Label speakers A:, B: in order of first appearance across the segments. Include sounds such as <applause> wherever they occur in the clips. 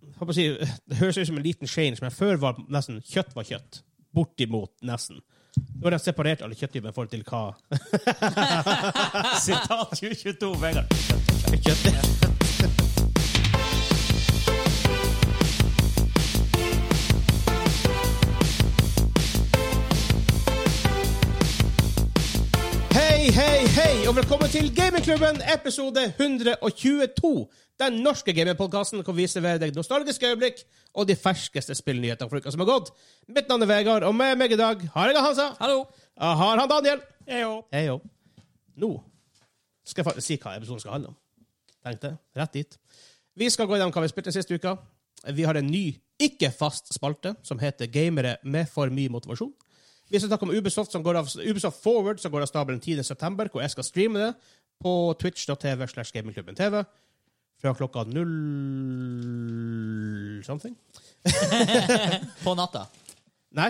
A: holdt på å si, Det høres ut som en liten Shane, men før var nesten kjøtt var kjøtt. Bortimot nesten. Nå har de separert alle kjøtttypene i forhold til <laughs> hva
B: Sitat 2022, Vegard.
A: kjøtt er. Hei, hei, hei, og velkommen til Gamingklubben, episode 122. Den norske gamingpodkasten hvor vi serverer deg nostalgiske øyeblikk og de ferskeste spillnyhetene for uka som har gått. Mitt navn er Vegard, og med meg i dag har jeg Hansa.
B: Hallo.
A: Jeg har han Daniel.
B: Jeg òg.
A: Hei, jo. Nå skal jeg faktisk si hva episoden skal handle om. Tenkte jeg. Rett dit. Vi skal gå gjennom hva vi spilte sist uke. Vi har en ny, ikke-fast spalte som heter Gamere med for mye motivasjon. Vi skal snakke om Ubisoft, som går av, Ubisoft Forward, som går av stabelen 10. september, hvor jeg skal streame det på twitch.tv slash gamingklubben TV fra klokka null something.
C: På natta.
A: Nei,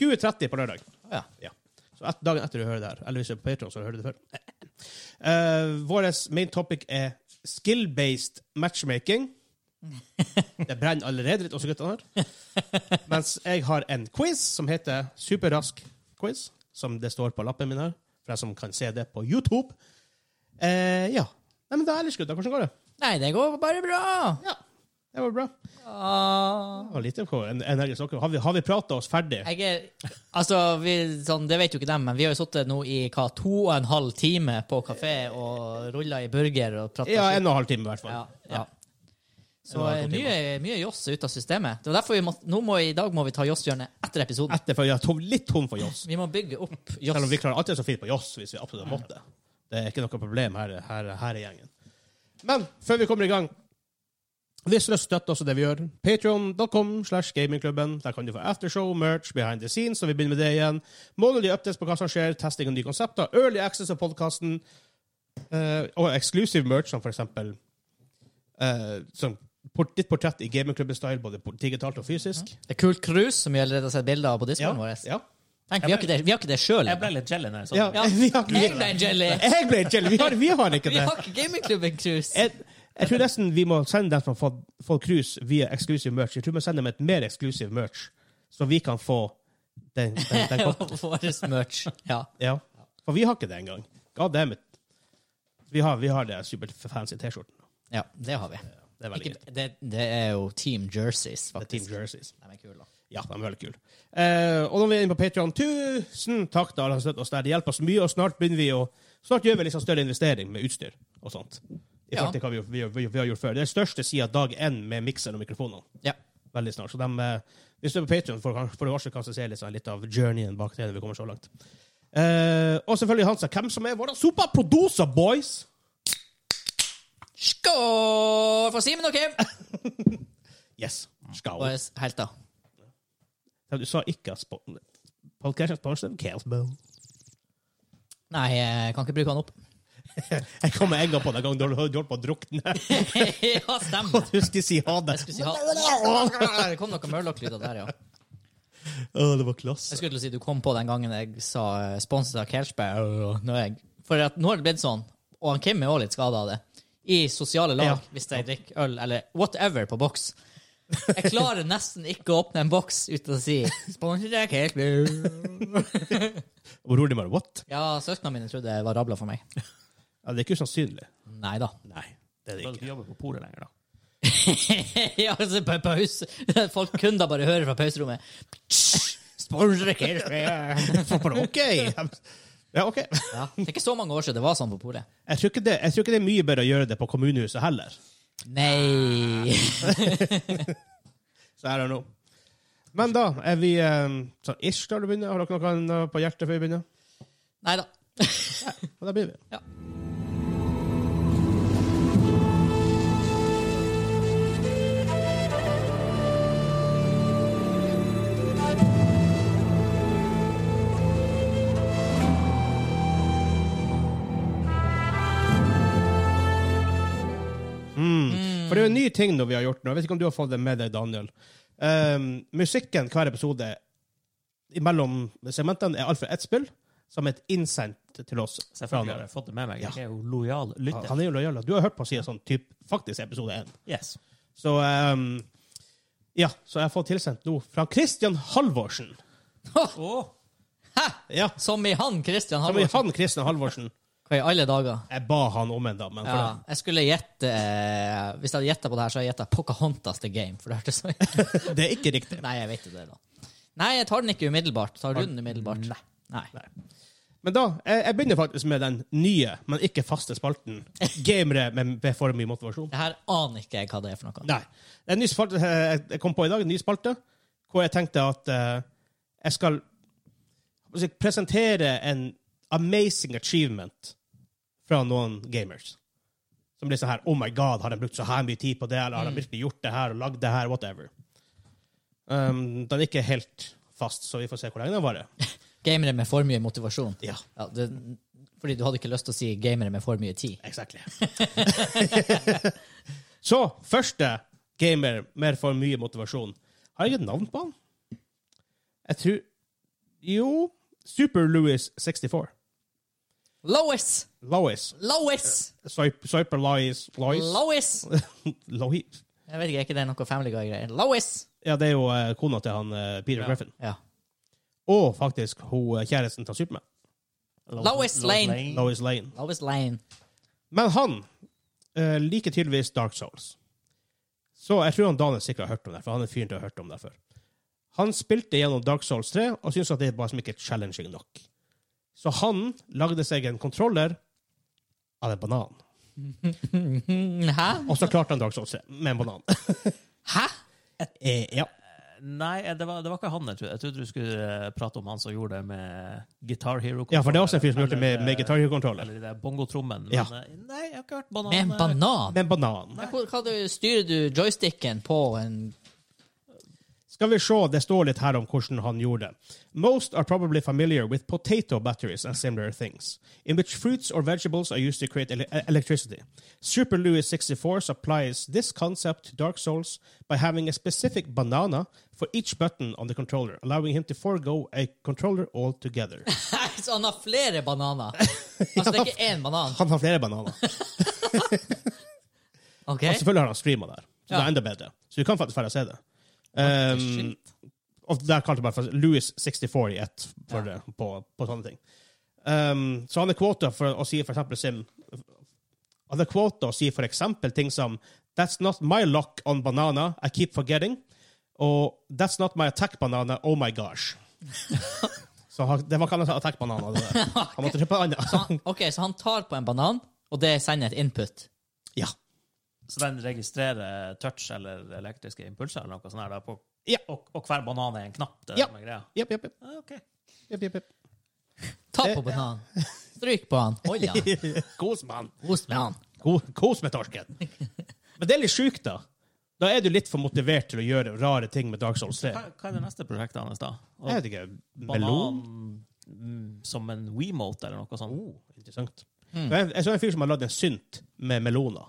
A: 20.30 på lørdag.
C: Ja.
A: Ja. Så et, dagen etter du hører det her, eller hvis du er på Patreon så hører du det før. Uh, Vår main topic er skill-based
C: <laughs>
A: matchmaking. Det brenner allerede litt, også guttene her. Mens jeg har en quiz som heter Superrask quiz, som det står på lappen min her, for deg som kan se det på YouTube. Eh, ja. Nei, men da ellers, gutter, hvordan går det?
C: Nei, det går bare bra!
A: Ja, det var bra. Det
C: Ah.
A: var lite hvor en- energisk dere. Har vi, har vi prata oss ferdig?
C: Jeg er, altså, vi, sånn, det vet jo ikke dem, men vi har jo sittet nå i hva, to og en halv time på kafé og rulla i burger og prata
A: Ja, en og en halv time i hvert fall.
C: ja, ja.
A: En
C: Så
A: og en
C: eh,
A: halv
C: mye, mye joss ut av systemet. Det var derfor vi må, nå må, vi- I dag må vi ta joss-hjørnet etter episoden.
A: Etter, for jeg er tom, litt tom for Joss.
C: Vi må bygge opp
A: Selv om
C: joss.
A: vi klarer alltid så fint på Joss hvis vi absolutt måtte. Det er ikke noe problem her, her, her i gjengen. Men før vi kommer i gang hvis du støtter oss i det vi gjør, patreon.com slash gamingklubben. Der kan du få aftershow, merch, behind the scenes, og vi begynner med det igjen. Månedlige updates på hva som skjer, testing av nye konsepter, early access av podkasten, og exclusive merch som for eksempel eh, som port, ditt portrett i gamingklubben-style, både på- digitalt og fysisk.
C: Det er Kult Cruise, som vi allerede har sett bilder av på discoen vår.
A: ja.
C: Tenk, vi har ikke det, vi har ikke det sjøl.
B: Jeg ble litt jelly når jeg så
A: ja.
B: det.
C: Ja.
A: <laughs> Vi har ikke-
C: Jeg ble jelly!
A: Jeg ble jelly. Vi har, vi har ikke
C: Vi
A: det.
C: har ikke gamingklubben Cruise!
A: Jeg, jeg tror nesten vi må sende dem som har fått- fått cruise via exclusive merch. Jeg tror vi må sende dem et mer exclusive merch, så vi kan få den, den, den koppen.
C: <laughs> Vår merch. Ja.
A: Ja. For vi har ikke det engang. Goddammit. Vi har, vi har det superfancy T-skjorten.
C: Ja, det har vi.
A: Det er veldig greit.
C: Ikke, det, det er jo Team Jerseys,
A: Det er Team
C: faktisk.
A: Jerseys.
C: De er kule.
A: Ja, de er veldig kule. Eh, og når vi er inne på Patreon, tusen takk til alle som støtter oss der. Det hjelper oss mye, og snart begynner vi å Snart gjør vi liksom større investering med utstyr og sånt. I
C: Ja.
A: forhold til hva vi, vi, vi, vi har gjort før. Det er største siden dag én med mikser og mikrofonene.
C: Ja.
A: veldig snart. Så de, eh, hvis du er på Patreon, får du kanskje, kanskje se litt, sånn litt av journeyen bak det når vi kommer så langt. Eh, og selvfølgelig Hansa, hvem som er våre superproducer, boys!
C: Skål for Simen og Kim!
A: Yes. Skål.
C: Våre helter.
A: Du sa ikke at spo- podcasten er sponset av Kalesbo.
C: Nei, jeg kan ikke bruke han <laughs> opp.
A: Jeg kom med en gang på den gangen du holdt på å drukne.
C: ja,
A: <laughs>
C: stemmer.
A: Du skulle si ha det.
C: Jeg skulle si ha Det kom noen mørlokklyder der, ja.
A: Å, det var
C: Jeg
A: klasse.
C: skulle til å si du kom på den gangen jeg sa eh, sponset av Kelchberg. Når jeg, for at nå har det blitt sånn, og han Kim er også litt skada av det, i sosiale lag,
A: Ja.
C: hvis jeg drikker øl eller whatever på boks. Jeg klarer nesten ikke å åpne en boks uten å si 'sponset av Kelchberg'.
A: Og Rolig bare what?
C: Ja, søsknene mine trodde jeg var rabla for meg.
A: Ja, det er ikke usannsynlig.
C: Nei da. <laughs>
A: Nei, det er
B: Du
A: det ikke.
B: ikke jobbe på polet lenger, da.
C: ja, altså, på pause. Folk kunne da bare høre fra pauserommet. Sponsor av Kelchberg.
A: <laughs> OK! Ja, OK.
C: Ja, det er ikke så mange år siden det var sånn på polet.
A: Jeg tror, ikke det, jeg tror ikke det er mye bedre å gjøre det på kommunehuset heller.
C: Nei.
A: Så I don't know. Men da er vi um, sånn ish da du begynner. Har dere noe annet på hjertet før vi begynner?
C: Nei da.
A: Og da begynner vi.
C: Ja.
A: For det er jo en ny ting nå vi har gjort nå. Jeg vet ikke om du har fått det med deg, Daniel. Um, musikken hver episode mellom segmentene er alt fra ett spill, som er et innsendt til oss. fra
B: Selvfølgelig har
A: han.
B: jeg fått det med meg.
A: Ja.
B: Jeg er jo lojal lytter.
A: Han er jo lojal. Du har hørt på å si sånn typ, faktisk episode én.
B: Yes.
A: Så um, Ja, så jeg har fått tilsendt noe fra Christian Halvorsen.
B: Åh,
A: Ja,
C: Som i han Christian
A: som i
C: Halvorsen.
A: han Christian Halvorsen.
C: Hva i alle dager?
A: Jeg ba han om en, da. Men for
C: Ja, jeg skulle gjette eh, Hvis jeg hadde gjetta på det her, så hadde jeg gjetta Pocahontas The Game. For det hørtes så <laughs>
A: det, det er ikke riktig.
C: Nei, jeg vet jo det, da. Nei, jeg tar den ikke umiddelbart. Tar du den umiddelbart? Nei.
A: Men da, jeg, jeg begynner faktisk med den nye, men ikke faste spalten. Gamere med, med for mye motivasjon.
C: Det her aner ikke jeg hva det er for noe.
A: Nei. Det er en ny spalte eh, jeg kom på i dag, en ny spalte, hvor jeg tenkte at eh, jeg skal hva skal jeg si, presentere en amazing achievement fra noen gamers. Som blir sånn her Oh my God, har de brukt så her mye tid på det? Eller har de virkelig gjort det her og lagd det her? Whatever. Um, den er ikke helt fast, så vi får se hvor lenge den varer.
C: Gamere med for mye motivasjon.
A: Ja,
C: Ja, det, fordi du hadde ikke lyst til å si gamere med for mye tid.
A: exactly. <laughs> så første gamer med for mye motivasjon. Har jeg et navn på han? Jeg tror Jo. Super-Louis64.
C: Lois!
A: Lois.
C: Lois!
A: Super-Lois Lois.
C: Lois!
A: <laughs> Lois.
C: Jeg vet ikke, er ikke det noe Family Guy-greier? Lois!
A: Ja, det er jo eh, kona til han eh, Peter
B: Ja.
A: Griffin.
C: Ja.
A: Og faktisk hun eh, kjæresten til Supermann.
C: Lois Lane.
A: Lois Lane.
C: Lois Lane. <laughs>
A: Men han eh, liker tydeligvis Dark Souls. Så jeg tror han Daniel sikkert har hørt om det, for han er fyren til å ha hørt om det før. Han spilte gjennom Dark Souls 3 og syntes at det var som ikke challenging nok. Så han lagde seg en kontroller av en banan.
C: Mm, Hæ?
A: Og så klarte han Dark Souls 3 med en banan.
C: Hæ?
A: <laughs> Eh, ja.
B: Nei, eh, det var, det var ikke han jeg trodde. Jeg trodde du skulle eh, prate om han som gjorde det med Guitar Hero.
A: ja, for det er også en fyr som gjorde det med, med Guitar Hero-kontroller.
B: Eller det der bongotrommen. Men
A: Ja.
B: eh, nei, jeg har ikke hørt eh, banan.
C: Med en banan?
A: Med en banan.
C: Men hvor- Hva du, styrer du joysticken på en
A: Skal vi se, det står litt her om hvordan han gjorde det. Most are probably familiar with potato batteries and similar things, in which fruits or vegetables are used to create ele e-, electricity. Super Louis 64 supplies this concept to Dark Souls by having a specific banana for each button on the controller, allowing him to forego a controller altogether.
C: Så han har flere bananer? Altså, det er ikke én banan?
A: Han har flere bananer.
C: Ok. <laughs>
A: Og selvfølgelig har han streama der, så det
C: Ja.
A: er enda bedre. Så du kan faktisk ferdig se det. Um, og der kalte jeg bare for Louis 64 i ett for,
C: Ja.
A: på, på sånne ting. Um, så han er kvota for å si for eksempel Sim Han er kvota å si for eksempel ting som That's not my lock on banana, I keep forgetting. Og That's not my attack banana, oh my <laughs> gosh. så han, det var ikke han sa attack banana. Det <laughs> der. Han måtte kjøpe en annen.
C: Han- ok, så han tar på en banan, og det sender et input.
A: ja.
B: Så den registrerer touch eller elektriske impulser eller noe sånt her, da, på,
A: Ja.
B: og, og hver banan er en knapp. Det er
A: Ja.
B: det som er greia.
A: Jepp, jepp, jepp,
B: Ah, ok.
A: jepp, jepp. jepp.
C: Ta på bananen. Stryk på han. Hold han.
A: Kos med han.
C: Host med han.
A: Ko- Kos med torsken. Men det er litt sjukt, da. Da er du litt for motivert til å gjøre rare ting med Dark Souls 3.
B: Hva, hva er det neste prosjektet hans, da? Og
A: Jeg vet ikke. Melon?
B: banan mm, som en WeMote eller noe sånt?
A: Oh, interessant.
B: Mm.
A: Jeg, jeg så en fyr som har lagd en synt med meloner.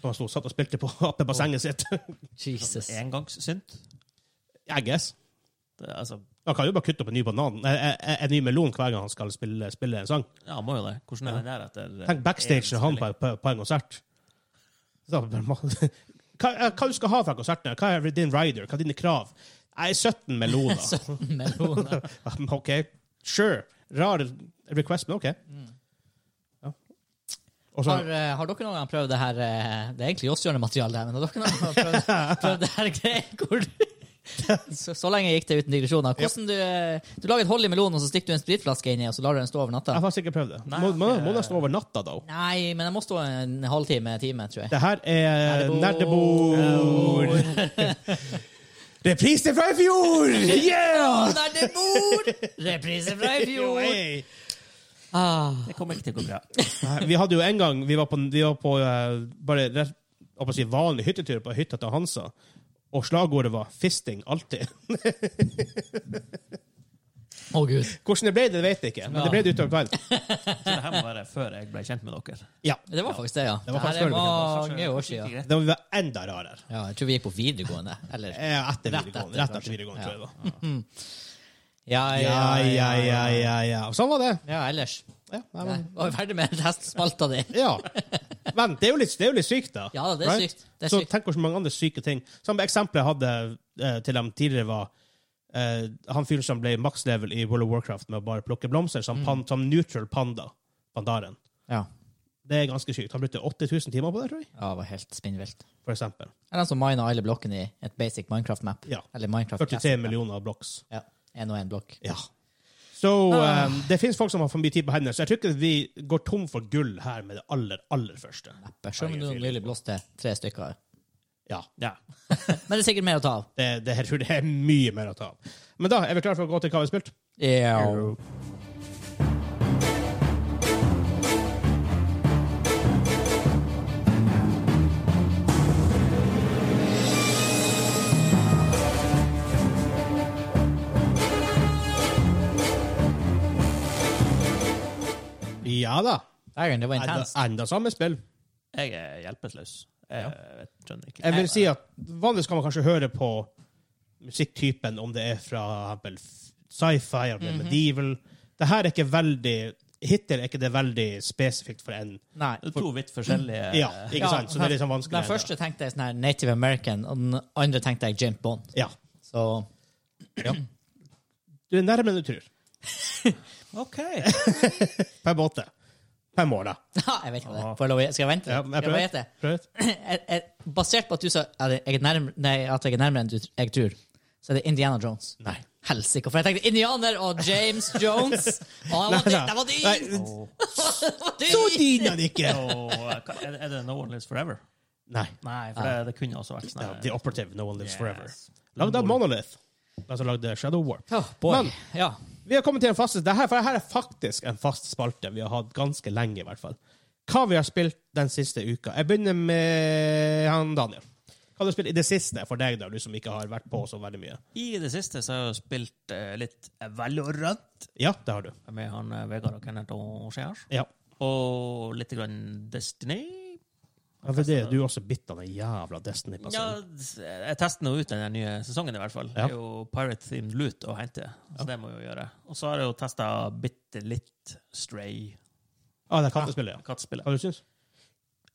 A: Som han stod, satt og spilte på <laughs> oppe i bassenget sitt.
C: Jesus.
B: Engangssynt?
A: I guess.
B: Det- Altså,
A: Han kan jo bare kutte opp en ny banan nei, en- en- en ny melon hver gang han skal spille, spille en sang.
B: ja, han må jo det. Hvordan er den der etter eh,
A: Tenk backstage
B: en
A: når han
B: spilling?
A: på, på, på en konsert. Så da bare må- <laughs> Hva, hva du skal ha fra konserten? Hva er din rider? Hva er dine krav? Jeg er 17
B: <laughs>
A: meloner.
C: 17 meloner.
A: Um, <laughs> OK. Sure. Rar request, men OK. Ja. Og så
C: Har, eh, har dere noen gang prøvd det her eh, Det er egentlig Jåsshjørnet-materiale, det her, men har dere noen gang prøvd, prøvd det her greien hvor du- så, så lenge gikk det uten digresjoner. Hvordan du, eh, du lager et hull i melonen, og så stikker du en spritflaske inni, og så lar du den stå over
A: Jeg
C: natta?
A: har sikkert prøvd det.
B: Nei,
A: må, må, må
B: det-
A: nesten over natta, da.
C: Nei, men den må stå en halvtime, time, tror jeg.
A: Det her er
C: Nerdebord.
A: Nerdebord. Reprise fra i fjor!
C: <laughs>
A: Yeah!
C: Der det bor! Reprise fra i
A: Jo,
C: fjor!
A: hey.
C: Ah.
B: Det kommer ikke til å gå bra.
A: Nei, Vi hadde jo en gang Vi var på, vi var på eh, bare rett, jeg holdt på å si, vanlig hyttetur på hytta til Hansa, og slagordet var 'fisting alltid'. <laughs>
C: Å, gud.
A: Hvordan det ble, det vet jeg ikke, men det ble det utover kvelden.
B: Så det her må være før jeg ble kjent med dere.
A: Ja,
C: Det var faktisk det, ja.
A: var
C: Det
A: faktisk
C: her er
A: før
B: vi-
C: mange år siden.
A: Da må vi være enda rarere.
C: Ja, jeg tror vi er på videregående. Eller
A: Eh, Etter videregående, rett
C: kanskje.
A: etter videregående, tror jeg. det var.
C: Ja,
A: Ja, ja, ja, ja, ja. Sånn var det.
C: Ja, ellers.
A: Ja, nei,
C: Nei,
A: men,
C: var vi ferdig med testspalta di?
A: ja. Men det er jo litt, det er jo litt sykt, da.
C: Ja, det er
A: Right?
C: sykt. Det er
A: så
C: sykt.
A: tenk hvor mange andre syke ting. Samme eksempel jeg hadde eh, til dem tidligere, var eh, han fyren som ble max level i World of Warcraft med å bare plukke blomster,
C: Mm.
A: som, pan, som neutral panda. Pandaren.
C: Ja.
A: Det er ganske sykt. Han brukte 80 000 timer på det, tror jeg.
C: ja, det var helt spinnvilt.
A: For eksempel.
C: Det er den som miner alle blokkene i et basic Minecraft-map.
A: Ja.
C: Eller Minecraft
A: 43 millioner blocks.
C: Ja. En og en blokk.
A: Ja. Så eh, det finnes folk som har for mye tid på hendene, så jeg tror ikke vi går tom for gull her med det aller, aller første.
C: Neppe. Selv om du nylig blåste tre stykker.
A: Ja.
B: Ja.
C: Men det er sikkert mer å ta av.
A: Det, det, jeg tror det er mye mer å ta av. Men da er vi klare for å gå til hva vi har spilt.
C: Ja.
A: Ja da.
C: Dægen, det var
A: Enda,
C: intenst.
A: enda samme spill.
B: Jeg er hjelpeløs. Jeg eh, vet- skjønner ikke.
A: Jeg vil si at Vanligvis kan man kanskje høre på musikktypen, om det er fra for eksempel sci-fi eller medieval. Det her er ikke veldig Hittil er ikke det veldig spesifikt for en
C: Nei.
B: Det er To vidt forskjellige
A: Ja, ikke sant? Så det er litt sånn vanskelig.
C: Den første tenkte jeg sånn her Native American, og den andre tenkte jeg James Bond.
A: Ja.
C: Så <laughs>
A: Du er nærmere enn du tror.
B: OK.
A: <laughs> Per måte. Per måned.
C: Ja, jeg vet ikke hva det er. Får jeg lov å- Skal jeg vente?
A: Ja,
C: Skal jeg bare gjette?
A: Prøv ut.
C: Jeg- jeg- Basert på at du sa at jeg er nærmere, nei, at jeg er nærmere enn du, jeg tror, så er det Indiana Jones.
A: Nei.
C: Helsike. For jeg tenkte indianer og James Jones. Å, jeg var dyr! Jeg var <laughs> dyr! Jeg
A: Nei,
B: Og-
C: var
A: Så
C: dyr!
A: dyna det ikke!
B: og, eh, hva- er, er det No One Lives Forever?
A: Nei.
B: Nei, for det, det kunne også vært sånn.
A: Ja, The Operative No One Lives
B: Yes.
A: Forever. Lagd av Monolith. Den som lagde Shadow War.
C: Åh, Oh, boy.
A: Men-
C: ja.
A: Vi har kommet til en fast det her, for det her er faktisk en fast spalte vi har hatt ganske lenge. i hvert fall. Hva vi har spilt den siste uka. Jeg begynner med han Daniel. Hva har du spilt i det siste for deg, da, du som ikke har vært på så veldig mye?
B: I det siste så har jeg jo spilt eh, litt Valorant
A: Ja, det har du.
B: med han eh, Vegard og Kenneth og Skjærs.
A: Ja.
B: Og litt grann Destiny.
A: Ja, for det, du er også bitt av den jævla Destiny-passionen.
B: Ja, jeg tester nå ut den her nye sesongen, i hvert fall.
A: Altså. Ja.
B: Det er jo Pirate Themed Loot å hente, så det må jeg jo gjøre. Og så har jeg jo testa bitte litt Stray,
A: Ah, det er kattespillet, ja.
B: kattespillet.
A: Hva du syns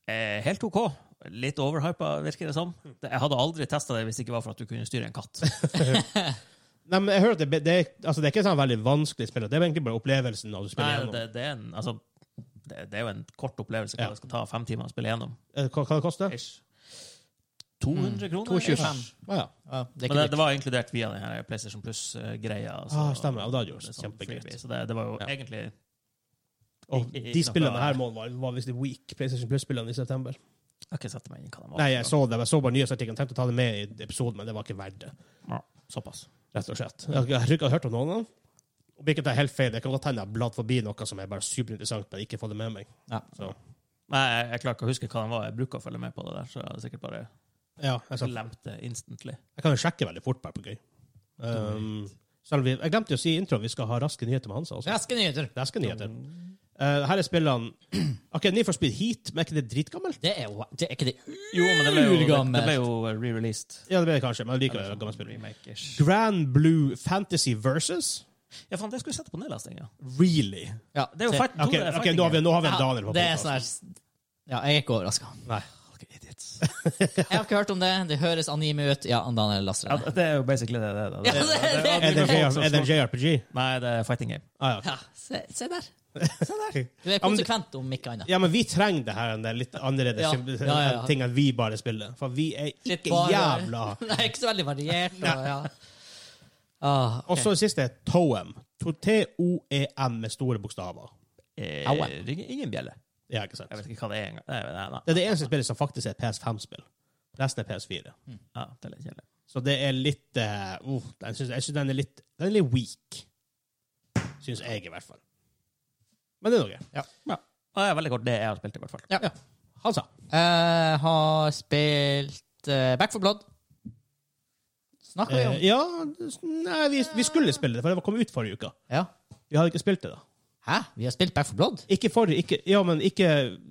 B: Eh, helt OK. Litt overhypa, virker det som. Det- Jeg hadde aldri testa det hvis det ikke var for at du kunne styre en
A: <laughs>
B: katt.
A: Nei, men jeg hører at det, det, altså, det er ikke sånn veldig vanskelig spill. Det er egentlig bare opplevelsen av å spille
B: Nei,
A: gjennom.
B: det, det, er en, altså, det, det er jo en kort opplevelse
A: Ja.
B: hva det skal ta fem timer å spille gjennom.
A: Eh, Hva, hva det koster det?
B: Ish. 200 kroner?
C: 225.
B: ish.
A: Ah, ja.
C: Ja, det er
B: Men det,
C: ikke
B: det var inkludert via den her PlayStation eh, Plus-greia.
A: Ah, stemmer. Ja, da er det jo
B: Altså, er sånn
A: kjempegreit.
B: freebie. Så det, det var jo
A: Ja.
B: egentlig
A: Og
B: I- i-
A: de spillene
B: noe-
A: her må- var, var visst weak, PlayStation Plus-spillene i september.
B: Jeg har ikke satt meg inn hva den var.
A: Nei, jeg så det. Jeg så bare nyhetsartikkelen. Tenkte å ta det med i episoden, men det var ikke verdt det.
B: Ja, såpass.
A: Rett og slett. Jeg, jeg tror ikke jeg har hørt om noen av dem. Hvilket er helt feil. Det kan godt hende jeg har bladd forbi noe som er bare superinteressant, men ikke fått det med meg.
C: Ja.
A: Så,
B: Nei, jeg, jeg klarer ikke å huske hva den var. Jeg bruker å følge med på det der, så jeg hadde sikkert bare
A: ja, jeg, sa-
B: glemt det instantly.
A: jeg kan jo sjekke veldig fort bare på gøy. Um, selv om vi, jeg glemte jo å si i introen vi skal ha raske nyheter med Hansa. Også.
C: Raske nyheter.
A: Raske nyheter. Eh, her er spillene <clears throat> OK, Need for Speed Heat, men er ikke det dritgammelt?
C: Det er, jo- det er ikke det
B: Jo, men det ble jo, det, det
C: Urgammelt.
B: ble jo eh, re-released.
A: Ja, det ble det kanskje, men jeg liker
B: Eller
A: det gammelt
B: sånn
A: spill.
B: remake-ish.
A: Grand Blue Fantasy Versus?
B: Ja, faen, det skulle jeg sette på nedlasting, ja.
A: Really?
C: ja,
B: Det er jo
C: se-
B: fight,
A: OK,
B: to, det er
A: ok, nå har vi, nå har vi en
C: Ja,
A: Daniel på
C: Det er sånn
A: podcasten.
C: her Ja, jeg er ikke overraska.
A: Nei.
B: Okay, idiots.
C: Jeg har ikke hørt om det. Det høres anime ut. Ja, Daniel Laster.
B: <laughs> ja, det er jo basically det det er. da.
C: Ja, det er
A: <laughs>
C: sånn det.
A: Er det,
B: anime
A: JR,
B: folk som
A: er det
B: slår-
A: JRPG?
B: Nei, det er fighting game.
A: Ah, ja.
C: Ja, se, se der.
A: ok. <laughs>
C: Du er
A: Ja, men det-
C: konsekvent, om ikke annet.
A: Ja, men vi trenger det her, den litt annerledes
C: Ja,
A: symb-
C: ja, ja,
A: <laughs>
C: ja.
A: ting enn vi bare spiller. For vi er
C: Litt
A: ikke
C: bare-
A: jævla
C: <laughs> Nei, ikke så veldig variert. Og, ja. Ah, ok.
A: Og så det siste er Toem. To- T-O-E-M med store bokstaver.
B: Eh,
C: Aua.
B: ringer ingen bjelle.
A: Ja, ikke sant?
B: Jeg vet ikke hva det er engang. Nei, nei, nei.
A: Det er det eneste spillet som faktisk er PS5-spill. Resten er PS4.
B: Ja, det er litt kjedelig.
A: Så det er litt eh, uh, den synes, Jeg syns den er litt Den er litt weak. Syns jeg, i hvert fall. Men det er noe.
B: Ja. Og Det er veldig kort det jeg har spilt, i hvert fall.
C: Ja.
A: Han sa.
C: Jeg har spilt eh, Back for Blood. Snakker vi om?
A: Eh, ja Nei, vi, vi skulle spille det, for det var kommet ut forrige uke.
C: Ja.
A: Vi hadde ikke spilt det da.
C: Hæ? Vi har spilt Back for Blood?
A: Ikke forrige ikke, Ja, men ikke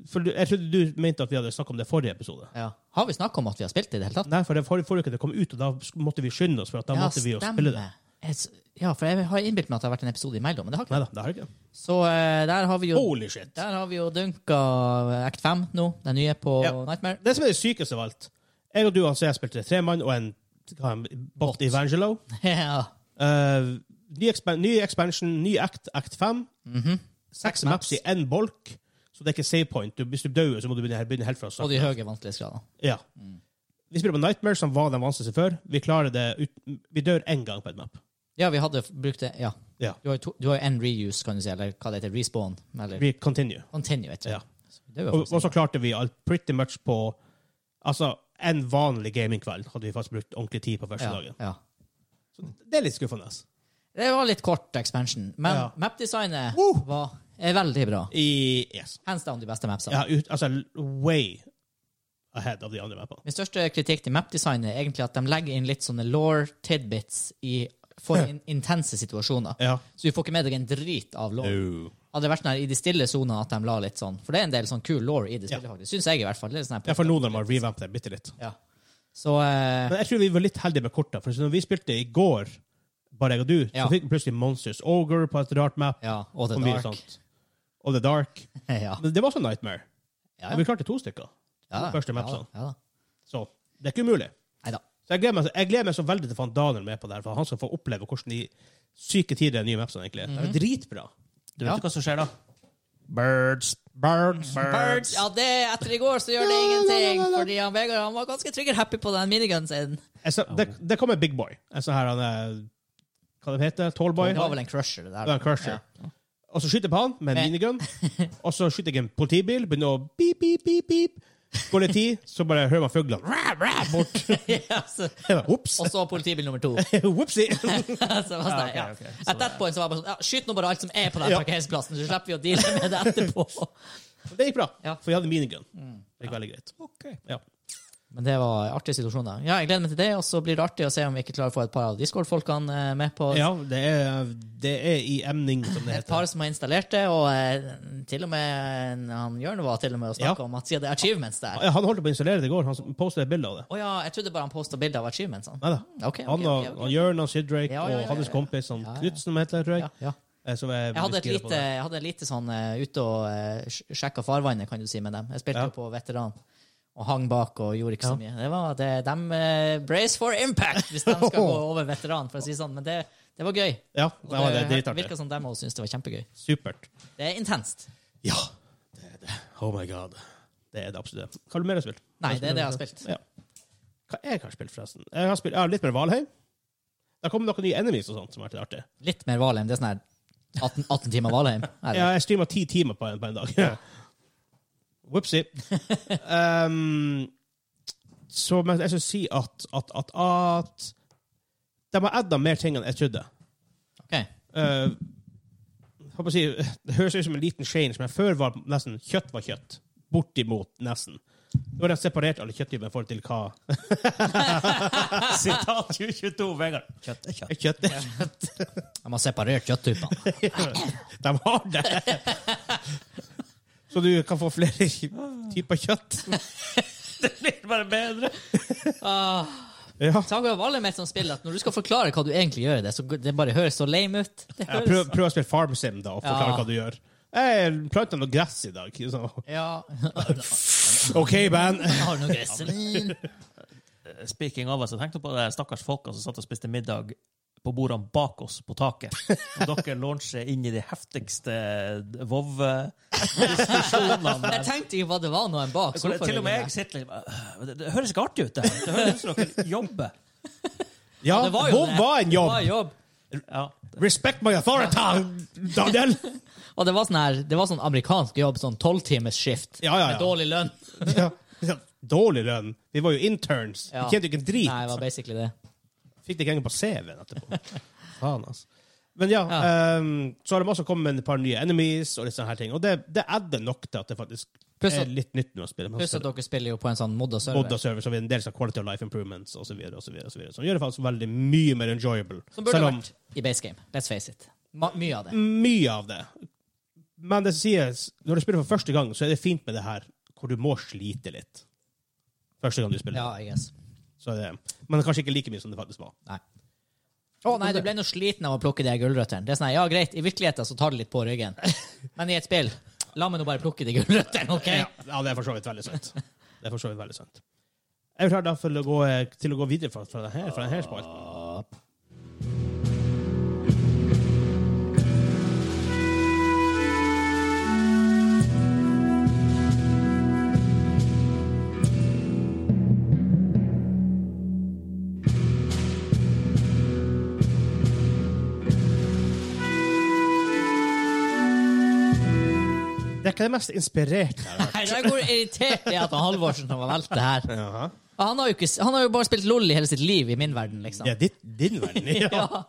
A: For du- jeg trodde du mente at vi hadde snakket om det i forrige episode.
C: Ja. Har vi snakka om at vi har spilt det i det hele tatt?
A: Nei, for det forrige, forrige uke det kom ut, og da sk- måtte vi skynde oss, for at da måtte vi jo spille det.
C: Jeg s- Ja, for jeg har innbilt meg at det har vært en episode imellom, men det har ikke
A: Nei da, det har jeg ikke.
C: Så eh, der har vi jo
A: Holy shit.
C: Der har vi jo dunka Act 5 nå, den nye på
A: Ja.
C: Nightmare. <laughs>
A: Det som er det sykeste av alt Jeg og du Hans, jeg spilte tremann og en, hva er han, bot Evangelo.
C: ja.
A: Eh, ny, expan ny expansion, ny act, act 5.
C: Mhm.
A: Seks
C: Seks
A: maps i én bolk, så det er ikke save point. Du, hvis du dør, så må du begynne, begynne helt fra
C: Og
A: start.
C: de høye vanskelighetsgradene.
A: Ja. Vi spiller på Nightmare, som var den vanskeligste før. Vi klarer det ut, Vi dør én gang på et map.
C: Ja, vi hadde f- brukt det Ja.
A: Ja.
C: Du har jo to- du har jo en reuse, kan du si, eller hva det heter, respawn, eller
A: Vi continue.
C: continue, jeg tror
A: Ja.
C: jeg. Det var
A: Og,
C: faktisk-
A: og så klarte vi alt pretty much på Altså, en vanlig gamingkveld hadde vi faktisk brukt ordentlig tid på første
C: ja,
A: dagen.
C: ja.
A: Så det er litt skuffende. ass.
C: Det var litt kort expansion, men
A: Ja.
C: mapdesignet
A: Woo!
C: var, er veldig bra.
A: I Yes.
C: Hands down de beste mapsene.
A: Ja, ut, altså way ahead av de andre mappene.
C: Min største kritikk til mapdesignet er egentlig at de legger inn litt sånne law tidbits i
A: <laughs>
C: for in intense situasjoner.
A: Ja.
C: Så du får ikke med deg en drit av law.
A: No.
C: Hadde det vært sånn her i de stille sonene at de la litt sånn For det er en del sånn kul law i det
A: Ja.
C: spillet, faktisk. Syns jeg, i hvert fall. Det er sånn her-
A: Ja, for nå når man revampet det bitte litt.
C: Ja. Så eh,
A: Men jeg tror vi var litt heldige med korta. For når vi spilte i går, bare jeg og du,
C: Ja.
A: så fikk vi plutselig Monsters Ogre på et rart map.
C: Ja. Og The
A: og mye
C: Dark.
A: sånt. Og The Dark.
C: eh, <laughs> ja.
A: Men det var også Nightmare.
C: Ja,
A: Og vi klarte to stykker.
C: Ja,
A: de første sånn.
C: ja,
A: mapsene.
C: Ja,
A: Så det er ikke umulig.
C: Nei da.
A: Så jeg gleder meg, jeg gleder meg så veldig til å få han Daniel med på det her, for han skal få oppleve hvordan de syke tider de nye mapsene egentlig er.
C: Mhm.
A: Det er dritbra.
B: Du vet
C: Ja.
B: jo hva som skjer da?
A: Birds. Birds.
C: Birds. Ja, det etter i går så gjør det ingenting, fordi han Vegard han var ganske trigger happy på den minigun sin.
A: Jeg sa- det, det kommer Big Boy. En sånn her han er Hva det heter det? Tallboy?
C: Det var vel en crusher, det
A: Det var
C: der.
A: en crusher. Og så skyter jeg på han med en
C: Men- <laughs>
A: minigun. Og så skyter jeg en politibil, begynner å beep, beep, beep, beep. Går litt tid, så bare hører man fuglene <laughs> rah, rah, bort.
C: <laughs> Ja, så-
A: Jeg bare, Ops!
C: Og så politibil nummer to. <laughs>
A: <laughs> Whoopsie!
C: så var det, sånn, ja.
B: ok, ok.
C: At that point så var det bare sånn ja, Skyt nå bare alt som er på den
A: Ja.
C: parkeringsplassen, så slipper vi å deale med det etterpå.
A: Det gikk bra,
C: Ja. Mm.
A: for jeg hadde minigun. Det gikk veldig greit. Ja.
C: Men det var artige situasjoner. Ja, jeg gleder meg til det, og så blir det artig å se om vi ikke klarer å få et par av Discord-folkene eh, med på.
A: ja, det er, det er i emning, som det
C: Et par
A: heter.
C: som har installert det, og eh, til og med han Jørn var til og med og snakka
A: Ja.
C: om at siden det er achievements der Å
A: Ja, Han holdt på å installere det i går. Han postet et bilde av det.
C: ja, jeg trodde bare han posta bilde av achievementsene.
A: Neida.
C: Ok, ok,
A: Han og
C: ok, ok.
A: og Jørn og Sidrake
C: Ja, ja, ja,
A: og hans
C: ja, ja.
A: kompis han
C: Ja, ja.
A: Knutsen, som heter, tror jeg.
C: Ja, ja.
A: eh, Som er
C: Jeg hadde et
A: veldig gira på
C: lite, jeg hadde et lite sånn eh, ute og uh, sjekka farvannet, kan du si, med dem. Jeg spilte
A: Ja.
C: jo på veteran og hang bak og gjorde ikke så
A: Ja.
C: mye. Det var det, De eh, brace for impact
A: <laughs>
C: hvis de skal gå over veteran, for å si det sånn. Men det, det var gøy.
A: det. Ja,
C: Og
A: det var det
C: virka
A: dritartig.
C: som de òg syntes det var kjempegøy.
A: Supert.
C: Det er intenst.
A: Ja, det er det. Oh my god. Det er det absolutt. det. Hva har du mer å spille?
C: Nei, det er det jeg har spilt.
A: Ja. Hva jeg har spilt, forresten? Jeg har spilt jeg har litt mer Valheim. Det kommer noen nye enemies og sånt som har vært litt artig.
C: Litt mer Valheim. Det er sånn her 18, 18 timer Valheim. Er det?
A: Ja, jeg streama ti timer på en, på en dag. <laughs> Whoopsie.
C: <laughs>
A: um, så men jeg skal si at at, at, at De har adda mer ting enn jeg trodde.
C: Ok.
A: Uh, jeg håper å si, det høres ut som en liten change, men før var nesten kjøtt var kjøtt. Bortimot nesten. Nå har de separert alle kjøtttyper i forhold til hva <laughs>
B: Sitat 2022, Vegard. Kjøtt er kjøtt.
A: kjøtt er. <laughs>
C: De har separert kjøtttypene.
A: De har det! Så du kan få flere typer kjøtt.
B: Det blir bare bedre.
A: Ja.
C: Saga av Valheim er et sånt spill at når du skal forklare hva du egentlig gjør i det, så det bare høres så lame ut. Det
A: Ja,
C: høres.
A: prøv, prøv å spille Farm Sim, da, og forklare
C: Ja.
A: hva du gjør. Jeg planta noe gress i dag. Så.
C: Ja.
A: OK, band.
C: Har du noe gresselin?
B: Speaking of, altså, tenkte på det stakkars folka som satt og spiste middag på bordene bak oss på taket. Og
A: <laughs>
B: dere launcher inn i de heftigste VOV-diskusjonene. <laughs>
C: Jeg tenkte ikke hva det var noen bak.
B: Hvor det- Til og med jeg sitter litt «Øh, Det det høres ikke artig ut, det her. Det høres ut som dere jobber.
A: Ja,
C: Det var jo
A: hvor
C: det.
A: var en
C: Det
A: jobb?
C: var en jobb.
B: Ja.
A: Respect my authority, Daniel!
C: Og det var sånn her, det var sånn amerikansk jobb, sånn tolvtimers skift.
A: Ja, ja, ja.
C: Med dårlig lønn.
A: Ja. Dårlig lønn. Vi var jo interns. Vi
C: Ja.
A: tjente jo ikke en drit.
C: Nei, det var basically det.
A: Fikk det ikke engang på CV-en
C: <laughs>
A: etterpå. Faen, altså. Men ja, ehm, så har de også kommet med et par nye enemies, og litt sånne her ting. Og det, det adder nok til at det faktisk
C: Pluss at-
A: er litt nytt nå å spille.
C: Pluss at dere spiller jo på en sånn modda
A: Modda
C: server.
A: server, så vi har en del sånn quality of life improvements osv. Som gjør det faktisk veldig mye mer enjoyable.
C: Som burde vært i base game. Let's face it. Ma mye
A: Mm.
C: av det.
A: mye av det. Men det som sies, når du spiller for første gang, så er det fint med det her hvor du må slite litt. Første gang du spiller.
C: Ja, I guess.
A: Så er det, men det er kanskje ikke like mye som det faktisk var.
C: Nei. Å nei, du ble nå sliten av å plukke de her gulrøttene. Det er sånn, her, ja greit, I virkeligheten så tar det litt på ryggen, men i et spill La meg nå bare plukke de gulrøttene, OK?
A: <laughs> Ja, ja, det er for så vidt veldig sant. Det er for så vidt veldig sant. Jeg er klar da for å gå, eh, til å gå videre fra, fra denne, fra denne spalten. Det er ikke det mest inspirerte her.
C: Nei, det er hvor irritert jeg er at han Halvorsen har valgt det her.
A: Jaha.
C: Han har, jo ikke, han har jo bare spilt LOL i hele sitt liv, i min verden, liksom.
A: Det er ditt, din verden.
B: <laughs>
A: Ja.
C: Ja.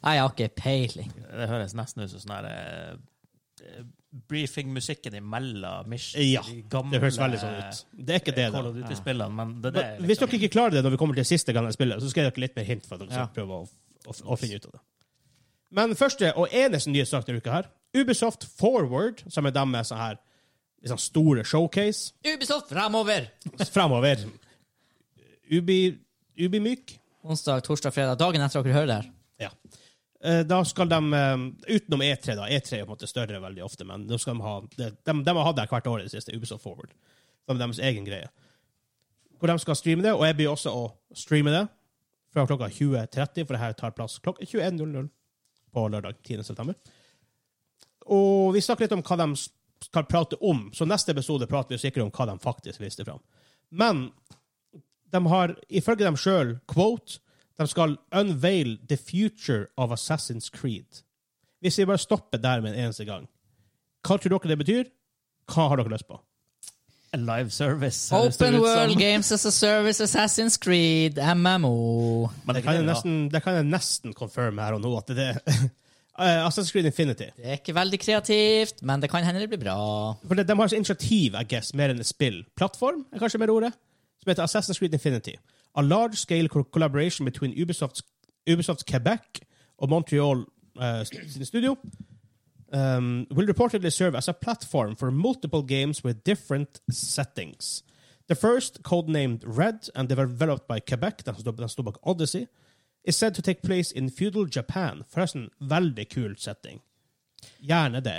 C: Nei, jeg har ikke peiling.
B: Det høres nesten ut som sånn her eh, briefing-musikken imellom Mission.
A: ja.
B: de gamle
A: Det høres veldig sånn ut. Det er ikke det, da.
B: Call of Duty-spillene, men det er sånn. det.
A: Men Hvis dere ikke klarer det når vi kommer til siste gang jeg spiller, så skal jeg gi dere litt mer hint for at dere skal prøve å, å, å finne ut av det. Men første og eneste nye sak denne uka her, Ubisoft Forward, som er deres sånn her liksom store showcase
C: Ubisoft fremover!
A: fremover. Ubi, Ubimyk.
C: Onsdag, torsdag, fredag. Dagen etter dere hører det her.
A: Ja. Eh, Da skal de, eh, utenom E3, da, E3 er på en måte større veldig ofte, men da skal de, ha, de, de, de har hatt det her hvert år i det siste, Ubisoft Forward. Som deres egen greie. Hvor de skal streame det, og jeg blir også å streame det fra klokka 20.30, for det her tar plass klokka 21.00 på lørdag 10. september. Og vi snakker litt om hva de skal prate om, så neste episode prater vi sikkert om hva de faktisk viste fram. Men de har, ifølge dem sjøl, quote De skal unveil the future of Assassin's Creed. Hvis vi bare stopper der med en eneste gang, hva tror dere det betyr? Hva har dere lyst på?
B: Live service. høres det
C: Open
B: ut som.
C: World Games as a Service, Assassin's Creed, MMO.
B: Men
A: Det kan jeg
B: da.
A: nesten, det kan jeg nesten confirme her og nå. at det <laughs> Eh, Assassin's Creed Infinity.
C: Det er ikke veldig kreativt, men det kan hende det blir bra.
A: For det, De har et initiativ, I guess, mer enn et spill. Plattform er kanskje mer ordet. Som heter Assassin's Creed Infinity. A large-scale co- collaboration between Ubisoft, Ubisoft Quebec og Montreal eh, sin studio um, will reportedly serve as a platform for multiple games with different settings. The first, codenamed Red and developed by Quebec, den som står- den som står bak Odyssey, is said to take place in feudal Japan. Forresten, veldig kul setting. Gjerne det.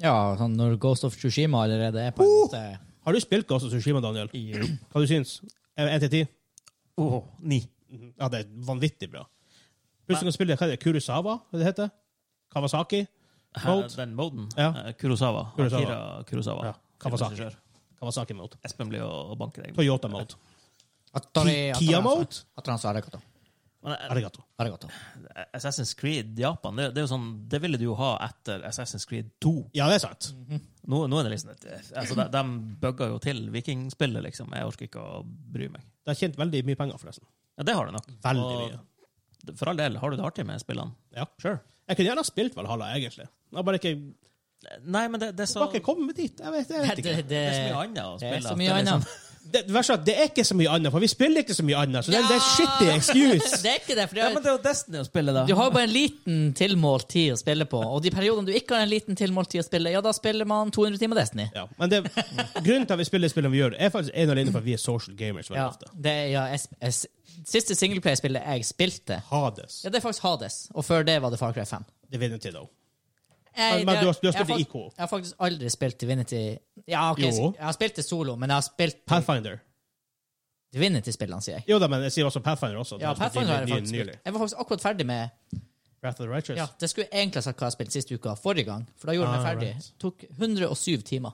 C: Ja, sånn når Ghost of Tsushima allerede er på
B: Oh!
C: en måte
A: Har du spilt Ghost of Tsushima, Daniel?
B: Jo.
A: Hva du syns du? 1 til 10?
B: Åh, ni.
A: Ja, det er vanvittig bra. Plutselig kan du spille hva er det, Kurosawa, hva det heter? Kawasaki?
B: Her,
A: Mode?
B: den moden.
A: Ja.
B: Eh, Kurosawa.
A: Kurosawa.
B: Akira Kurosawa.
A: Ja, Kawasaki.
B: Regissør.
A: Kawasaki Mode.
B: Espen blir å banke deg.
A: Toyota Mode.
C: Atari-
A: Ki- Kia Mode?
C: Atranso Arigato.
B: Men, eh,
A: Arigato.
C: Arigato.
B: Assassin's Creed Japan, det, det er jo sånn, det ville du jo ha etter Assassin's Creed 2.
A: Ja, det er sant.
B: Nå, nå er det liksom et, altså, de, de bugger jo til vikingspillet, liksom. Jeg orker ikke å bry meg.
A: Det har tjent veldig mye penger, forresten.
B: Ja, det har det nok.
A: Veldig
B: Og
A: mye.
B: For all del, har du det artig med spillene?
A: Ja, sure. Jeg kunne gjerne ha spilt Valhalla, egentlig. Jeg har bare ikke,
B: Eh, Nei, men det, det er så
A: bare ikke kommet dit. Jeg vet, jeg
C: Det,
A: vet ikke.
C: det, det,
B: Det er så mye annet å
C: det
B: spille.
C: er så
B: at
C: mye
B: det er liksom-
C: annet.
A: Det, det verste er at det er ikke så mye annet, for vi spiller ikke så mye annet. Så det, det er shitty excuse.
C: Det er ikke det, for det
B: Ja,
C: er-
B: men det er jo Destiny å spille, da.
C: du har jo bare en liten tilmålt tid å spille på, og de periodene du ikke har en liten tilmålt tid å spille, ja, da spiller man 200 timer Destiny.
A: Ja, men det, grunnen til at vi spiller spillene vi gjør, er faktisk en og alene for at vi er social gamers veldig
C: Ja,
A: ofte.
C: det, ja jeg, sp- jeg, s- siste singleplayer-spillet jeg spilte,
A: Hades.
C: ja, det er faktisk Hades, og før det var det Far Cry 5.
A: Divinity, though.
C: Jeg,
A: Men- men
C: det-
A: du har- du har
C: jeg
A: spilt i
C: fakt-
A: IK.
C: Jeg har faktisk aldri spilt Divinity Ja, ok,
A: Jo.
C: jeg har spilt det solo, men jeg har spilt
A: Pathfinder.
C: Divinity-spillene, sier jeg.
A: Jo da, men jeg sier også Pathfinder også. Det
C: Ja,
A: er også
C: Pathfinder har jeg
A: ny- ny-
C: faktisk
A: nylig.
C: spilt. Jeg var faktisk akkurat ferdig med
A: Wrath of the Righteous.
C: Ja, Det skulle jeg egentlig ha sagt hva jeg spilte sist uka, forrige gang, for da gjorde jeg
A: Ah,
C: meg ferdig.
A: right.
C: Tok 107 timer.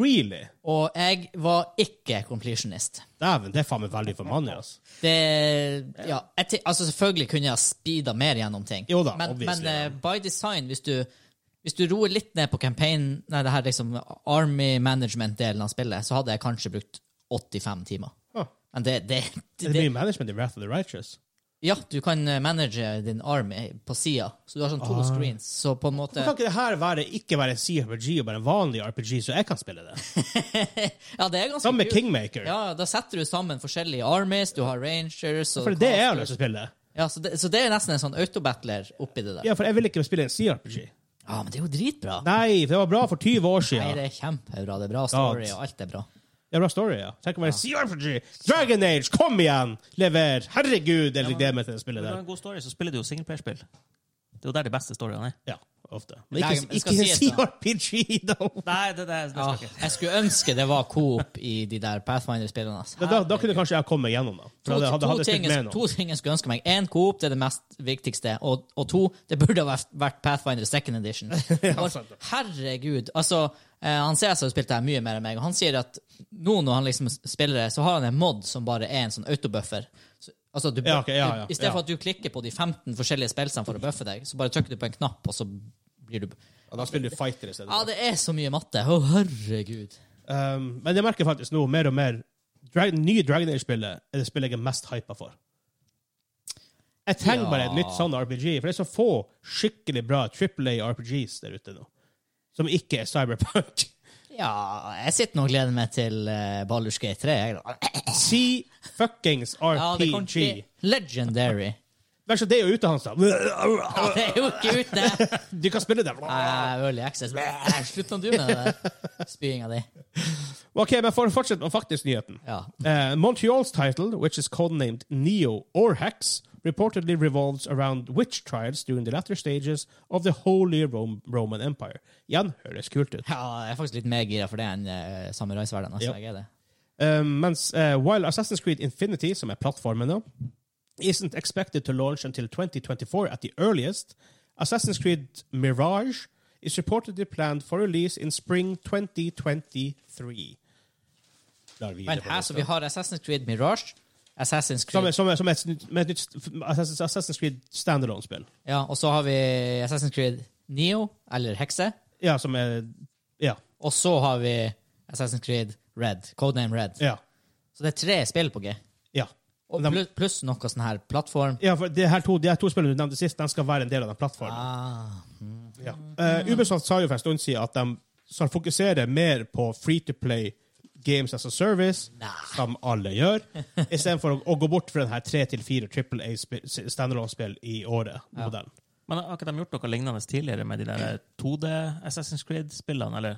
A: Really?
C: Og jeg var ikke completionist.
A: Dæven, det er faen meg veldig for mannen, altså.
C: Det Ja, jeg, te- altså selvfølgelig kunne jeg ha speeda mer gjennom ting,
A: Jo da,
C: men,
A: obviously,
C: men
A: ja.
C: eh, by design, hvis du hvis du roer litt ned på campaign, nei, det her liksom Army management-delen av spillet, så hadde jeg kanskje brukt 85 timer.
A: Huh.
C: Men det, det,
A: Det
C: det,
A: er mye management i Wrath of the Righteous.
C: Ja, du kan eh, manage din army på sida, så du har sånn to
A: Ah.
C: screens, så på en måte
A: Kan ikke det her være, ikke være en CRPG og bare en vanlig RPG, så jeg kan spille det?
C: Ja, det er ganske
A: Sammen med
C: kult.
A: Kingmaker.
C: Ja, da setter du sammen forskjellige armies, du har rangers og
A: for det er jeg har lyst til å spille.
C: Ja, så, det, så det er nesten en sånn autobattler oppi det der. Ja,
A: Ja, for jeg vil ikke spille en CRPG.
C: men det er jo dritbra.
A: Nei, for det var bra for 20 år
C: Nei,
A: siden.
C: det er kjempebra. Det er bra story,
A: Ja.
C: og alt er bra.
A: Det er bra story, ja. Tenk å være CRPG! Dragon Age, kom igjen! Lever! Herregud, jeg gleder meg til det
B: Når
A: spillet
B: du har
A: der.
B: en god story, så spiller du jo singleplayerspill. Det er jo der de beste storyene er.
A: Ja, ofte. Men
C: Nei,
A: ikke,
C: men det skal
A: ikke en
C: sies, da.
A: CRPG, <laughs> da!
B: Nei, det, det, det
C: Ja,
B: skal jeg ikke.
C: jeg skulle ønske det var coop i de der Pathfinder-spillene. ass.
A: Da, da, da kunne kanskje jeg komme gjennom, da. For
C: To,
A: hadde, hadde,
C: to,
A: hadde
C: ting,
A: spilt med
C: jeg-
A: noen.
C: to ting jeg skulle ønske meg. Én coop, det er det mest viktigste. Og, og to, det burde ha vært- vært Pathfinder second
A: <laughs>
C: edition. Og,
A: sant det.
C: herregud. Altså, eh, han CS har jo spilt det her mye mer enn meg, og han sier at nå når han liksom spiller det, så har han en mod som bare er en sånn autobuffer. Så, altså, du,
A: Ja, ok, ja, ja,
C: du, I stedet
A: ja.
C: for at du klikker på de 15 forskjellige spillsene for å buffe deg, så bare trykker du på en knapp, og så blir du
A: Ja, da spiller du fighter i stedet.
C: Ja, det er så mye matte. Å, herregud.
A: Um, men jeg merker faktisk nå mer og mer Dra Nye Dragon Age-spillet er det spillet jeg er mest hypa for. Jeg trenger
C: Ja.
A: bare et nytt sånn RPG, for det er så få skikkelig bra Triple A RPGs der ute nå. Som ikke er Cyberpunk.
C: Ja, jeg sitter nå og gleder meg til uh, Baldur's Gate 3. Jeg, da.
A: Si fuckings
C: Ja, det kan
A: RPG.
C: ikke Legendary.
A: Vær så det er jo ute hans, da.
C: Ja, det er jo ikke ute!
A: Du kan spille det.
C: Nei, Early Access. Bæh, Slutt nå du med det spyinga di.
A: OK, men for å fortsette med faktisk nyheten.
C: Ja.
A: Uh, Montreal's title, which is codenamed Neo or Hex, reportedly revolves around witch trials during the latter stages of the Holy Rom Roman Empire. Igjen høres kult ut.
C: ja, jeg er faktisk litt mer gira for det enn uh, samuraisverden. Altså,
A: Ja.
C: jeg er det.
A: Uh, mens uh, while Assassin's Creed Infinity, som er plattformen nå, isn't expected to launch until 2024 at the earliest, Assassin's Creed Mirage is reportedly planned for release in spring 2023. Da er vi videre
C: Men
A: på
C: her,
A: lista.
C: så vi har Assassin's Creed Mirage, Assassin's
A: Som, er-
C: Creed
A: som, som et, nytt- med et nytt st- Assassin's- Assassin's Creed standalone-spill.
C: Ja, Og så har vi Assassin's Creed Neo, eller Hekse.
A: Ja, som er Ja.
C: Og så har vi Assassin's Creed Red. Codename Red.
A: Ja.
C: Så det er tre spill på G.
A: ja. er
C: Og
A: De-
C: plu- pluss noe sånn her plattform.
A: ja for de her, to, de her to spillene du nevnte sist, de skal være en del av den plattformen.
C: Ah.
A: Ja. Eh, Ubisoft sa jo for en stund siden at de skal fokusere mer på free to play games as a service, som alle
B: <laughs>
A: gjør, istedenfor å, å gå bort fra den her tre til fire Triple A standalone-spill i året. modellen.
B: Men har ikke de gjort noe lignende tidligere med de der 2D Assassin's Creed-spillene? Eller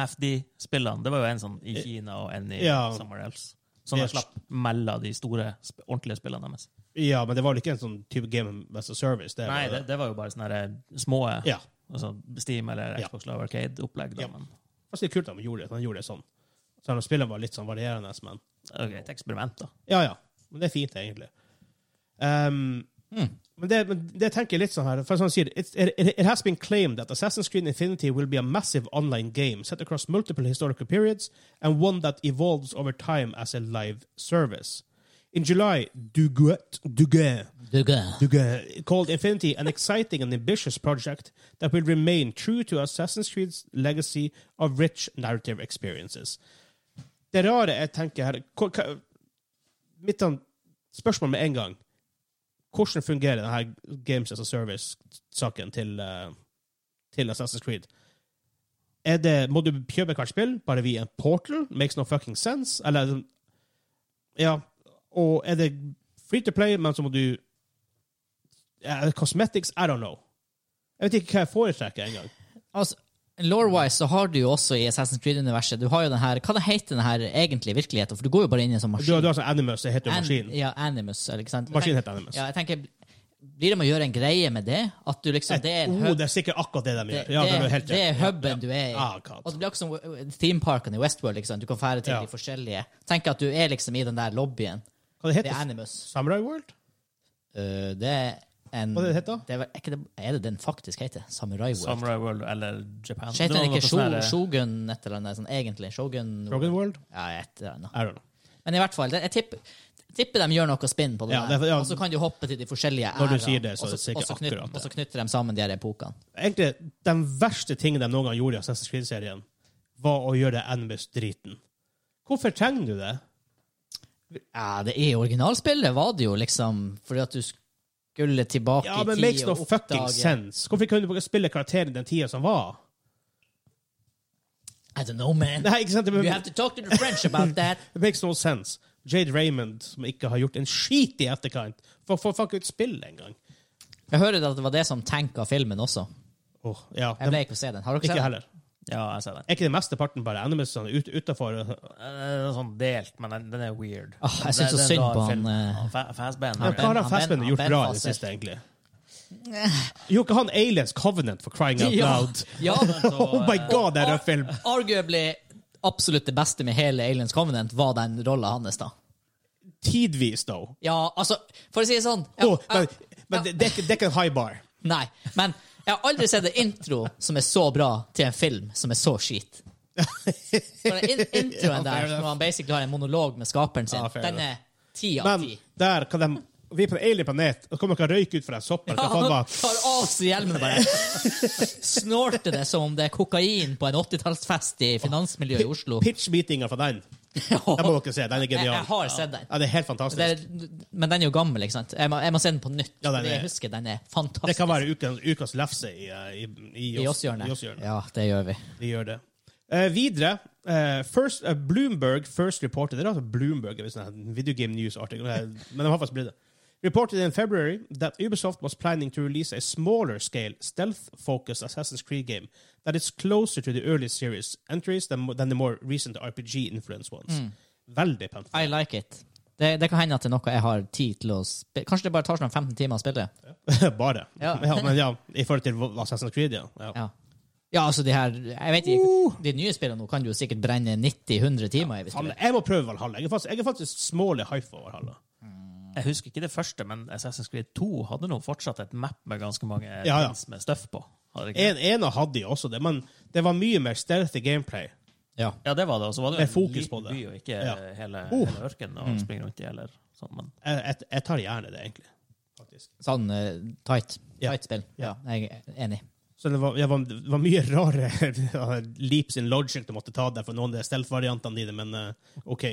B: 2.5D-spillene? Det var jo en sånn i Kina og en i
A: Eh, Ja.
B: somewhere else. Sånn
A: Ja.
B: de slapp mellom de store, sp- ordentlige spillene deres.
A: Ja, men det var vel ikke en sånn type game as a service? Det var-
B: Nei, det, det var jo bare sånne her eh, små
A: Ja.
B: altså Steam eller
A: Ja.
B: Xbox Live Arcade-opplegg. da,
A: Ja.
B: men
A: Det var så kult at de gjorde det, at de gjorde det sånn. Selv om spillene var litt sånn varierende, men
B: Det er jo et eksperiment, da.
A: Ja, ja. Men det er fint, egentlig. Ehm, men, det, men det tenker jeg litt sånn her for sånn sier, it, it, it has been claimed that Assassin's Creed Infinity will be a massive online game set across multiple historical periods and one that evolves over time as a live service. In July, Duguet, Duguet,
C: Dugge.
A: Duguet called Infinity an exciting and ambitious project that will remain true to Assassin's Creed's legacy of rich narrative experiences. Det rare jeg tenker her hva- hva- Mitt sånn spørsmål med en gang Hvordan fungerer denne Games as a Service-saken til, eh, til Assassin's Creed? Er det, må du kjøpe hvert spill bare via en portal? Makes no fucking sense? Eller Ja. Og er det free to play, men så må du ja, Eh, Cosmetics? I don't know. Jeg vet ikke hva jeg foretrekker engang.
C: Altså, Lore-wise så har du jo også i Assassin's Creed-universet Du har jo den her, Hva det heter den her egentlig i virkeligheten? For du går jo bare inn i en sånn
A: Du,
C: maskin.
A: har- du har sånn Animus, det heter jo
C: An-
A: maskin.
C: Ja, Animus. eller ikke sant? Jeg
A: Maskin
C: tenker-
A: heter Animus.
C: Ja, jeg tenker, Blir det med å gjøre en greie med det? At du liksom, det er en
A: Oh,
C: hub,
A: det er sikkert akkurat det de
C: det,
A: gjør. Ja, det, er
C: det,
A: helt
C: det er
A: rett.
C: hubben du er i.
A: Ah, God.
C: og det blir akkurat som themeparkene i Westworld. Liksom. Du kan fære til
A: Ja.
C: de forskjellige. Tenk at du er liksom i den der lobbyen.
A: Hva det
C: Det er
A: heter
C: Animus.
A: Samurai World?
C: Uh, det er en
A: Hva det heter?
C: det er, vel- er, ikke det, er det den faktisk heter? Samurai World?
B: Samurai World eller Japan.
C: Heter
B: Det var
C: den ikke
B: noe
C: Sho-
B: sånn her-
C: Shogun et eller annet sånn egentlig? Shogun
A: Rogan World?
C: Ja, et eller annet.
A: I don't know.
C: Men i hvert fall, det- jeg tipper, tipper de gjør noe spinn på det,
A: Ja,
C: der.
A: det er- ja.
C: og så kan du hoppe til de forskjellige
A: Når du
C: æraene,
A: sier det, så er
C: og
A: det sikkert
C: og knyt-
A: akkurat det.
C: Og så knytter de sammen de her epokene.
A: Egentlig, den verste tingen de noen gang gjorde i Assassin's Creed-serien, var å gjøre Animus-driten. Hvorfor trenger du det?
C: Ja, det I originalspillet var det jo liksom fordi at du skulle tilbake
A: Ja,
C: i
A: men
C: tid
A: makes no
C: og
A: fucking
C: oppdage-
A: sense. Hvorfor kunne du ikke spille karakteren den tida som var?
C: I don't know, man.
A: Nei, ikke sant? Det,
C: You have to talk to the French about that.
A: it makes no sense. Jade Raymond, som ikke har gjort en skit i etterkant, får får fuck ut spill en gang.
C: Jeg hører at det var det som tanka filmen også.
A: Åh, ja.
C: Jeg ble
A: den-
C: ikke å se den. Har dere
A: ikke
C: sett den?
A: heller.
B: Ja, jeg ser den.
A: Er ikke det mesteparten bare animusene ut, utafor?
B: Eh, Sånn delt, men den, den er weird.
A: Ah,
C: Åh, jeg synes
B: Det-
C: så
B: det er
C: synd
B: da
C: på han,
B: film-
C: eh,
B: han Fa- Fassbender.
A: Hva har han
C: han
A: Fassbender
C: Ben-
A: gjort
C: han
A: bra i
C: Ben
A: det
C: Faser.
A: siste,
C: <laughs>
A: egentlig? Gjorde ikke han Aliens Covenant for crying out
C: <laughs> Ja. eh,
A: loud?
C: Ja,
A: Oh my god, det er en
C: Ar-
A: film!
C: Arguably absolutt det beste med hele Aliens Covenant var den rolla hans, da.
A: Tidvis, though.
C: Ja, altså, for å si det sånn jeg,
A: Åh, men
C: jeg,
A: men det, det, er ikke, det er ikke en high bar.
C: Nei, men jeg har aldri sett en intro som er så bra til en film som er så skit. For den in
A: <laughs> Ja, fair
C: introen der,
A: enough.
C: når han basically har en monolog med skaperen sin,
A: Ja, fair
C: den er ti av
A: Men
C: ti.
A: der kan de Vi er på en alien planet, og kommer ikke røyk ut fra en sopp. eller
C: Ja,
A: hva faen
C: han
A: det var.
C: tar av seg hjelmen og bare snorter det som om det er kokain på en 80-tallsfest i finansmiljøet i Oslo.
A: Pitch-meetinga fra den. Den må
C: Jeg,
A: dere se. Den er genial.
C: jeg har sett den.
A: Ja, det er helt fantastisk.
C: Det
A: Det,
C: er, men den er jo gammel, ikke sant? Jeg må, jeg må se den på nytt.
A: Ja, den
C: fordi
A: er-
C: jeg husker den er fantastisk.
A: kan være uken, ukas lefse i, eh, i, i,
C: i
A: oss-
C: oss hjørnet.
A: i oss hjørnet.
C: Ja, det gjør vi.
A: Vi gjør det. Eh, videre eh, first, eh, Bloomberg First Reported Det er altså Bloomberg, hvis det er en video game news article, eh, men de har faktisk blitt det. Reported in February that Ubisoft was planning to release a smaller scale, stealth focused Assassin's Creed game that is closer to the early series entries than, than the more recent RPG influenced ones.
C: Mm.
A: Veldig pent.
C: I like it. Det, det kan hende at det er noe jeg har tid til å spille. Kanskje det bare tar sånn 15 timer å spille?
A: <laughs> Bare.
C: Ja.
A: men <laughs> ja, I forhold til Assassin's Creed, ja. ja.
C: Ja. ja, altså de her Jeg vet ikke,
A: Uh!
C: De nye spillene nå kan du jo sikkert brenne 90-100 timer i. hvis du
A: Faen,
C: vil.
A: Jeg må prøve Valhalla. Jeg er faktisk, jeg er faktisk smålig hype for Valhalla.
B: Jeg husker ikke det første, men Assassin's Creed 2 hadde nå fortsatt et map med ganske mange
A: ja.
B: pins med stuff på. Hadde det ikke?
A: En, en av hadde jo også det, men det var mye mer stealthy gameplay.
C: Ja.
B: Ja, det var det. Og så var det
A: Med
B: jo en
A: fokus på
B: liten
A: det.
B: by og ikke
A: Ja. Uh. Mm.
B: hele,
A: Uff.
B: hele ørkenen å springe rundt i. eller sånn, men
A: Jeg, jeg, jeg tar gjerne det, egentlig. Faktisk.
C: Sånn eh, tight.
A: Ja.
C: Tight spill. Ja, jeg er enig.
A: Så det var, ja, var- det var mye rare <laughs> leaps in logic du måtte ta der for noen av de stealth-variantene dine, men eh, OK.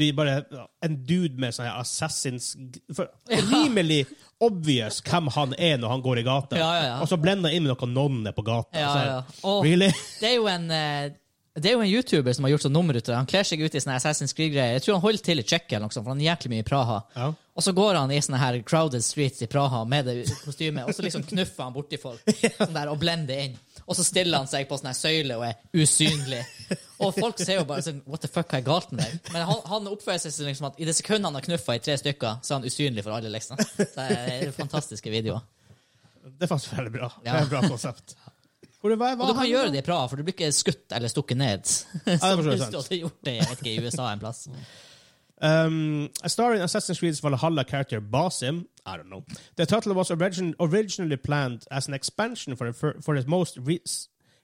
A: Du gir bare ja, en dude med sånn her assassins for, Rimelig obvious hvem han er når han går i gata,
C: Ja, ja, ja.
A: og så blender han inn med noen nonner på gata.
C: Ja,
A: så,
C: ja. Og
A: Really?
C: det er jo en eh, det er jo en YouTuber som har gjort sånn nummer ut av det. Han kler seg ut i sånne Assassin's Creed-greier. Jeg tror han holder til i Tsjekkia, eller noe sånt, for han er jæklig mye i Praha.
A: Ja.
C: Og så går han i sånne her crowded streets i Praha med det kostymet, og så liksom knuffer han borti folk sånn der, og blender inn. Og så stiller han seg på sånn her søyle og er usynlig. Og folk ser jo bare sånn What the fuck, hva er galt med deg? Men han, han oppfører seg sånn liksom at i det sekundet han har knuffa i tre stykker, så er han usynlig for alle, liksom. Så det er fantastiske videoer.
A: Det er faktisk veldig bra. Det
C: <laughs> Ja.
A: er et bra konsept. Hvor, hva, hva,
C: Og du kan gjøre det i Praha, for du blir ikke skutt eller stukket ned. Som
A: forstår jeg
C: hvis
A: sant.
C: du hadde gjort det jeg vet ikke, i USA en plass.
A: Um, starring Assassin's Creed's Valhalla character Basim, I don't know. The title was origin originally planned as an expansion for, the fir- for its most re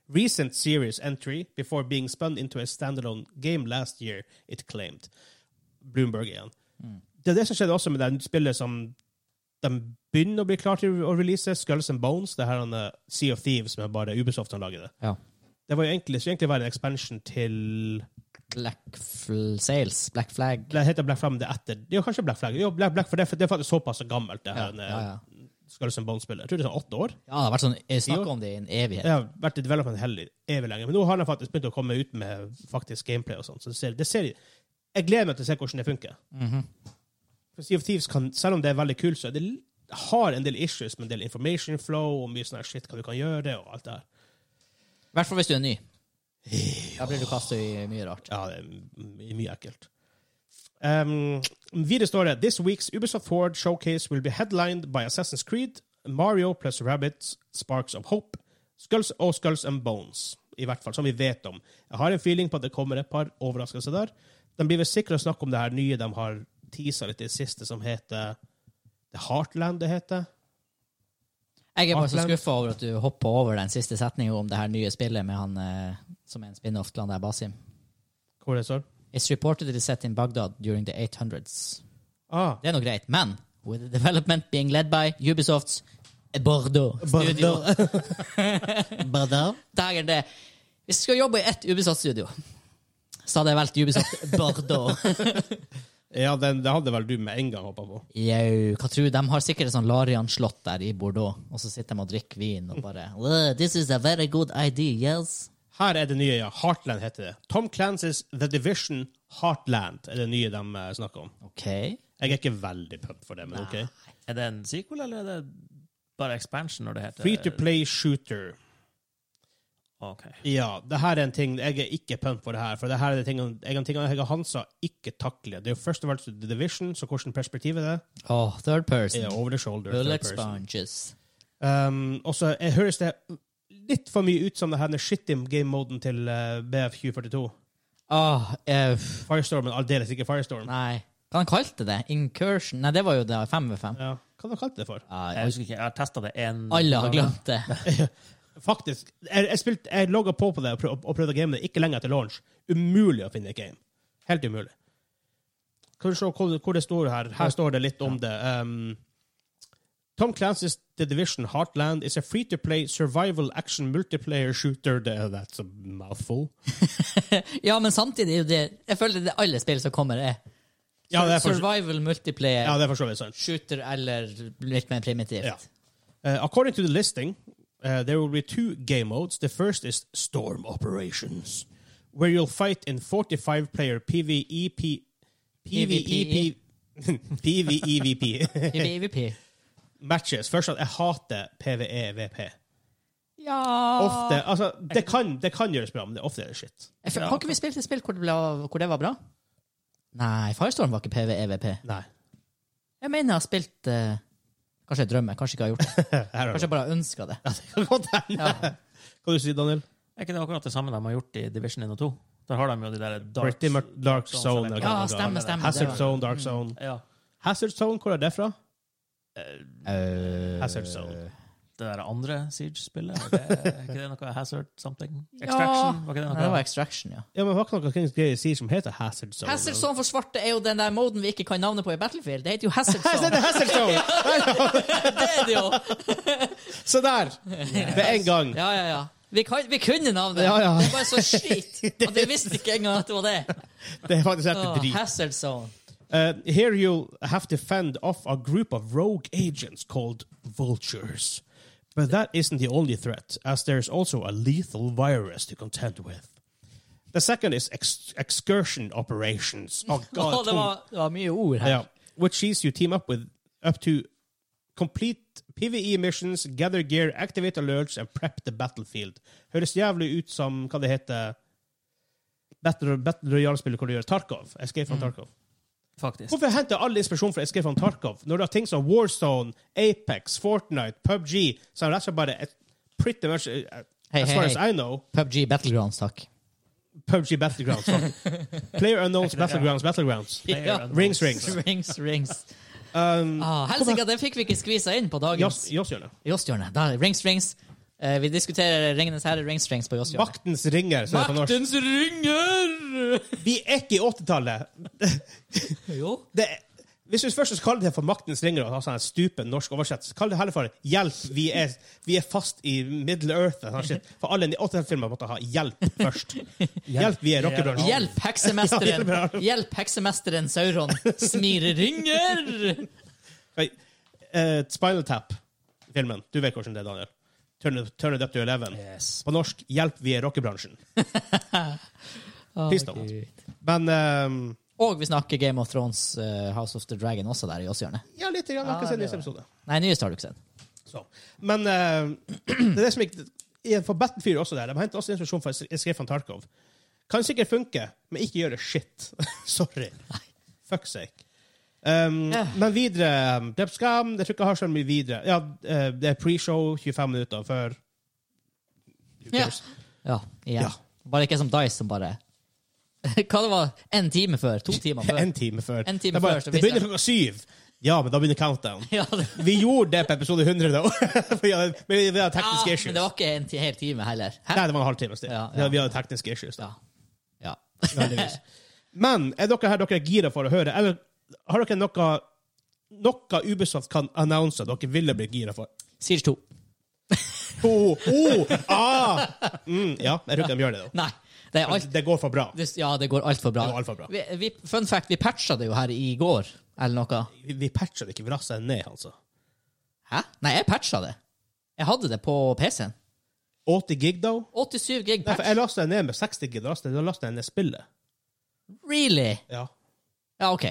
A: recent series entry before being spun into a standalone game last year, it claimed. Bloomberg igjen.
C: Mm.
A: Det er det som skjedde også med det spillet som de begynner å bli klar til å release, Skulls and Bones, det her han, eh, Sea of Thieves, som er bare Ubisoft som lager det.
C: Ja.
A: Det var jo egentlig, skulle egentlig være en expansion til
C: Black fl Sales, Black Flag.
A: Bla- heter Black Flag, men det er etter Jo, kanskje Black Flag. Jo, Black, Black, for det, for det er faktisk såpass gammelt, det her
C: Ja,
A: eh,
C: ja, ja.
A: Skulls and Bones-spillet. Jeg tror det er sånn åtte år.
C: ja det har vært sånn, jeg snakker om det i en
A: Det
C: evighet.
A: har vært i development hell i evig lenge. Men nå har de faktisk begynt å komme ut med faktisk gameplay og sånn. Så det ser, det ser, jeg gleder meg til å se hvordan det funker.
C: Mhm.
A: For Sea of Thieves kan, selv om det er veldig kult, så er det l- har en del issues med en del information flow og mye sånn her shit hva du kan gjøre, og alt det her.
C: I hvert fall hvis du er ny. Da blir du kastet i mye rart.
A: Ja, det er my- mye ekkelt. Um, videre står det This week's Ubisoft Forward showcase will be headlined by Assassin's Creed, Mario plus Rabbits, Sparks of Hope, Skulls og Skulls and Bones. I hvert fall, som vi vet om. Jeg har en feeling på at det kommer et par overraskelser der. De blir vel sikre å snakke om det her nye de har teasa litt i det siste, som heter The Heartland, det heter.
C: Jeg er bare så
A: Heartland.
C: skuffa over at du hoppa over den siste setningen om det her nye spillet med han eh, som er en spin-off til han der Basim.
A: Hvor er det står?
C: It's reportedly set in Baghdad during the 800s.
A: Ah,
C: Det er nå greit, men with the development being led by Ubisofts Bordeaux studio <laughs> Dagen det Hvis du skal jobbe i ett Ubisoft-studio, så hadde jeg valgt Ubisoft <laughs> Bordeaux.
A: ja, den, det hadde vel du med en gang hoppa på.
C: Jau, hva tror du? De har sikkert et sånn Larian-slott der i Bordeaux, og så sitter de og drikker vin og <laughs> bare "Well, This is a very good idea, yes.
A: Her er det nye, ja. Heartland heter det. Tom Clancy's The Division Heartland er det nye de eh, snakker om.
C: Ok.
A: Jeg er ikke veldig pumped for det, men OK.
B: er det en sequel, eller er det bare expansion når det heter
A: Free to play shooter.
B: OK.
A: Ja, det her er en ting Jeg er ikke pumped for det her, for det her er det ting, en ting jeg og Hansa ikke takler. Det er jo først og fremst The Division, så hvordan perspektivet det er.
C: Åh, third person.
A: er over the shoulder.
C: Bullet
A: third person.
C: sponges.
A: Um, og så jeg høres det litt for mye ut som det her den shitty game-moden til eh, BF 2042.
C: Åh, eh,
A: Firestorm, men aldeles ikke Firestorm.
C: nei. Hva han kalte det? Incursion? Nei, det var jo det. Fem ved fem.
A: Ja. Hva har de kalt det for?
C: Ah,
B: Jeg husker ikke, jeg har testa det én
A: Mm.
C: Alle har glemt det.
A: Faktisk, jeg, jeg, spilte- jeg logga på på det og prøv- og prøvde å game det ikke lenge etter launch. Umulig å finne et game. Helt umulig. Kan du se hvor, hvor det står her? Her står det litt om det. Um, Tom Clancy's The Division Heartland is a free-to-play survival action multiplayer shooter. Det- That's a mouthful.
C: Ja, men samtidig er jo det Jeg føler det er alle spill som kommer, er
A: Ja, det er for,
C: survival, multiplayer,
A: ja, det er for så vidt sant.
C: shooter eller litt mer primitivt.
A: Ja. Uh, according to the listing, uh, there will be two game modes. The first is Storm Operations, where you'll fight in 45 player PvE, P- E PvE,
C: E
A: <laughs> PvEVP
C: I BVP.
A: E <laughs> matches. Først at jeg hater PvE-VP.
C: Ja
A: Ofte, altså, det kan, det kan gjøres bra, men det, ofte er det shit.
C: Jeg føler- Har ikke vi spilt et spill hvor det, ble, hvor det var bra? Nei, Firestorm var ikke PVEVP.
A: Nei.
C: Jeg mener jeg har spilt eh, Kanskje jeg drømmer, kanskje ikke jeg har gjort det.
A: <laughs> Her er
C: Kanskje
A: det.
C: jeg bare ønska det.
A: <laughs> Godt tegn.
C: Ja.
A: Hva du sier du, Daniel?
B: Er ikke det akkurat det samme de har gjort i Division 1 og 2? Der har de jo de der dark
A: Pretty much Dark Zone. og
B: Ja,
A: hva det var.
C: stemmer, stemmer. Det
A: Hazard
C: var-
A: Zone, Dark Zone.
B: Ja,
A: Hazard Zone, hvor er det fra?
C: Eh,
A: Hazard Zone.
B: det der andre Siege-spillet? var det- Er ikke det noe Hazard
A: <laughs>
B: something?
C: Ja.
B: Extraction? Var ikke det
C: Nei,
B: noe?
C: det var Extraction, ja.
A: Ja, men Hva kan dere ikke si som heter Hazard Zone?
C: Hazard Zone for svarte er jo den der moden vi ikke kan navnet på i Battlefield. Det heter jo <laughs> Hazard
A: Her er
C: Zone.
A: det <laughs> Hazard Zone!
C: det er det jo!
A: Se der! Med en gang.
C: Ja, ja, ja. Vi, kan, vi kunne navnet.
A: Ja, ja.
C: Det var så skit <laughs> at vi visste ikke engang at det var det.
A: Det er faktisk helt
C: Åh,
A: drit.
C: Hazard Zone.
A: Uh, here you'll have to fend off a group of rogue agents called vultures. But that isn't the only threat, as there's also a lethal virus to contend with. The second is ex- excursion operations. Oh,
C: <laughs>
A: God.
C: Åh, det,
A: tung.
C: var, det var mye ord her.
A: Yeah. Which sees you team up with up to complete PVE missions, gather gear, activate alerts and prep the battlefield. Høres jævlig ut som hva det heter Battle, Battle Royale-spillet hvor du gjør Tarkov. Escape from Tarkov.
B: Faktisk.
A: Hvorfor henter alle inspirasjon fra Escape from Tarkov når du har ting som Warzone, Apex, Fortnite, PubG, som rett og slett bare er pretty much eh,
C: Hei,
A: As
C: hei,
A: far
C: hei.
A: as I know,
C: PubG Battlegrounds, takk.
A: PubG Battlegrounds. Player Unknowns Battlegrounds, Battlegrounds.
C: Ja.
A: Rings, rings.
C: Rings, rings.
A: Um,
C: Ah, Helsike, det fikk vi ikke skvisa inn på dagens
A: Joss- Joss gjør det.
C: Jåsshjørne. Da, Rings, rings. Eh, vi diskuterer Ringenes herre, rings, rings på Jåsshjørnet.
A: Maktens ringer. som det heter på norsk.
C: Maktens ringer!
A: Vi er ikke i 80-tallet.
C: Jo.
A: Det er- Hvis du først skal kalle det for Maktens ringer, og ha sånn en stupen norsk oversettelse, kall det heller for Hjelp, vi er, vi er fast i Middle Earth. og Sånn shit. For alle 80-tallsfilmer måtte ha Hjelp
C: <laughs>
A: først. Hjelp, vi er rockebransjen.
C: Hjelp
A: Ja,
C: heksemesteren!
A: hjelp, ja.
C: Hjelp heksemesteren Sauron! Smir ringer!
A: Oi, eh, Spinal Tap-filmen. Du vet hvordan det er, Daniel. Turn it, turn it up to 11.
B: Yes.
A: På norsk Hjelp, vi er rockebransjen.
C: Åh,
A: Please don't.
C: Gud.
A: Men ehm,
C: Og vi snakker Game of Thrones, eh, House of the Dragon, også der i Jåsshjørnet.
A: ja, litt. grann. Jeg har
C: Ja,
A: ikke sett
C: det
A: nyeste
C: var-
A: episode.
C: Nei, nyeste har du ikke sett.
A: Så. Men eh, <clears throat> det er det som ikke igjen, For Battlefield også der. De henter også inspirasjon fra Stefan Tarkov. Kan sikkert funke, men ikke gjøre shit. <laughs> Sorry. Fuck sake. Um,
C: Ja.
A: Men videre um, Drept skam. Jeg tror ikke jeg har så mye videre. Ja, eh, det er pre-show 25 minutter før. Who
C: Ja.
A: cares?
C: Ja, igjen.
A: Ja.
C: Bare ikke som Dice, som bare <laughs> Hva det var En time før? To timer før?
A: En time før.
C: En
A: det,
C: time
A: er bare,
C: før, så
A: det
C: viser
A: begynner klokka syv. Ja, men da begynner countdown.
C: <laughs> Ja, det,
A: Vi gjorde det på episode 100, da. <laughs> Vi hadde, vi hadde
C: ja,
A: tekniske
C: men
A: issues.
C: det var ikke en ti- hel time heller. Hæ?
A: Nei, det var en halvtime. altså. Ja,
C: Ja, ja.
A: Vi hadde tekniske issues. Da.
C: Ja. ja. <laughs>
A: Heldigvis. <laughs> Men er dere her dere er gira for å høre, eller har dere noe noe Ubisoft kan annonse at dere ville bli gira for?
C: Siege 2.
A: Oh, oh, ah. mm, ja, jeg tror ikke de gjør det, da.
C: Nei. Det er alt
A: Det går for bra.
C: det, Ja, det går altfor bra.
A: Det går alt for bra.
C: Vi, vi, fun fact, vi patcha det jo her i går, eller noe.
A: Vi, vi patcher det ikke, vi rasser det ned, altså.
C: Hæ? Nei, jeg patcha det. Jeg hadde det på PC-en.
A: 80 gig, da?
C: 87 gig
A: Nei,
C: patch.
A: for jeg lasta det ned med 60 gig, da lasta jeg ned spillet.
C: Really?
A: Ja.
C: Ja, OK.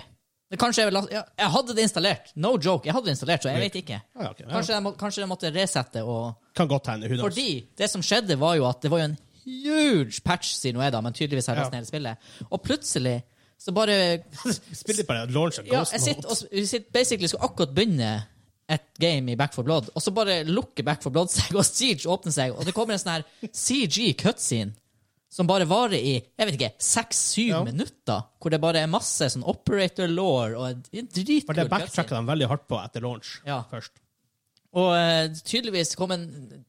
C: Det kanskje er vel, ja, jeg hadde det installert. No joke. Jeg hadde det installert, så jeg vet ikke.
A: Ja, ja, ok. Ja,
C: Kanskje jeg, må, kanskje jeg måtte resette og
A: kan godt hende. Hun
C: Fordi det som skjedde, var jo at det var jo en huge patch siden Noeda, men tydeligvis har jeg nesten hele spillet. Og plutselig så bare
A: Spiller de bare launch of
C: Ja,
A: Ghost
C: jeg sitter,
A: Mode?
C: og, vi sitter basically skulle akkurat begynne et game i Back for Blood, og så bare lukker Back for Blood <laughs> seg, og Siege åpner seg, og det kommer en sånn her CG cutscene som bare varer i jeg vet ikke, seks-syv
A: Ja.
C: minutter, hvor det bare er masse sånn operator law og en- en dritkul
A: For det
C: cutscene.
A: backtracka de veldig hardt på etter launch
C: Ja.
A: først.
C: Og eh, tydeligvis kom en,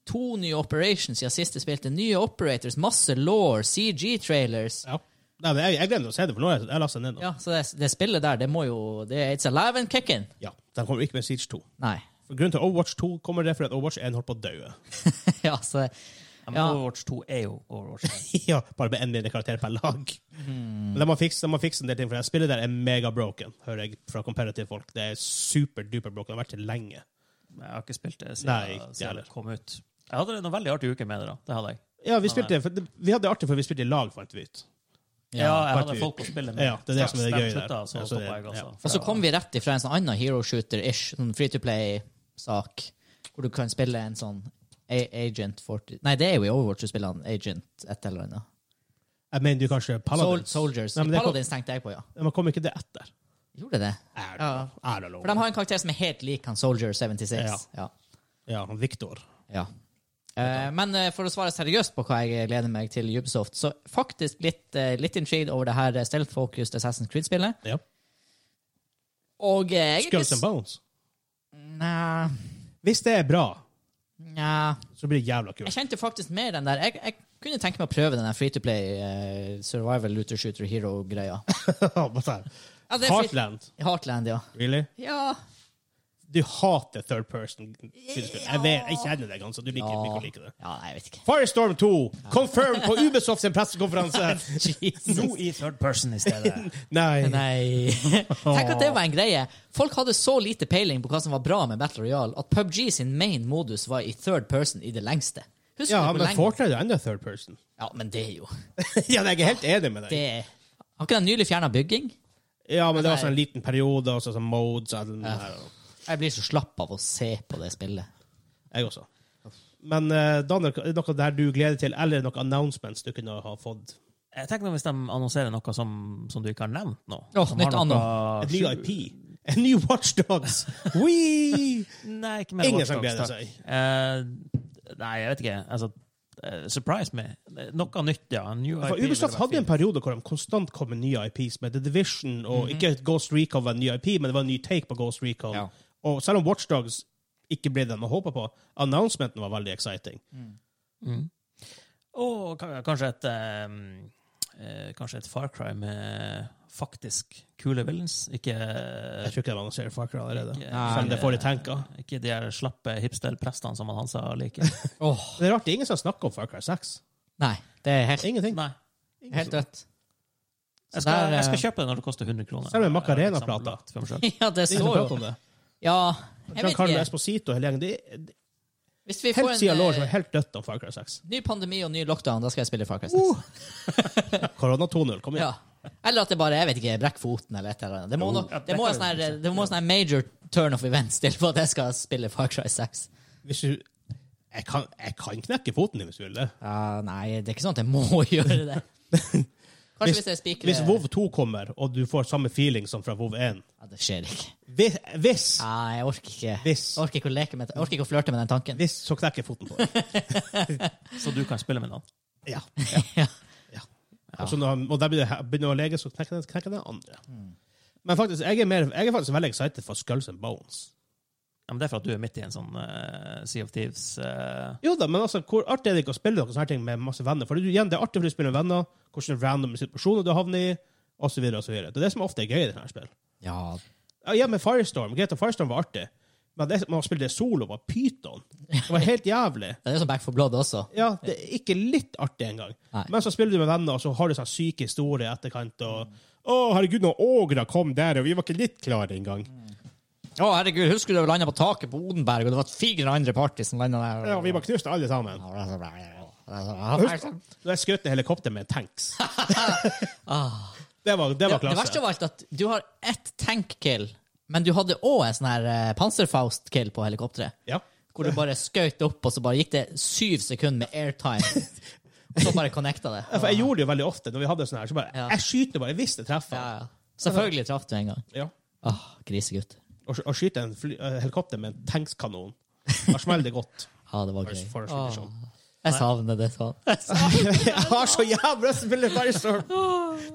C: to nye operations siden sist jeg spilte. Nye operators, masse law, CG-trailers.
A: Ja. Nei, men jeg, jeg glemte å se det, for nå har jeg, jeg lasta den ned nå.
C: Ja, så det, det spillet der, det må jo det, It's alive and kicking.
A: Ja. De kommer ikke med Siege 2.
C: Nei. <laughs>
A: For Grunnen til Overwatch 2 kommer det fordi at Overwatch 1 holdt på å daue.
C: ja, så
B: Ja, men
C: Ja.
B: Overwatch 2 er jo Overwatch 1.
A: <laughs> ja, bare med én mindre karakter per lag.
C: Hmm.
A: Men de må fikse de må fikse en del ting, for det spillet der er mega broken, hører jeg fra comparative folk. Det er super-duper broken. Det har vært det lenge.
B: Jeg har ikke spilt det
A: Nei,
B: siden,
A: ikke
B: siden
A: heller.
B: det kom ut. Jeg hadde noen veldig artige uker med det. da. Det hadde jeg.
A: Ja, vi, spilte, for, det- vi hadde det artig, for vi spilte i lag, fant vi ut.
B: Ja, jeg hadde
A: faktisk.
B: folk å spille med.
A: Ja, det er det som er det
B: Straks
A: gøye
B: de
A: der.
B: slutta, Så
A: Ja, så
B: stoppet
A: det-
B: jeg også.
A: ja.
C: Og så kom vi rett ifra en sånn annen hero shooter-ish, sånn free to play-sak, hvor du kan spille en sånn A- Agent 40 Nei, det er jo i Overwatch du spiller en Agent et eller annet.
A: Jeg mener du kanskje
C: Sol
A: Paladins?
C: Soldiers.
A: Nei, men det kom-
C: Paladins tenkte jeg på, ja.
A: Men kom ikke det etter?
C: Gjorde det?
A: Er det,
C: Ja.
A: er det lov?
C: For de har en karakter som er helt lik han Soldier 76.
A: Ja.
C: ja.
A: Ja, Victor.
C: Ja. Eh, men eh, for å svare seriøst på hva jeg gleder meg til i Ubisoft, så faktisk litt, uh, litt intrigued over det her eh, stealth-focused Assassin's Creed-spillet.
A: Ja.
C: Og eh, jeg er
A: Skulls and
C: ikke
A: Bones.
C: Nja,
A: Hvis det er bra,
C: nja.
A: så blir det jævla kult.
C: Jeg kjente faktisk mer den der. Jeg, jeg kunne tenke meg å prøve den der free to play eh, survival looter shooter hero-greia.
A: Bare sånn.
C: <laughs> Ja, det er free-
A: Heartland.
C: Heartland, ja.
A: Really?
C: Ja.
A: Du hater third person skuespill. Jeg, vet- jeg kjenner deg, altså. Du liker
C: Ja.
A: ikke å like det.
C: ja. Nei, jeg vet ikke. <laughs>
A: Firestorm 2 confirmed på Ubisoft sin
C: <laughs>
A: pressekonferanse!
C: Jesus.
B: Nå i third person i stedet.
A: Nei.
C: <laughs> Nei. Tenk at det var en greie. Folk hadde så lite peiling på hva som var bra med Battle Royale, at PubG sin main modus var i third person i det lengste. Husker
A: Ja,
C: du hvor
A: men
C: lenge?
A: Fortnite er enda third person. <laughs>
C: Ja, men det er jo
A: ja, jeg er helt enig med
C: det
A: deg.
C: er... Har ikke de nylig fjerna bygging?
A: Ja, men det var sånn en liten periode, og så sånn modes og den der.
C: Jeg blir så slapp av å se på det spillet.
A: Jeg også. Men eh, Daniel, er det noe der du gleder til, eller noen announcements du kunne ha fått?
B: Jeg tenker Hvis de annonserer noe som, som du ikke har nevnt nå
C: Åh,
B: som
C: nytt
B: har noe-
A: En ny IP? En ny
C: <laughs>
A: Watchdogs? Wee!
B: Nei, ikke mer
A: Ingen
B: Watch
A: som
B: Dogs,
A: gleder
B: takk.
A: seg.
B: Eh, nei, jeg vet ikke. Altså, eh, surprise meg. Noe nytt, ja. En New IP
A: For
B: ville
A: Ubisoft
B: vært
A: hadde en
B: fint.
A: periode hvor de konstant kom med nye IPs, med The Division og ikke Ghost Recon var en ny IP, men det var en ny take på Ghost Recon.
C: Mhm. Ja.
A: Og selv om Watchdogs ikke ble det de håpa på, announcementen var veldig exciting.
B: Og ka- kanskje et eh, eh, Kanskje et Far Cry med faktisk kule villains. Ikke,
A: Jeg tror ikke de annonserer Far Cry allerede.
B: Ikke-
A: Selv om det får de tenka.
B: ikke de her slappe hipsterprestene som han Hansa liker.
C: Åh,
A: Det er rart, det er ingen som snakker om Far Cry 6.
C: Nei, det er helt,
A: Ingenting.
B: Nei.
C: helt dødt. Så der,
B: Jeg skal,
C: eh,
B: jeg skal kjøpe det når det koster 100 kroner. Eh,
A: Selv om Macarena
B: Jeg har
A: prater.
B: samlet for meg selv.
C: <laughs> Ja, det
A: Ingen som
C: står
A: prater
C: jo
A: om det.
C: Ja, jeg vet
A: Giancarlo
C: ikke.
A: Esposito og hele gjengen. det er- det-
C: Hvis vi får
A: Helt siden
C: en
A: lår som er
C: eh,
A: helt dødt om Far Cry 6.
C: ny pandemi og ny lockdown, da skal jeg spille Far Cry 6.
A: Korona 2.0, kom igjen.
C: Ja. Eller at det bare jeg vet ikke, brekk foten eller et eller annet. Det må, no,
B: Jo.
C: det må
B: Ja,
C: en
B: det
C: sånn
B: kan
C: her- det må en sånn her major turn of events til for at jeg skal spille Far Cry 6.
A: Hvis du jeg kan, jeg kan knekke foten din hvis du vil det.
C: Ja, nei, det er ikke sånn at jeg må <laughs> gjøre det. Kanskje hvis, jeg spikrer
A: Hvis WoW 2 kommer, og du får samme feeling som fra WoW 1
C: Ja, det skjer ikke.
A: Hvis, hvis,
C: Ja, jeg orker ikke
A: Hvis.
C: Jeg orker ikke å leke med Jeg orker ikke å flørte med den tanken.
A: hvis så knekker foten på deg.
B: Så du kan spille med noen.
A: Ja.
C: Ja.
A: Og, så når, og der begynner, jeg- begynner jeg å lege, så knekker den, knekker den andre. Men faktisk, jeg er, mer, jeg er faktisk veldig excited for Skulls and Bones.
B: Ja, men det er for at du er midt i en sånn eh, Sea of Thieves eh,
A: Jo da, men altså, hvor artig er det ikke å spille noen sånne her ting med masse venner? For det, er jo igjen, det er artig fordi du spiller med venner, hvilke random situasjoner du havner i, osv. Det er det som ofte er gøy i denne spill.
C: ja.
A: Ja, ja, men Firestorm, Greta Firestorm var artig. Men det, man spilte det solo, var pyton. Det var helt jævlig.
C: Det er jo som Back for Blood også.
A: Ja, det er ikke litt artig engang.
C: Nei.
A: Men så spiller du med venner, og så har du sånn syke historier i etterkant. og å, herregud, når Ågra kom der, og vi var ikke litt klare engang.
C: Å, herregud, husker du da vi landa på taket på Odenberg, og det var fire andre party som landa der?
A: Ja, vi var knust alle sammen.
C: var <laughs>
A: Da jeg skjøt ned helikopteret med en tanks. Det var, det var
C: Ah. Det, det
A: klasse.
C: verste av alt at du har ett tank-kill, men du hadde òg en sånn her eh, panserfaust-kill på helikopteret.
A: Ja.
C: Hvor du bare skjøt opp, og så bare gikk det syv sekunder med airtime. Og så bare connecta det.
A: Ja, for jeg gjorde det jo veldig ofte når vi hadde sånn her. Så bare,
C: Ja.
A: Jeg skyter bare hvis det treffer.
C: ja, ja. Selvfølgelig traff du en gang.
A: Ja.
C: Åh, grisegutt.
A: Å sk- å skyte en fly, eh, helikopter med en tankskanon. Da smeller det godt.
C: Ja, det var
A: for-
C: gøy.
A: for å
C: Åh,
A: skyte sånn. <laughs>
C: jeg savner det sånn.
A: Jeg har så jævla spille Firestorm!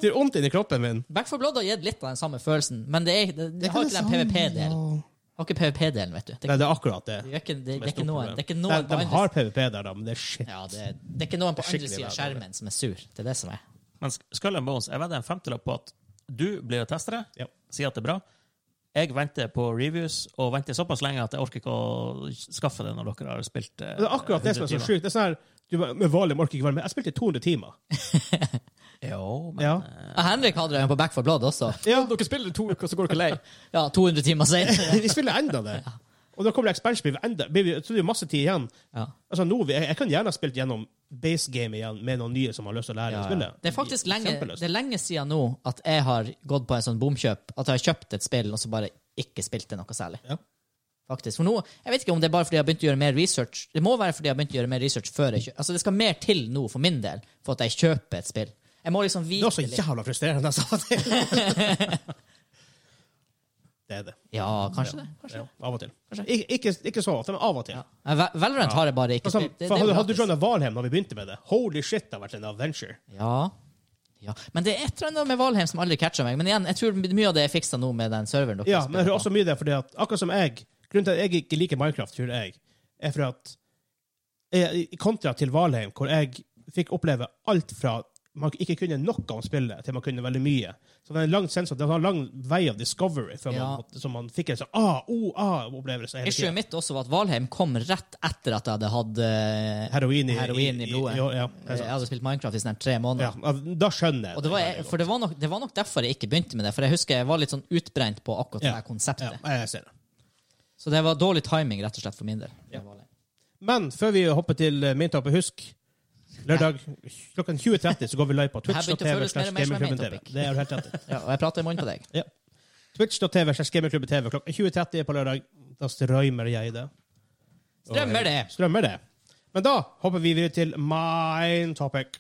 A: Det gjør vondt inni kroppen min.
C: Back 4 Blood har gitt litt av den samme følelsen, men det, er, det, det har ikke den PVP-delen. Har ikke PVP-delen, vet du. Det,
A: Nei, det er akkurat det.
C: det, er ikke, det, det er
A: Mest
C: ikke noen,
A: problem.
C: det er ikke
A: Nei,
C: noen på
A: de
C: andre
A: har PVP der, da, men det er shit.
C: Ja, det, er- det er ikke noen på andre
A: Skikkelig
C: siden av
A: bra,
C: skjermen som er sur. Det er det som er.
B: Men Skull and Bones, jeg vedder en femtilapp på at du blir å teste det,
A: Ja.
B: sier at det er bra. Jeg venter på reviews, og venter såpass lenge at jeg orker ikke å skaffe det når dere har spilt eh,
A: Det er akkurat det som er så
B: 100 timer.
A: sjukt. Det er sånn her, du bare, men Valium orker ikke være med. Jeg spilte 200 timer.
B: Jo, men
A: Ja.
B: eh,
C: Ja, Henrik hadde det på Back 4 Blood også.
A: Ja,
D: Dere spiller to uker, så går dere lei.
C: Ja, 200 timer senere.
A: <laughs> Vi spiller enda det. Og da kommer det expansion, blir vi enda, blir vi, så det er jo masse tid igjen.
C: Ja.
A: Altså, nå, jeg, jeg kan gjerne ha spilt gjennom base game igjen med noen nye som har lyst til å lære å spille.
C: Det er faktisk lenge,
A: Kjempelyst.
C: det er lenge siden nå at jeg har gått på en sånn bomkjøp. At jeg har kjøpt et spill, og så bare ikke spilt det noe særlig.
A: Ja.
C: Faktisk. For nå, jeg vet ikke om det er bare fordi jeg har begynt å gjøre mer research. Det må være fordi jeg har begynt å gjøre mer research før jeg kjøper. Altså, det skal mer til nå for min del for at jeg kjøper et spill. Jeg må liksom
A: Det
C: vite
A: var så
C: litt.
A: jævla frustrerende
C: <laughs>
A: jeg sa det. det er det.
C: Ja, kanskje det. Kanskje.
A: Ja, av og til. Ik ikke, ikke så ofte, men av og til.
C: Ja, Vel- Valorant har jeg bare ikke
A: For sånn,
C: spilt. Det-
A: for
C: det er
A: hadde,
C: jo
A: hadde du
C: gratis.
A: John Valheim da vi begynte med det? Holy shit, det har vært en adventure.
C: Ja. ja. Men det er et eller annet med Valheim som aldri catcher meg. Men igjen, jeg tror mye av det er fiksa nå med den serveren dere
A: Ja, men det
C: spiller
A: er
C: på.
A: også mye det, fordi at akkurat som jeg Grunnen til at jeg ikke liker Minecraft, tror jeg, er for at jeg, I kontra til Valheim, hvor jeg fikk oppleve alt fra man ikke kunne noe om spillet, til man kunne veldig mye. Så det er en lang sensor, det var en lang vei av discovery før
C: Ja.
A: man, måtte- så man fikk en sånn ah-oh-ah-opplevelse hele
C: Issue
A: tiden.
C: mitt også var at Valheim kom rett etter at jeg hadde hatt eh,
A: Heroin i,
C: Heroin i blodet.
A: ja, ja, det er
C: Jeg
A: sant.
C: hadde spilt Minecraft i sånn her tre måneder.
A: ja, da skjønner jeg
C: Og det var, for det var, nok, det var nok derfor jeg ikke begynte med det. For jeg husker jeg var litt sånn utbrent på akkurat det
A: Ja.
C: her konseptet.
A: Ja, jeg ser det.
C: Så det var dårlig timing, rett og slett, for min del.
A: Men før vi hopper til eh, maintoppet, husk lørdag klokken 20.30 så går vi live på
C: Her begynte å
A: twitch.tv.
C: føles mer og
A: slash
C: mer som en
A: gamingklubben TV.
C: maintopic.
A: Det er du helt rett i. <laughs>
C: Ja, og jeg prater i munnen på deg.
A: Ja. Twitch.tv slash gamingklubben TV klokken 20.30 på lørdag. Da strømmer jeg det. Og- eh,
C: Strømmer det!
A: Strømmer det. Men da hopper vi videre til main topic.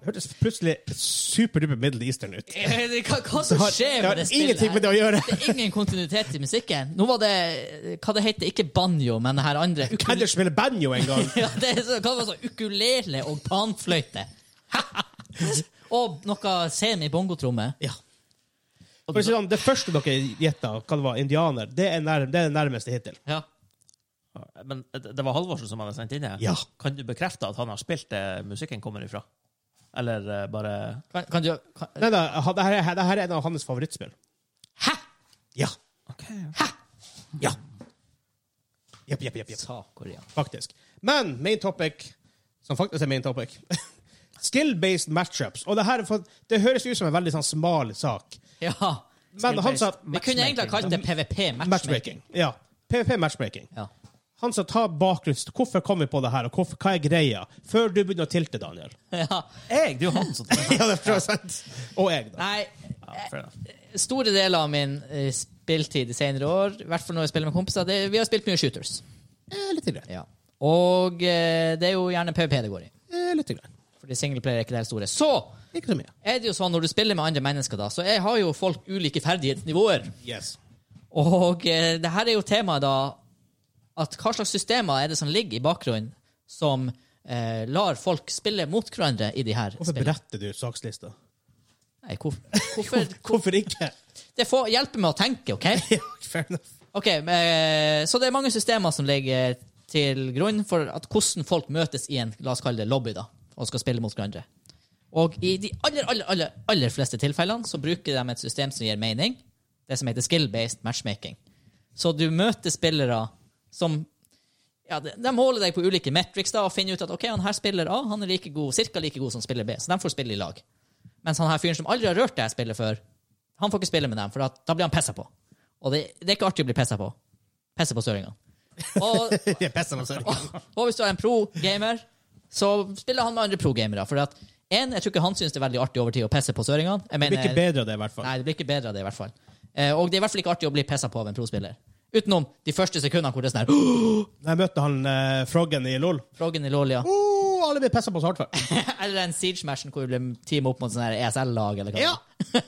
A: Det hørtes plutselig superduper Middle Eastern ut. Det
C: Eh, Hva, hva som
A: har,
C: skjer
A: det
C: med
A: har
C: det spillet?
A: ingenting med
C: her?
A: det å gjøre.
C: Det er ingen kontinuitet i musikken. Nå var det Hva det heter Ikke banjo, men det her andre.
A: Kan du spille banjo en gang?
C: <laughs> Ja, det er så, hva var det så? Ukulele og panfløyte. <laughs> og noe semi-bongotromme.
A: Ja. For å si det sånn, det første dere gjetta hva det var, indianer, det er, nær, det er det nærmeste hittil.
C: Ja.
B: Men det det var Halvorsen som hadde sendt inn det?
A: Ja.
B: Kan du bekrefte at han har spilt det musikken kommer ifra? Eller eh, bare
C: Kan, kan du kan,
A: Nei, nei, ha- det, her, er- det her er en av hans favorittspill.
C: Hæ?!
A: Ja.
B: Hæ?
A: Ja. Jepp, jepp, jepp. jepp.
C: Sa Korea.
A: Faktisk. Men main topic, som faktisk er main topic <laughs> Skill-based matchups. Og det her er for, det høres ut som en veldig sånn smal sak.
C: Ja.
A: Men han sa
C: Vi kunne egentlig ha kalt det PVP matchmaking.
A: matchmaking. Ja. PVP matchmaking.
C: Ja. <laughs>
A: Han sa ta bakgrunns... Hvorfor kom vi på det her, og hvorfor, hva er greia? Før du begynner å tilte, <laughs> Daniel.
C: Ja.
B: Jeg! Det er jo han som tar det.
A: Ja, det tror jeg er sant. Og jeg, da.
C: Nei,
B: Ja, fair
C: <laughs>
B: enough.
C: store deler av min eh, spilltid i senere år, i hvert fall når jeg spiller med kompiser, det, vi har spilt mye shooters.
A: Eh, litt grann.
C: Ja. Og eh, det er jo gjerne PVP det går i.
A: Eh, litt grann.
C: Fordi singleplayer er ikke det helt store. Så
A: Ikke så mye.
C: er det jo sånn når du spiller med andre mennesker, da, så jeg har jo folk ulike ferdighetsnivåer.
A: Yes.
C: Og eh, det her er jo temaet da at hva slags systemer er det som ligger i bakgrunnen som eh, lar folk spille mot hverandre i de her
A: Hvorfor
C: spillene?
A: beretter du sakslista?
C: Nei, hvor, hvorfor,
A: Hvorfor ikke? <laughs>
C: det får hjelpe med å tenke, OK?
A: Ja, Fair enough.
C: Ok, men, eh, Så det er mange systemer som ligger til grunn for at hvordan folk møtes i en la oss kalle det lobby da, og skal spille mot hverandre. Og i de aller, aller, aller, aller fleste tilfellene så bruker de et system som gir mening, det som heter skill-based matchmaking. Så du møter spillere som ja, de, de måler deg på ulike metrics da, og finner ut at ok, han her spiller A, han er like god, cirka like god som spiller B, så de får spille i lag. Mens han sånn her fyren som aldri har rørt det jeg spiller før, han får ikke spille med dem, for at, da blir han pissa på. Og det, det er ikke artig å bli pissa på. Pisse på søringene. Og,
A: Jeg pisser meg selv.
C: og hvis du er en pro-gamer, så spiller han med andre pro-gamere. For at en, jeg tror ikke han syns det er veldig artig over tid å pisse på søringene. Jeg
A: Det blir ikke
C: mener-
A: bedre av det, i hvert fall.
C: Nei, det blir ikke bedre av det, i hvert fall. Eh, og det er i hvert fall ikke artig å bli pissa på av en prospiller. Utenom de første sekundene hvor det er sånn her
A: Jeg møtte han eh, Froggen i LOL.
C: Froggen i Lolia.
A: Oh, alle blir pissa på så hardt for.
C: <laughs> Eller den Siege-matchen hvor du ble teamet opp mot sånn her ESL-lag, eller hva
A: Ja.
C: det var. <laughs>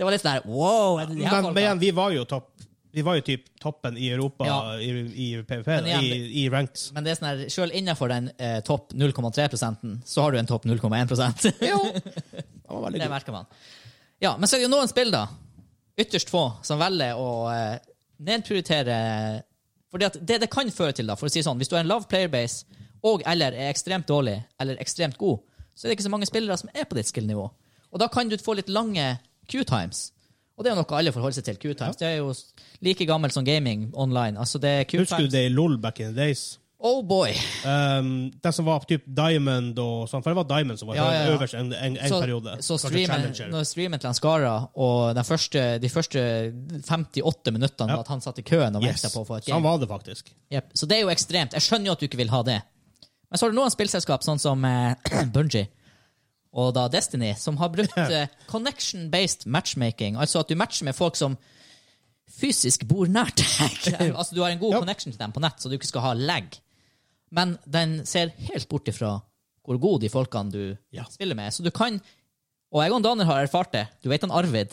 C: Det var litt sånn her Wow! Er det de
A: Men,
C: her
A: men
C: folka?
A: igjen, vi var jo topp. Vi var jo typ toppen i Europa
C: Ja.
A: i, i PVP,
C: Men igjen,
A: i, i
C: <laughs>
A: ranks.
C: Men det er sånn her, selv innenfor den eh, topp 0,3 så har du en topp <laughs> 0,1
A: Jo. Han var veldig
C: Det
A: god.
C: merker man. Ja, men så er det jo noen spill, da, ytterst få, som velger å eh, nedprioritere Fordi at det det kan føre til, da, for å si det sånn, hvis du har en lav playerbase og eller er ekstremt dårlig eller ekstremt god, så er det ikke så mange spillere som er på ditt skill-nivå. Og da kan du få litt lange Q-times. Og det er jo noe alle forholder seg til. Q-times. Det er jo s- like gammelt som gaming online. Altså, det er
A: Husker du
C: Q-times.
A: det i LOL back in the days?
C: Oh boy!
A: Um, det som var typ Diamond og sånn, for det var Diamond som var
C: Ja, ja, ja.
A: øverst en, en, en
C: så,
A: periode.
C: Så
A: Kanskje
C: streamen,
A: Challenger.
C: når streamen til han Skara og den første, de første 58 minuttene
A: Ja.
C: var at han satt i køen og
A: Yes.
C: venta på å få et
A: Så han
C: game.
A: var det faktisk.
C: Jep. Så det er jo ekstremt. Jeg skjønner jo at du ikke vil ha det. Men så har du noen spillselskap, sånn som eh, <clears throat> Bungie og da Destiny, som har brukt eh, connection-based matchmaking. Altså at du matcher med folk som fysisk bor nært deg.
A: <laughs>
C: altså du har en god
A: Ja.
C: connection til dem på nett, så du ikke skal ha lag. Men den ser helt bort ifra hvor gode de folkene du
A: Ja.
C: spiller med. Så du kan Og jeg og Daniel har erfart det. Du vet han Arvid.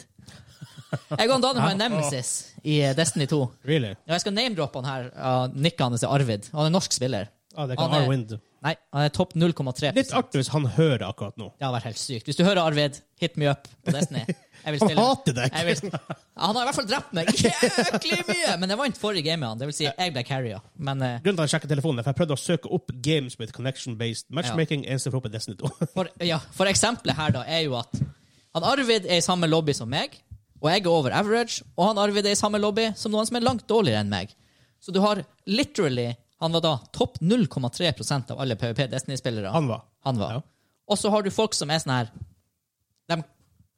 C: Jeg og Daniel har en nemesis i eh, Destiny 2.
A: Really?
C: Ja, jeg skal name-droppe han her. Uh, Nikket hans er Arvid. Han er norsk spiller.
A: Ja, Ah, det kan
C: Han er-
A: Arwind.
C: Nei, han er topp 0,3
A: Litt artig hvis han hører akkurat nå.
C: Det har vært helt sykt. Hvis du hører Arvid, hit me up på Destiny. Jeg
A: <laughs>
C: vil
A: Han
C: stille-
A: hater deg.
C: Jeg vil... Ja, han har i hvert fall drept meg <laughs> jæklig mye! Men jeg vant forrige game med han. Det vil si, jeg ble carrier. Men eh,
A: Grunnen til at jeg sjekket telefonen, er for jeg prøvde å søke opp games with connection-based matchmaking. Eneste for opp er Destiny 2.
C: for, ja, for eksempelet her da er jo at han Arvid er i samme lobby som meg, og jeg er over average, og han Arvid er i samme lobby som noen som er langt dårligere enn meg. Så du har literally Han var da topp 0,3 av alle PVP
A: <laughs>
C: Destiny-spillere.
A: Han var.
C: Han var.
A: Ja.
C: Og så har du folk som er sånn her dem-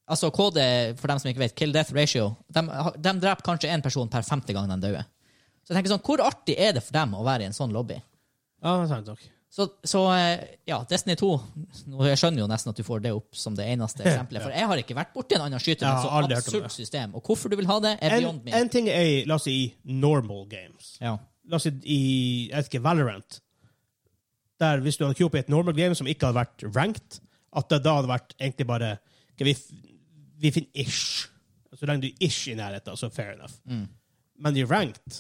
C: Altså KD, for dem som ikke vet, kill death ratio, de, de dreper kanskje én person per femte gang de dør. Så jeg tenker sånn, hvor artig er det for dem å være i en sånn lobby?
A: Ja, sant nok.
C: Så, så eh, ja, Destiny 2 nå, Jeg skjønner jo nesten at du får det opp som det
A: <laughs>
C: eneste eksempelet. For jeg har ikke vært borti en annen skyter
A: Jeg
C: med
A: har
C: så
A: aldri hørt om
C: absurd
A: det.
C: system. Og hvorfor du vil ha det, er
A: En,
C: beyond me.
A: en ting er, i, la oss si, normal games.
C: Ja.
A: La oss si i, jeg vet ikke, Valorant. Der hvis du hadde queue på et normal game som ikke hadde vært ranked, at det da hadde vært egentlig bare ok, vi, f- vi finner ish. Så lenge du er ish i nærheten, så fair enough.
C: Mm.
A: Men i ranked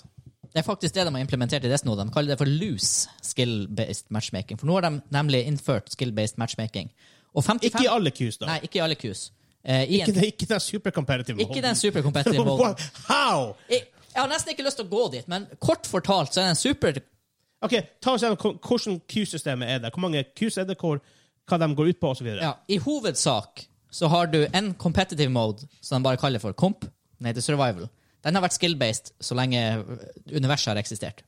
C: Det er faktisk det de har implementert i Destiny. De kaller det for loose skill-based matchmaking. For nå har de nemlig innført skill-based matchmaking. Og 55
A: Ikke i alle queues, da. <laughs>
C: Nei, ikke i alle queues. Eh, i
A: Ikke,
C: en,
A: det- ikke den supercompetitive
C: ikke den
A: moden. <laughs>
C: supercompetitive moden.
A: What? How?
C: Jeg, jeg har nesten ikke lyst til å gå dit, men kort fortalt så er den super
A: Ok, ta oss gjennom hvor- hvordan queue-systemet er der. Hvor mange queues er det, hvor, hva de går ut på, osv.
C: ja, I hovedsak så har du en competitive mode, som de bare kaller for comp. Nei, det er survival. Den har vært skill-based så lenge universet har eksistert.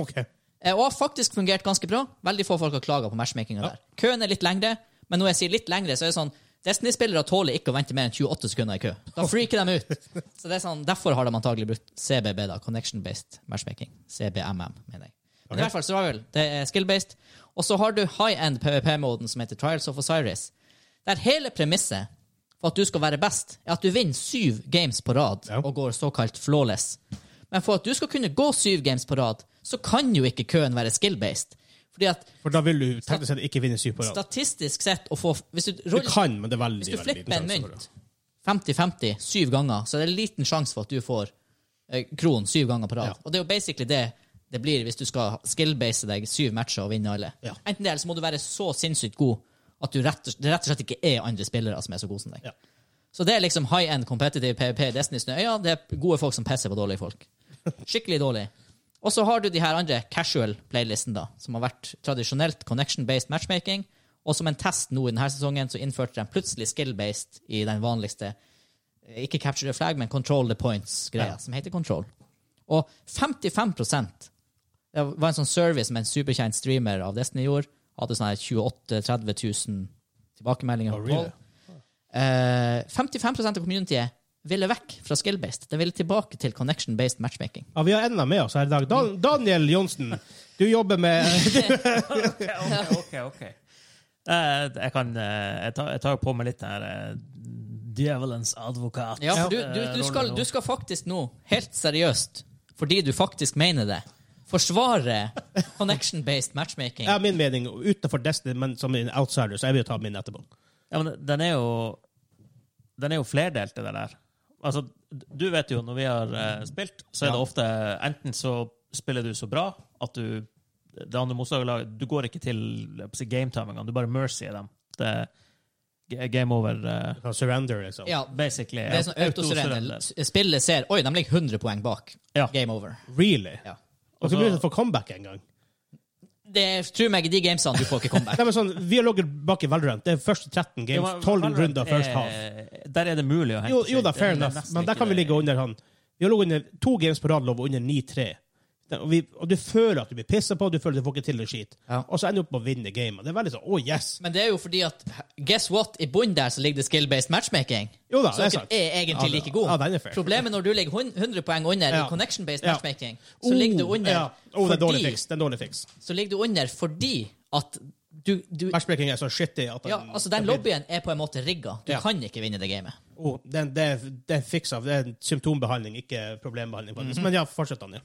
A: Ok.
C: Eh, Og har faktisk fungert ganske bra. Veldig få folk har klaga på matchmakinga der. Køen er litt lengre, men når jeg sier litt lengre, så er det sånn Destiny-spillere tåler ikke å vente mer enn 28 sekunder i kø. Da freaker de ut. Så det er sånn, Derfor har de antagelig brukt CBB, da, Connection Based Matchmaking. CBMM, mener jeg. Men i hvert fall survival. Det er skill-based. Og så har du high-end PVP-moden som heter Trials of Osiris. Der hele premisset for at du skal være best, er at du vinner syv games på rad
A: Ja.
C: og går såkalt flawless. Men for at du skal kunne gå syv games på rad, så kan jo ikke køen være skill-based. Fordi at
A: For da vil du teknisk sett ikke vinne syv på rad.
C: statistisk sett å få Hvis du,
A: Du
C: ruller-
A: kan, men det er veldig
C: hvis du
A: veldig liten
C: flipper en
A: sjanse for
C: mynt 50-50 syv ganger, så er det liten sjanse for at du får eh, kron syv ganger på rad.
A: Ja.
C: Og det er jo basically det det blir hvis du skal skill-base deg syv matcher og vinne alle.
A: Ja.
C: Enten det, eller så må du være så sinnssykt god at du rett og, det rett og slett ikke er andre spillere som er så gode som deg.
A: Ja.
C: Så det er liksom high end competitive PVP i Destiny Snøøya. Det er gode folk som pisser på dårlige folk. Skikkelig dårlig. Og så har du de her andre casual playlisten, da, som har vært tradisjonelt connection-based matchmaking. Og som en test nå i denne sesongen så innførte de plutselig skill-based i den vanligste eh, ikke capture the flag, men control the points-greia,
A: Ja.
C: som heter control. Og 55 Det var en sånn service med en superkjent streamer av Destiny gjorde. Hadde sånn her 28 000-30 000 tilbakemeldinger.
A: Oh,
C: på
A: really?
C: poll. Eh, 55 av communityet ville vekk fra skill-based. De ville tilbake til connection-based matchmaking.
A: Ja, vi har enda med oss her i dag. Dan Daniel Johnsen, du jobber med <laughs>
B: Ok, ok, ok. <laughs> Eh, jeg kan eh, Jeg tar, jeg tar på meg litt her eh, djevelens advokat. eh,
C: Ja, for du,
A: Eh,
C: du, du, skal, du skal faktisk nå, helt seriøst, fordi du faktisk mener det, forsvare connection-based matchmaking.
A: ja, min mening utenfor Destiny, men som en outsider, så jeg vil jo ta min etterpå.
B: Ja, men den er jo Den er jo flerdelt, det der. Altså, du vet jo, når vi har eh, spilt, så er
C: Ja.
B: det ofte Enten så spiller du så bra at du det andre motstanderlaget Du går ikke til jeg på å si, gametimingene, du bare mercyer dem. Det er game over, eh,
A: Ja, Surrender, liksom.
C: Ja,
B: basically.
C: det er sånn autosurrender. Spillet ser Oi, de ligger 100 poeng bak.
B: Ja.
C: Game over.
A: Really?
C: Ja. Altså-
A: Og så blir det for comeback en gang.
C: Det er, tro meg, de gamesene du får ikke comeback.
A: <laughs> Nei, men sånn, vi har ligget bak i Valorant. Det er første 13
B: Ja,
A: games,
B: men
A: 12
B: Valorant
A: runder first
B: er-
A: half.
B: Der er det mulig å hente
A: Jo,
B: seg.
A: jo da,
B: Det
A: fair
B: er
A: enough,
B: nesten
A: men der
B: ikke
A: kan vi
B: det.
A: ligge under han. Vi har ligget under to games på rad lov under 9-3. Den- Og, vi- og du føler at du blir pissa på, du føler du får ikke til en skit.
C: Ja.
A: Og så ender du opp med å vinne gamet. Det er veldig sånn oh yes!
C: Men det er jo fordi at guess what, i bunnen der så ligger det skill-based matchmaking.
A: Jo da,
C: så
A: det er
C: dere
A: sant.
C: er egentlig
A: Ja,
C: like
A: det-
C: gode.
A: ja, den er fair.
C: Problemet når du ligger hun- 100 poeng under
A: Ja.
C: i connection-based
A: Ja.
C: matchmaking, så ligger du under
A: Ja. Oh, det er dårlig
C: fordi,
A: fiks. Det er dårlig fiks.
C: så ligger du under fordi at du, du
A: Matchbreaking er så shitty at
C: ja, altså Den lobbyen er på en måte rigga. Du
A: Ja.
C: kan ikke vinne det gamet.
A: Oh, det, er- det, er- det er fiksa. Det er symptombehandling, ikke problembehandling. faktisk.
C: Mhm.
A: Men ja, fortsett, Daniel.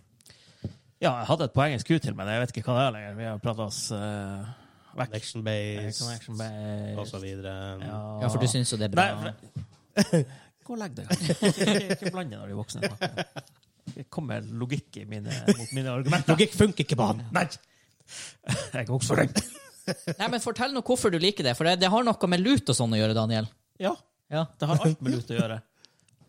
B: Ja, jeg hadde et poeng jeg skulle til, men jeg vet ikke hva det er lenger. Vi har prata oss eh, vekk.
A: Connection
B: Eh,
A: base
B: Connection base.
A: og så videre.
C: Ja, for du syns jo det er bra.
B: Nei, for- Gå og legg deg. Ikke, ikke bland deg når de voksne snakker. Det kommer logikk i mine, mot mine argumenter.
A: Logikk funker ikke på han!
B: Nei! Jeg er også den.
C: Nei, men Fortell nå hvorfor du liker det, for det, det har noe med lut og sånn å gjøre, Daniel.
B: Ja,
C: Ja.
B: det har alt med lut å gjøre.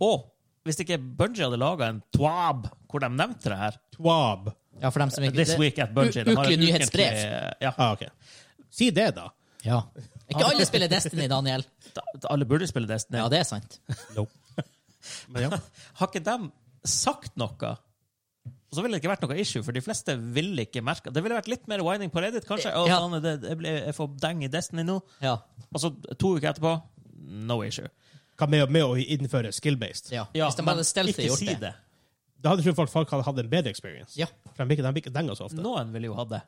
B: Og hvis ikke Bungie hadde laga en twab hvor de nevnte det her
A: Twab.
C: ja, for dem som ikke
B: This
C: det-
B: week at Bungie.
C: u-
B: de har et
C: Ukelig nyhetsbrev.
B: ukentlig- Eh, Ja,
A: Ah, ok. Si det, da.
C: Ja. Ikke alle spiller Destiny, Daniel.
B: da- alle burde spille Destiny.
C: Ja, det er sant.
A: <laughs> Men ja.
B: Har ikke de sagt noe? Og så ville det ikke vært noe issue, for de fleste ville ikke merke Det ville vært litt mer whining på Reddit, kanskje. Å,
C: Ja.
B: sånn, det, jeg, ble, jeg får deng i Destiny nå.
C: Ja.
B: Og så Altså, to uker etterpå no issue.
A: Hva med, med å innføre skill-based?
C: ja.
B: Ja,
C: Hvis de
B: men
C: hadde stealthy
B: ikke
C: gjort
B: si
C: det.
B: det.
A: Da hadde jeg trodd folk, folk hadde hatt en bedre experience.
C: Ja.
A: For de blir ikke- de blir ikke denga så ofte.
B: Noen ville jo hatt det.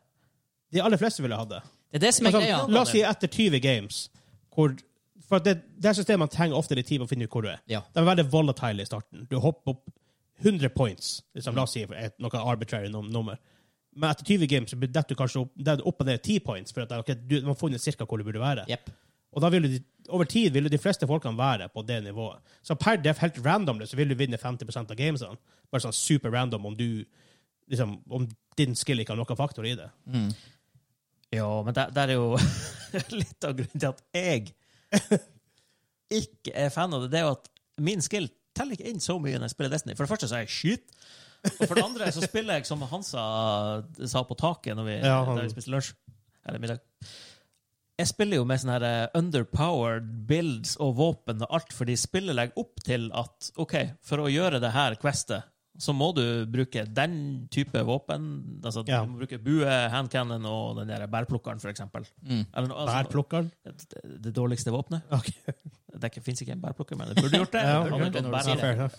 A: De aller fleste ville hatt det.
C: Det er det som er
B: Altså,
A: Men
C: greia.
A: sånn, la oss si etter 20 games hvor, For det, det er systemet man trenger ofte litt tid på å finne ut hvor du er.
C: Ja.
A: De er veldig volatile i starten. Du hopper opp 100 points, liksom, la oss si et, noe arbitrary num nummer. Men etter 20 games så blir- detter du kanskje opp, detter du opp og ned 10 points, for at ok, du, man har funnet cirka hvor du burde være.
C: Jepp.
A: Og da vil du, over tid vil jo de fleste folkene være på det nivået. Så per def, helt randomly, så vil du vinne 50 av gamesene. Bare sånn super random om du liksom, om din skill ikke har noen faktor i det.
C: Mm.
B: Ja, men der, der er jo <laughs> litt av grunnen til at jeg ikke er fan av det. Det er jo at min skill teller ikke inn så mye når jeg spiller Destiny. For det første så er jeg skyt. Og for det andre så spiller jeg som Hansa sa på taket når vi,
A: Ja, han-
B: da vi spiste lunsj. Eller middag. Jeg spiller jo med sånne her eh, underpowered builds og våpen og alt, fordi spillet legger opp til at OK, for å gjøre det her questet, så må du bruke den type våpen. Altså,
A: Ja.
B: Du må bruke bue, handcannon og den der bærplukkeren, for eksempel. Eller noe- altså,
A: Bærplukkeren.
B: det, det dårligste våpenet.
A: Ok.
B: Det fins ikke en bærplukker, men det burde gjort det.
A: Ja,
B: Det burde gjort det når du
A: Ja,
B: sier det.
A: fair enough.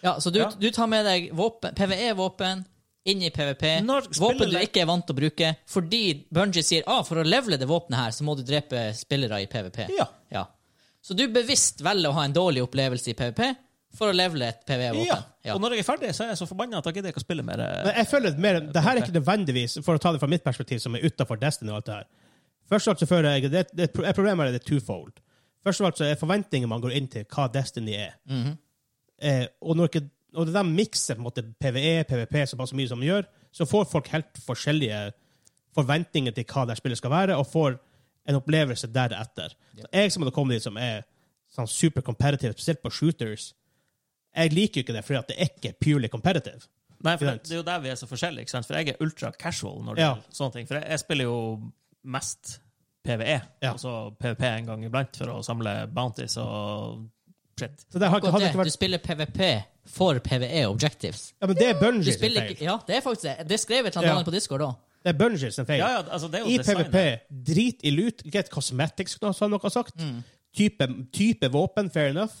C: Ja, så du,
B: Ja.
C: du tar med deg våpen, PVE-våpen inn i PVP.
B: Når spiller
C: Våpen du
B: det-
C: ikke er vant til å bruke, fordi Bungie sier ah, for å levele det våpenet her, så må du drepe spillere i PVP.
B: Ja.
C: Ja. Så du bevisst velger å ha en dårlig opplevelse i PVP for å levele et
B: Ja.
C: PVE-våpen. Ja.
B: Og når jeg er ferdig, så er jeg så forbanna at jeg gidder ikke å spille mer. eh,
A: Men jeg føler mer, det her er ikke nødvendigvis, for å ta det fra mitt perspektiv, som er utenfor Destiny og alt det her. Først og alt så føler jeg, det, det, jeg problemet er det er twofold. Først og alt så er forventningen man går inn til hva Destiny er.
C: Mhm.
A: eh, og når ikke, og de mikser på en måte E, PVE, PVP såpass mye som de gjør, så får folk helt forskjellige forventninger til hva det spillet skal være, og får en opplevelse deretter. Så jeg som hadde kommet dit som er sånn super competitive, spesielt på shooters, jeg liker jo ikke det, fordi at det er ikke purely competitive.
B: Nei, for det,
A: Fint.
B: det er jo der vi er så forskjellige, ikke sant? for jeg er ultra casual når det
A: Ja.
B: gjelder sånne ting. For jeg, jeg spiller jo mest E, PVE,
A: Ja.
B: altså og så PVP en gang iblant for å samle bounties og shit.
A: Så det har,
C: Akkurat
A: hadde
C: det.
A: ikke
C: Du
A: vært
C: spiller PVP for PVE objectives.
A: Ja, men det er
C: Du
A: Bungie sin
C: spiller
A: feil.
C: ikke Ja, det er faktisk det. Det skrev et eller annet
A: Ja.
C: annet på Discord òg.
A: Det er Bungie sin feil.
B: Ja, ja, altså, det er jo
A: I
B: designet.
A: PVP, drit i loot, greit cosmetics, som noen har sagt.
B: Mm.
A: Type, type våpen, fair enough.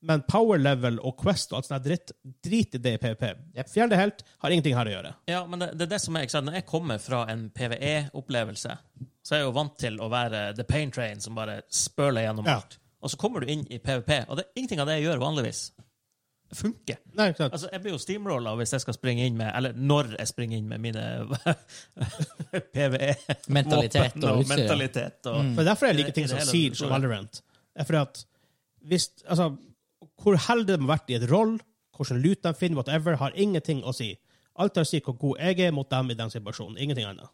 A: Men power level og quest og alt sånt der dritt, drit i det i PVP.
C: Yep.
A: Fjern det helt. Har ingenting her å gjøre.
B: Ja, men det, det er det som er, ikke sant? Når jeg kommer fra en PVE-opplevelse, så er jeg jo vant til å være the pain train som bare spøler gjennom
A: Ja.
B: alt. Og så kommer du inn i PVP, og det er ingenting av det jeg gjør vanligvis. Funker.
A: Nei, ikke sant?
B: Altså, jeg blir jo steamrolla hvis jeg skal springe inn med Eller når jeg springer inn med <laughs> mine PVE.
C: Mentalitet
B: E våpen
C: og
B: og
C: utstyr, ja. Mm.
B: mentalitet og
A: Men derfor er det
B: I
A: like
B: det- i
A: ting
B: mm. det
A: som
B: hele
A: Siege og
B: store.
A: Valorant. Det er fordi at hvis, altså, Hvor heldig de har vært i et roll, hvordan lut de finner, whatever, har ingenting å si. Alt har å si hvor god jeg er mot dem i den situasjonen. Ingenting annet.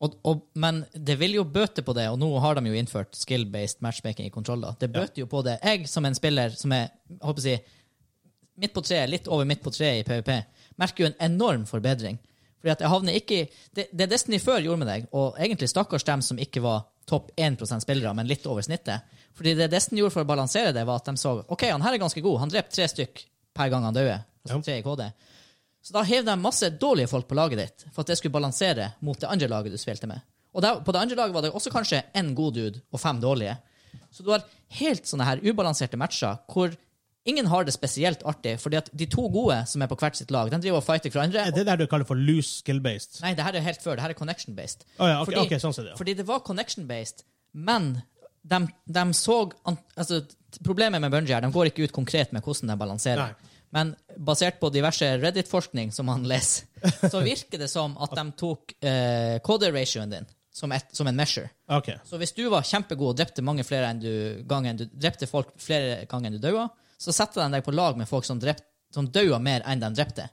C: Og, og, men det vil jo bøte på det, og nå har de jo innført skill-based matchmaking i kontroller. Det bøter jo på det. Jeg som en spiller som er jeg håper å si, midt på treet, litt over midt på treet i PVP, merker jo en enorm forbedring. Fordi at jeg havner ikke i det, det Destiny før gjorde med deg, og egentlig stakkars dem som ikke var topp 1 spillere, men litt over snittet Fordi det Destiny gjorde for å balansere det, var at de så OK, han her er ganske god. Han drepte tre stykk per gang han døde. Altså
A: Ja.
C: tre i KD. Så da hev de masse dårlige folk på laget ditt for at det skulle balansere mot det andre laget du spilte med. Og der, på det andre laget var det også kanskje én god dude og fem dårlige. Så du har helt sånne her ubalanserte matcher hvor ingen har det spesielt artig, fordi at de to gode som er på hvert sitt lag, de driver og fighter hverandre.
A: Er det der du kaller for loose skill-based?
C: Nei, det her er helt før. Det her er connection-based.
A: Å ja, ok, ok, sånn ser det, ja.
C: fordi det var connection-based, men de, de så an- altså, Problemet med Bungie er de går ikke ut konkret med hvordan de balanserer.
A: Nei.
C: Men basert på diverse Reddit-forskning som han leser, så virker det som
A: <laughs>
C: at de tok eh, KD-ratioen din som, et, som en measure.
A: OK.
C: Så hvis du var kjempegod og drepte mange flere enn du, gang enn du drepte folk flere ganger enn du daua, så satte de deg på lag med folk som, drept, som daua mer enn de drepte.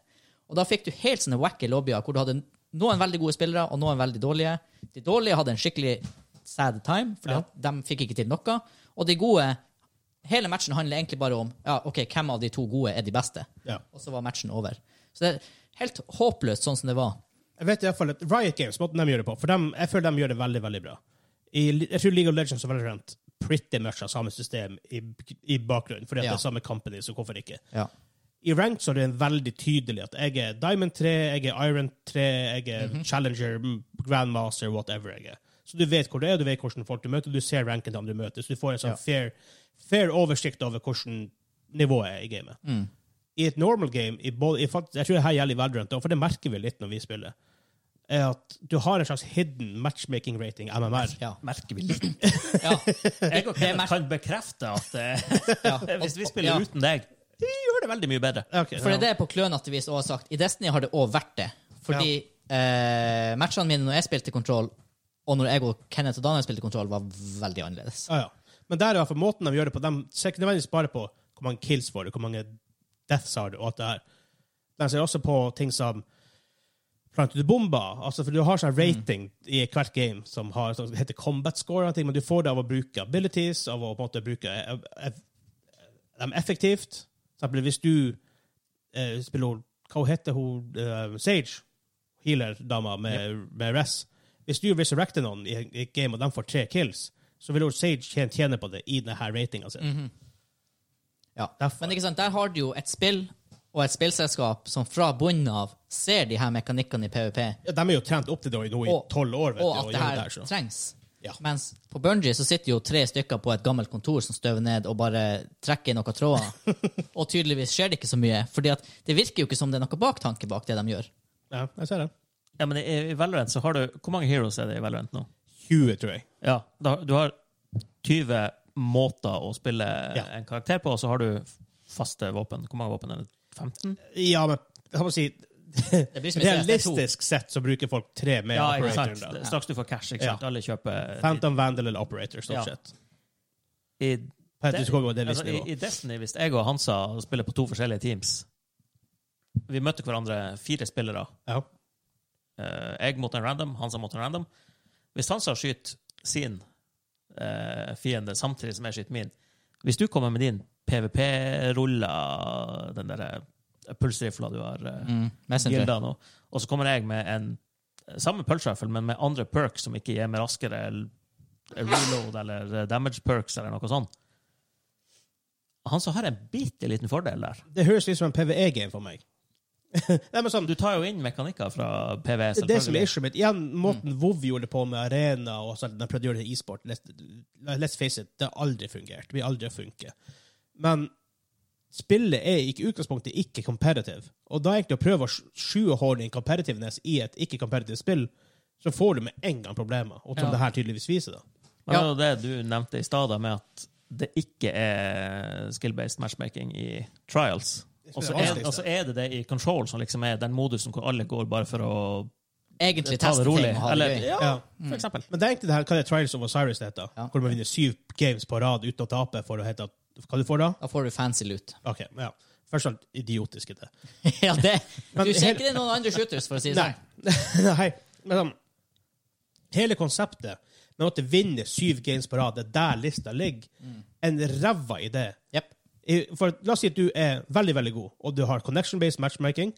C: Og da fikk du helt sånne wacky lobbyer hvor du hadde noen veldig gode spillere og noen veldig dårlige. De dårlige hadde en skikkelig sad time, for
A: Ja.
C: de fikk ikke til noe. Og de gode Hele matchen handler egentlig bare om ja, ok, hvem av de to gode er de beste.
A: Ja.
C: Og så var matchen over. Så det er helt håpløst sånn som det var.
A: Jeg vet i hvert fall at Riot Games, måten de gjør det på, for dem, jeg føler de gjør det veldig, veldig bra. I, jeg tror League of Legends og Valorant pretty much har samme system i, i bakgrunnen, fordi at
C: Ja.
A: det er samme company, så hvorfor ikke?
C: Ja.
A: I ranked så er det veldig tydelig at jeg er Diamond 3, jeg er Iron 3, jeg er
C: Mhm.
A: Challenger, mm, Grandmaster, whatever jeg er. Så du vet hvor det er, du vet hvordan folk du møter, du ser ranken til dem du møter, så du får en sånn fair, fair oversikt over hvordan nivået er i gamet.
C: Mm.
A: I et normal game, i både, i, fakt- jeg tror det her gjelder i Valorant, også, for det merker vi litt når vi spiller, er at du har en slags hidden matchmaking rating, MMR.
C: Ja. <clears throat>
B: Merker vi litt. <laughs>
C: ja.
B: Jeg og
C: Det
B: Kenneth
C: mer-
B: kan bekrefte
C: <laughs>
B: at eh,
C: ja.
B: hvis vi
C: Og- og-
B: spiller
C: ja.
B: uten deg, vi gjør det veldig mye bedre.
A: Okay,
C: For
A: ja.
C: det er det jeg på klønete vis også har sagt. I Destiny har det òg vært det. Fordi eh, matchene mine når jeg spilte kontroll, og når jeg og Kenneth og Daniel spilte kontroll, var veldig annerledes.
A: Ja, ja. Men der er i hvert fall måten de gjør det på. De ser ikke nødvendigvis bare på hvor mange kills får du, hvor mange deaths har du, og alt det her. De ser også på ting som planter du bomber? Altså, for du har sånn rating i hvert game som, har, som heter combat score, og ting, men du får det av å bruke abilities, av å på en måte bruke eh, eh, dem effektivt. For eksempel hvis du eh, spiller Hva heter hun? eh, Sage? Healer-dama med, med Res. Hvis du resurrecter noen i i et game, og de får tre kills, så vil jo Sage tjene, tjene på det i denne ratinga si.
C: Ja.
A: Derfor.
C: Men ikke sant, der har du jo et spill og et spillselskap som fra bunnen av ser de her mekanikkene i PVP,
A: Ja, de er jo trent opp til det nå i
C: Og-
A: tolv år. vet
C: og
A: du,
C: at
A: og
C: det
A: gjør
C: her
A: så.
C: trengs.
A: Ja.
C: Mens på Bungie så sitter jo tre stykker på et gammelt kontor som støver ned og bare trekker i
A: <laughs>
C: noen tråder. og tydeligvis skjer det ikke så mye, fordi at det virker jo ikke som det er noen baktanke bak det de gjør.
A: Ja, jeg ser det.
B: Ja, men i i Valorant så har du Hvor mange heroes er det i Valorant nå?
A: 20, tror jeg.
B: Ja, da, Du har 20 måter å spille
A: Ja.
B: en karakter på, og så har du faste våpen. Hvor mange våpen er det? 15?
A: Ja, men jeg må si
C: Det blir som i CS, det er to.
A: Realistisk sett så bruker folk tre med
B: Ja, ikke
A: operatoren.
B: sant?
A: da.
B: Straks du får cash, ikke sant?
A: Ja.
B: Alle kjøper
A: Phantom Vandal eller operator, stort
B: Ja.
A: sett.
B: I,
A: På et- du skal gå det
B: altså,
A: visste
B: i,
A: nivå.
B: I Destiny, hvis jeg og Hansa spiller på to forskjellige teams Vi møtte hverandre fire spillere.
A: Ja.
B: Eh, jeg mot en random, Hansa mot en random. Hvis Hansa skyter sin eh, fiende samtidig som jeg skyter min Hvis du kommer med din PVP-rulla, den der eh, pulsrifla du har eh,
C: Mm. Messenger.
B: gilda nå, og så kommer jeg med en eh, samme pulsrifle, men med andre perks som ikke gir meg eh, raskere l- reload eller eh, damage perks eller noe sånt han som har en bitte liten fordel der.
A: Det høres litt som en PVE-game for meg. <laughs> Nei, men sånn,
B: Du tar jo inn mekanikker fra PV,
A: det, er det som er
B: selvfølgelig. Mm.
A: issue mitt, igjen, måten WoW gjorde det på med arena og sånn, de prøvde å gjøre det i e-sport, let's, let's face it, det har aldri fungert. Vi aldri funke. Men spillet er i utgangspunktet ikke competitive, og da egentlig å prøve å sj- sjueholde inn competitiveness i et ikke-competitive spill, så får du med en gang problemer, og som
C: Ja.
A: det her tydeligvis viser da.
B: Men Det var jo det du nevnte i stad, da, med at det ikke er skill-based matchmaking i trials.
A: Det
B: Og så
A: spiller
B: er,
A: vanskeligst,
B: og så er det det i control som liksom er den modusen hvor alle går bare for å
C: Egentlig
B: ta
C: teste
B: det rolig.
C: ting og ha det
B: Eller,
C: gøy.
B: ja,
A: Ja.
B: for eksempel.
A: Men det er egentlig det her, hva det er Trials of Osiris det heter,
C: Ja.
A: hvor man vinner syv games på rad uten å tape for å hete at Hva du får da?
C: Da får du fancy
B: <laughs>
C: loot.
A: OK, ja. Først og fremst idiotisk er det.
C: ja, det,
A: Men
C: du ser
A: hele-
C: ikke det i noen andre shooters, for å si det
A: Nei.
C: sånn.
A: Nei. <laughs> Men sånn, hele konseptet med at det vinner syv games på rad, det er der lista ligger, en ræva idé.
C: Jepp.
A: I- For la oss si at du er veldig, veldig god, og du har connection-based matchmaking.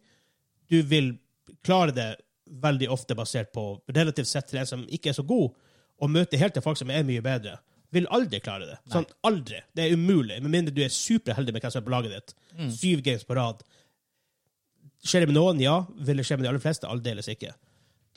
A: Du vil klare det veldig ofte basert på relativt sett til en som ikke er så god, og møte helt til folk som er mye bedre. Vil aldri klare det. Sånn, aldri. Det er umulig, med mindre du er superheldig med hvem som er på laget ditt.
C: Mm.
A: Syv games på rad. Skjer det med noen? Ja. Vil det skje med de aller fleste? Aldeles ikke.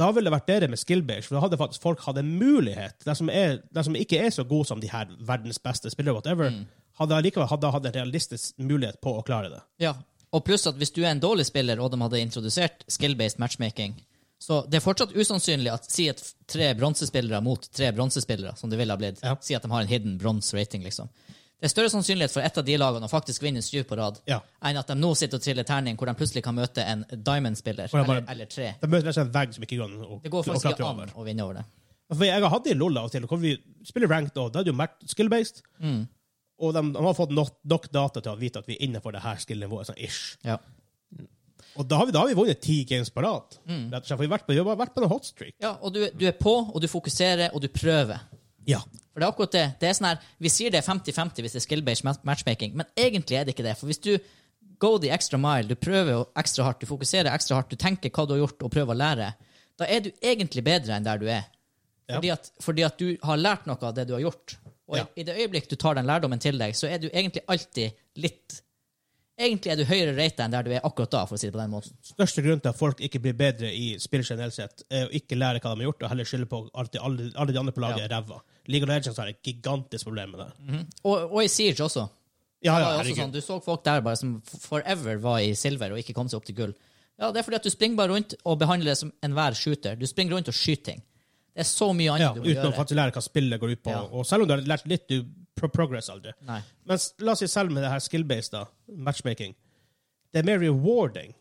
A: Da ville det vært bedre med skill-based, for da hadde faktisk folk hatt en mulighet. De som, er, de som ikke er så gode som de her verdens beste spillere, whatever,
C: Mm.
A: hadde allikevel hadde hatt en realistisk mulighet på å klare det.
C: Ja. Og pluss at hvis du er en dårlig spiller, og de hadde introdusert skill-based matchmaking, så det er fortsatt usannsynlig at si at tre bronsespillere mot tre bronsespillere, som det ville ha blitt,
A: Ja.
C: si at de har en hidden bronze rating, liksom. Det er større sannsynlighet for ett av de lagene å faktisk vinne syv på rad,
A: Ja.
C: enn at de nå sitter og triller terning hvor de plutselig kan møte en diamond-spiller,
A: Hvor de bare-
C: eller, eller tre.
A: De møter nesten en vegg som ikke går an å
C: Det går
A: å
C: faktisk
A: klatre
C: ikke
A: over.
C: an å vinne over det.
A: For jeg har hatt det i LOL av og til. Hvor vi spiller ranked, og da er det jo mer skill-based.
C: Mm.
A: Og de, de har fått nok, nok data til å vite at vi er innenfor det her skill-nivået. Sånn ish.
C: Ja.
A: Og da har vi, da har vi vunnet ti games på rad.
C: Mm.
A: Rett og slett, for vi har vært på, vi har vært på en hot streak.
C: ja, og du, du er på, og du fokuserer, og du prøver.
A: Ja.
C: For det er akkurat det. Det er sånn her, Vi sier det er 50-50 hvis det er skill-based mat- matchmaking, men egentlig er det ikke det. For hvis du go the extra mile, du prøver å- ekstra hardt, du fokuserer ekstra hardt, du tenker hva du har gjort, og prøver å lære, da er du egentlig bedre enn der du er.
A: Ja.
C: Fordi at, fordi at du har lært noe av det du har gjort. Og
A: Ja.
C: i, i det øyeblikk du tar den lærdommen til deg, så er du egentlig alltid litt Egentlig er du høyere rate enn der du er akkurat da, for å si det på den måten.
A: største grunn til at folk ikke blir bedre i spill generelt sett, er å ikke lære hva de har gjort, og heller skylde på at alle, alle de andre på laget er ræva. League of Legends har et gigantisk problem med det.
C: Og, og i Siege også.
A: Ja,
C: Mm.
A: ja,
C: Det var jo også sånn,
A: herregud.
C: du så folk der bare som f- forever var i silver og ikke kom seg opp til gull. Ja, Det er fordi at du springer bare rundt og behandler det som enhver shooter. Du springer rundt og skyter ting. Det er så mye
A: Ja,
C: annet du må
A: uten å
C: gjøre.
A: faktisk lære hva spillet går ut på.
C: Ja.
A: Og selv om du har lært litt, du pro progress aldri.
C: Nei.
A: Men s- la oss si selv med det her skill-based, da, matchmaking, det er mer rewarding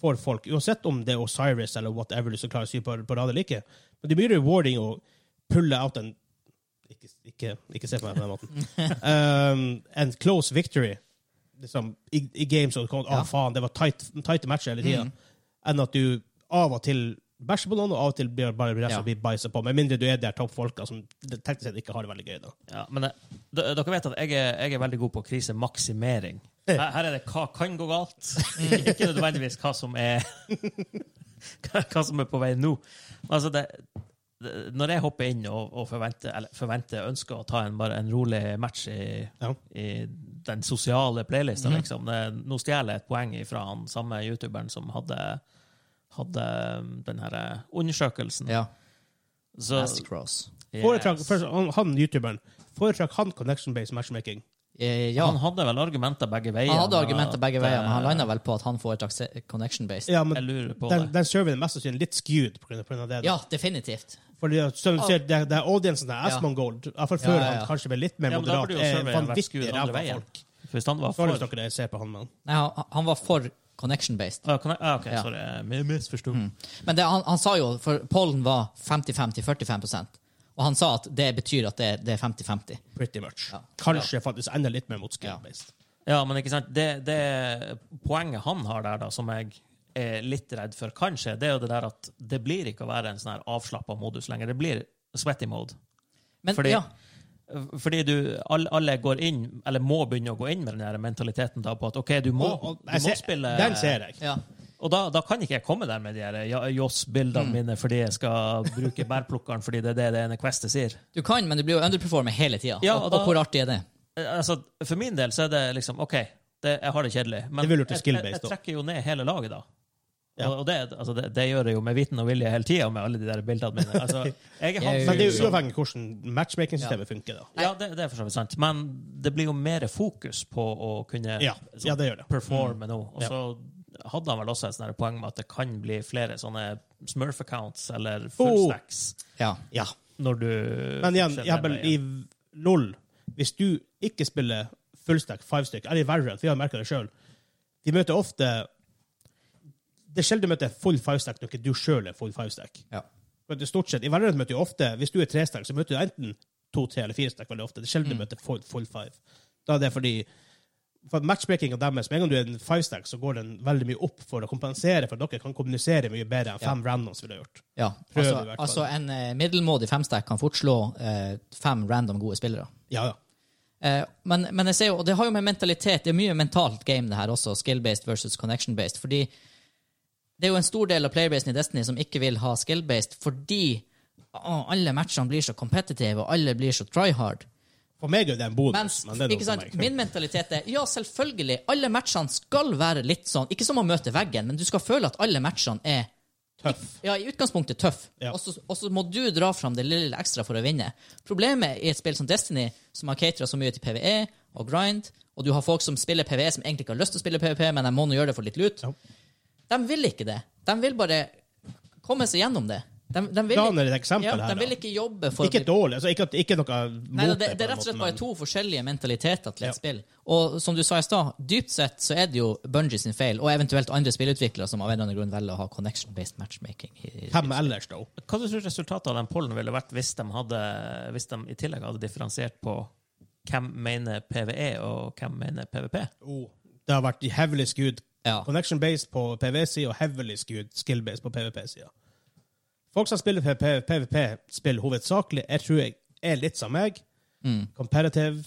A: for folk, uansett om det er Osiris eller whatever du skal klare å sy på, på rad eller ikke. Men det er mye rewarding å pulle out en Ikke, ikke, ikke se på meg på den
C: <laughs>
A: måten. Um, en close victory liksom, i, i games og kom, ah,
C: Ja. Mm.
A: faen, det var tight, tight matcher hele tida, enn at du av og til bæsjer på noen, og av og til blir bare blir
C: Ja.
A: ja. bæsja på, med mindre du er der toppfolka som teknisk sett ikke har det veldig gøy. da.
B: Ja, men det, d- dere vet at jeg er, jeg er veldig god på krisemaksimering. Her, her er det hva kan gå galt, <laughs> ikke, ikke nødvendigvis hva som er <laughs> hva, hva som er på vei nå. Men altså det, det, når jeg hopper inn og, og forventer, eller forventer, ønsker å ta en, bare en rolig match i,
A: Ja.
B: i den sosiale playlista, liksom det, Nå stjeler jeg et poeng fra han samme youtuberen som hadde, hadde um, den her eh, undersøkelsen.
C: Ja,
B: Så,
C: Cross.
B: yes.
A: Foretrakk, først, han, han youtuberen, foretrakk han connection-based matchmaking?
C: Eh, Ja.
B: Han hadde vel argumenter begge veier.
C: Han hadde
B: men
C: argumenter
B: at,
C: begge veier, men han
B: eh,
C: landa vel på at han foretrakk se- connection-based.
A: Ja, men
B: Jeg lurer på
A: den,
B: det.
A: den serveren er mest sannsynlig litt skewed pga. det. da.
C: Ja, definitivt.
A: Fordi at som du ser, det, det er audiencen der, Asmongold, iallfall før
C: Ja, ja, ja.
A: han kanskje ble litt mer
B: Ja, men da
A: moderat,
B: burde jo
A: er
B: serveren vært
A: vanvittig
B: skewed andre
A: ræva
B: veien.
A: folk.
B: Hvis han var
A: Sorry hvis
B: for
A: dere ser på han, men
C: Nei, han, han var for connection-based.
B: Ah, kan jeg, ah, ok,
C: Ja. Mm.
B: sorry. Jeg misforsto.
C: Men det, han, han sa jo, for pollen var 50-50-45 og han sa at det betyr at det, det er 50-50.
A: pretty much.
C: Ja.
A: Kanskje faktisk enda litt mer mot skill-based.
B: Ja, men ikke sant, det, det poenget han har der, da, som jeg er litt redd for, kanskje, det er jo det der at det blir ikke å være en sånn her avslappa modus lenger. Det blir sweaty mode.
C: Men
B: Fordi,
C: ja,
B: fordi du, alle, alle går inn, eller må begynne å gå inn med den der mentaliteten da på at OK, du må,
A: Og- og
B: du
A: jeg
B: må
A: ser-
B: spille
A: Den ser jeg.
C: ja.
B: Og da, da kan ikke jeg komme der med de her ja, Joss-bildene
A: Mm.
B: mine fordi jeg skal bruke bærplukkeren fordi det er det det ene Questet sier.
C: Du kan, men du blir jo underperformer hele tida.
B: Ja,
C: og,
B: og da-
C: og hvor artig er det?
B: eh, altså, For min del så er det liksom OK, det, jeg har det kjedelig,
A: Det
B: men
A: vil jo til
B: jeg, jeg,
A: skill-based
B: jeg
A: da.
B: trekker jo ned hele laget da.
A: Ja.
B: Og, og det, altså, det, det gjør jeg jo med viten og vilje hele tida, med alle de der bildene mine.
A: <laughs>
B: Altså, jeg er han
C: Jeg-
A: Men det er
B: fyren
A: jo
B: som-
A: uavhengig av hvordan matchmaking-systemet funker. da.
B: Ja, det, det er for så vidt sant. Men det blir jo mer fokus på å kunne sånn
A: Ja, ja, det Mm. gjør det.
B: performe nå. Og så hadde han vel også et sånt her poeng med at det kan bli flere sånne Smurf-accounts eller
A: Oh.
B: fullstacks
C: Ja.
A: Ja.
B: når du
A: Men igjen,
B: skjer
A: jeg har bare
B: ned
A: i
B: igjen.
A: LOL Hvis du ikke spiller fullstack, fivestyck, eller i Variant, vi har merka det sjøl Vi møter ofte Det er sjelden du møter full five-stack når ikke du sjøl er full five-stack.
C: Ja.
A: Men det er stort sett, I Variant møter du ofte Hvis du er tre-stack, så møter du enten to, tre eller fire stack veldig ofte. Det er
C: Mm.
A: sjelden du møter full, full five. Da er det fordi for matchmakinga deres Med en gang du er en five-stack, så går den veldig mye opp for å kompensere, for dere kan kommunisere mye bedre enn fem randoms ville gjort.
C: ja.
A: Prøv i
C: Altså,
A: hvert fall.
C: altså en eh, middelmådig femstack kan fort slå eh, fem random gode spillere.
A: Ja, ja.
C: Eh, men, men jeg ser jo, og det har jo med mentalitet Det er mye mentalt game, det her også. Skill-based versus connection-based. Fordi det er jo en stor del av playerbasen i Destiny som ikke vil ha skill-based, fordi å, alle matchene blir så competitive, og alle blir så try hard.
A: For meg er det en bonus.
C: Mens,
A: men det er noe
C: ikke
A: for
C: sant,
A: meg.
C: min mentalitet er ja, selvfølgelig, alle matchene skal være litt sånn Ikke som å møte veggen, men du skal føle at alle matchene er
A: Tøff.
C: ja, i utgangspunktet tøff,
A: Ja.
C: og, så, og så må du dra fram det lille ekstra for å vinne. Problemet i et spill som Destiny, som har catera så mye til PVE og grind, og du har folk som spiller PVE som egentlig ikke har lyst til å spille PVP, men de må nå gjøre det for litt lut,
A: Ja.
C: de vil ikke det. De vil bare komme seg gjennom det. De, de vil,
A: Dan er et eksempel
C: ja,
A: her,
C: de vil
A: da.
C: ikke jobbe for å
A: Ikke
C: bli
A: dårlig. Altså, ikke, at- ikke noe
C: Nei,
A: mot
C: det, det er rett og slett bare to forskjellige mentaliteter til et
A: Ja.
C: spill. Og som du sa i stad, dypt sett så er det jo Bungie sin feil, og eventuelt andre spillutviklere som av en eller annen grunn velger å ha connection-based matchmaking. i-
A: Hvem ellers, da?
B: Hva du tror resultatet av den pollen ville vært hvis de, hadde, hvis de i tillegg hadde differensiert på hvem mener PVE, og hvem mener PVP?
A: Oh, det har vært heavily skewed
C: Ja.
A: connection-based på PVC og heavily skewed skill-based på PVP-sida. Folk som spiller PVP-spill hovedsakelig, jeg tror jeg er litt som meg.
C: mm.
A: Comparative.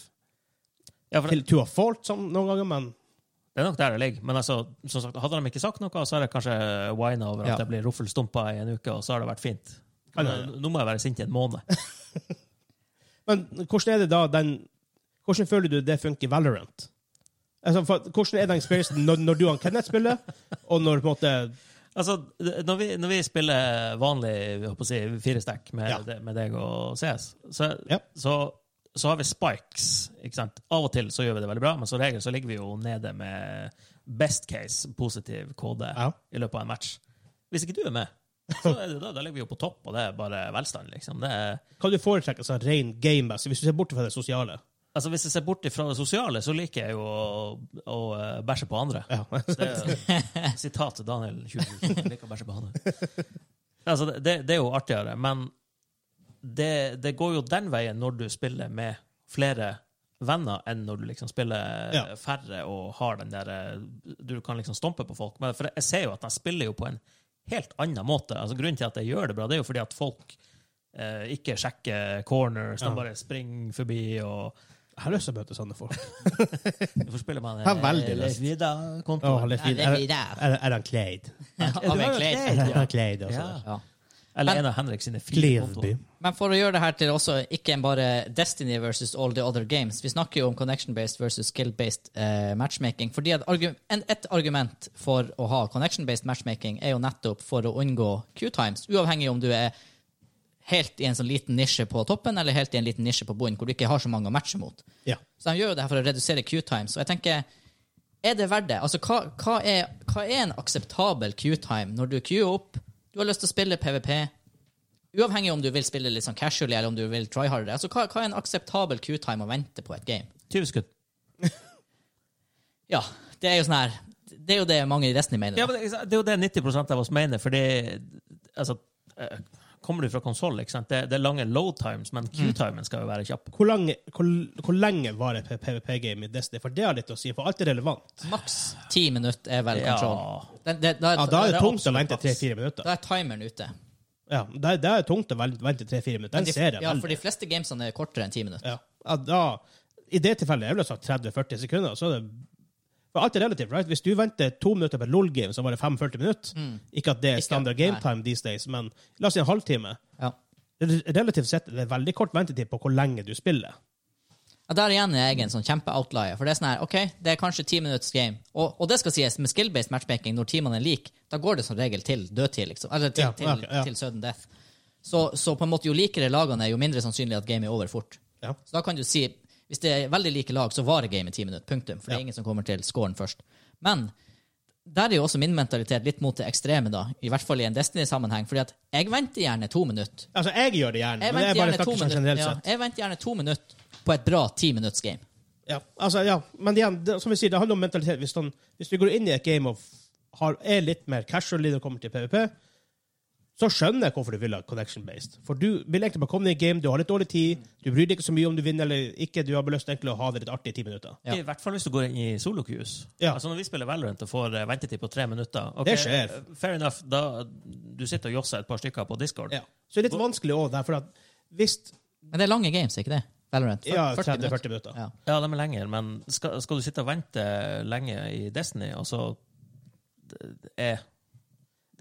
B: Ja, for
A: Til to of fault som noen ganger, men
B: Det er nok der det ligger. Men altså, som sagt, hadde de ikke sagt noe, så har jeg kanskje wina over at
C: Ja.
B: jeg blir ruffelstumpa i en uke, og så har det vært fint.
A: Kan
B: Men,
A: hende.
B: nå må jeg være sint i en måned.
A: Men hvordan er det da den Hvordan føler du det funker i Valorant? Altså, for, hvordan er den experiencen når, når du og Kenneth spiller, og når på en måte
B: Altså, når vi, når vi spiller vanlig jeg holdt på å si, firestekk med,
A: Ja.
B: de- med deg og CS, så,
A: Ja.
B: så, så har vi spikes. ikke sant? Av og til så gjør vi det veldig bra, men som regel så ligger vi jo nede med best case positiv kode
A: Ja.
B: i løpet av en match. Hvis ikke du er med, så er det da, da ligger vi jo på topp, og det er bare velstand, liksom. Det er,
A: Hva du foretrekker sånn ren gamemessig, hvis du ser bort fra det sosiale?
B: Altså, Hvis jeg ser bort fra det sosiale, så liker jeg jo å, å eh, bæsje på andre.
A: Ja.
B: <laughs> Så det er Sitat til Daniel 2000. Jeg liker å bæsje på andre. Altså, det, det er jo artigere, men det, det går jo den veien når du spiller med flere venner, enn når du liksom spiller
A: Ja.
B: færre og har den der eh, Du kan liksom stompe på folk. Men for jeg ser jo at de spiller jo på en helt annen måte. Altså, grunnen til at jeg gjør det bra, det er jo fordi at folk eh, ikke sjekker corners,
A: Ja.
B: de bare springer forbi og
A: Jeg har lyst til å møte sånne folk.
B: Hvorfor spiller man
A: Jeg har veldig
B: eh, Leif
A: lyst.
B: Vidar-konto?
A: Å, han er, fin.
C: Ja,
A: er,
C: det er der.
A: er, er han Clayde?
C: <laughs> av en kled.
A: Er han Clayde også?
B: Ja.
C: Ja.
B: Eller en av Henrik sine fire
A: Clearby.
B: kontoer.
C: Men for å gjøre det her til også ikke en bare Destiny versus all the other games Vi snakker jo om connection-based versus skill-based eh, matchmaking. Fordi at argu en, Et argument for å ha connection-based matchmaking er jo nettopp for å unngå Q-times, uavhengig om du er helt i en sånn liten nisje på toppen eller helt i en liten nisje på bunnen, hvor du ikke har så mange å matche mot.
A: Ja.
C: Så de gjør jo det her for å redusere Q-times. Og jeg tenker, er det verdt det? Altså, hva, hva, er, hva er en akseptabel Q-time når du queuer opp, du har lyst til å spille PVP, uavhengig om du vil spille litt sånn casually eller om du vil try harder. Altså, hva, hva er en akseptabel Q-time å vente på et game?
B: 20 skudd.
C: Ja, det er jo sånn her, det er jo det mange i Destiny mener.
B: Ja, men det det er jo det 90 av oss mener, fordi altså, eh, Kommer du fra konsoll, ikke sant? Det, det er lange low times, men
A: Mm.
B: Q-timen skal jo være kjapp.
A: Hvor, lange, hvor, hvor lenge varer PVP-game i Destiny? For det har litt å si, for alt er relevant.
C: Maks ti minutter er vel
B: Ja.
C: kontrollen. Det, det, da, er-
A: Ja, da er
C: da
A: det
C: er-
A: tungt å vente
B: absolutt
A: tre-fire minutter.
C: da er timeren ute.
A: Ja, da, da er det tungt å vel- vente tre-fire minutter. Den
C: Men de,
A: ser jeg
C: ja, for
A: veldig.
C: de fleste gamesene er kortere enn ti minutter.
A: Ja. Ja, da, I det tilfellet jeg ville sagt 30-40 sekunder, så er det for alt er relativt, right? Hvis du venter to minutter på et LOL-game, så var det 45 minutter. Ikke at det er
C: Ikke-
A: standard
C: nei.
A: game time these days, men la oss si en halvtime.
C: Ja.
A: Relativt sett er det veldig kort ventetid på hvor lenge du spiller.
C: Ja, der igjen er jeg en sånn kjempe-outlier. For det er sånn her, ok, det er kanskje ti minutts game. Og, og det skal sies, med skill-based matchmaking, når timene er like, da går det som regel til dødtid, liksom. Eller til,
A: Ja,
C: til,
A: ok, ja.
C: til sudden death. Så, så på en måte, jo likere lagene er, jo mindre sannsynlig at gamet er over fort.
A: Ja.
C: Så da kan du si, hvis det er veldig like lag, så varer gamet ti minutter, punktum. For
A: Ja.
C: det er ingen som kommer til scoren først. Men der er jo også min mentalitet litt mot det ekstreme, da. I hvert fall i en Destiny-sammenheng. fordi at jeg venter gjerne to minutter
A: Altså, jeg gjør det gjerne,
C: jeg
A: men det
C: venter
A: er bare
C: gjerne to
A: snakker sånn generelt
C: minutter ja,
A: sett.
C: Jeg venter gjerne to minutter på et bra ti minutts game.
A: Ja, altså, ja. Men igjen, det, som vi sier, det handler om mentalitet. Hvis, han, hvis du går inn i et game og f- har, er litt mer casual når det kommer til PVP, så skjønner jeg hvorfor du vil ha connection-based. For du vil egentlig bare komme inn i et game, du har litt dårlig tid, du bryr deg ikke så mye om du vinner eller ikke, du har bare lyst til egentlig å ha det litt artig i ti minutter.
C: Ja.
B: I hvert fall hvis du går inn i solokues.
A: Ja.
B: Altså når vi spiller Valorant og får eh, ventetid på tre minutter ok,
A: Det skjer.
B: eh, Fair enough. Da du sitter og josser et par stykker på Discord.
A: Så det er litt vanskelig òg, for at hvis
C: Men det er lange games, ikke det? Valorant. Fyr-
A: Ja,
C: 40 minutter.
A: 30-40 minutter.
C: Ja.
B: Ja, de er lenger, men skal, skal du sitte og vente lenge i Destiny, og så eh, er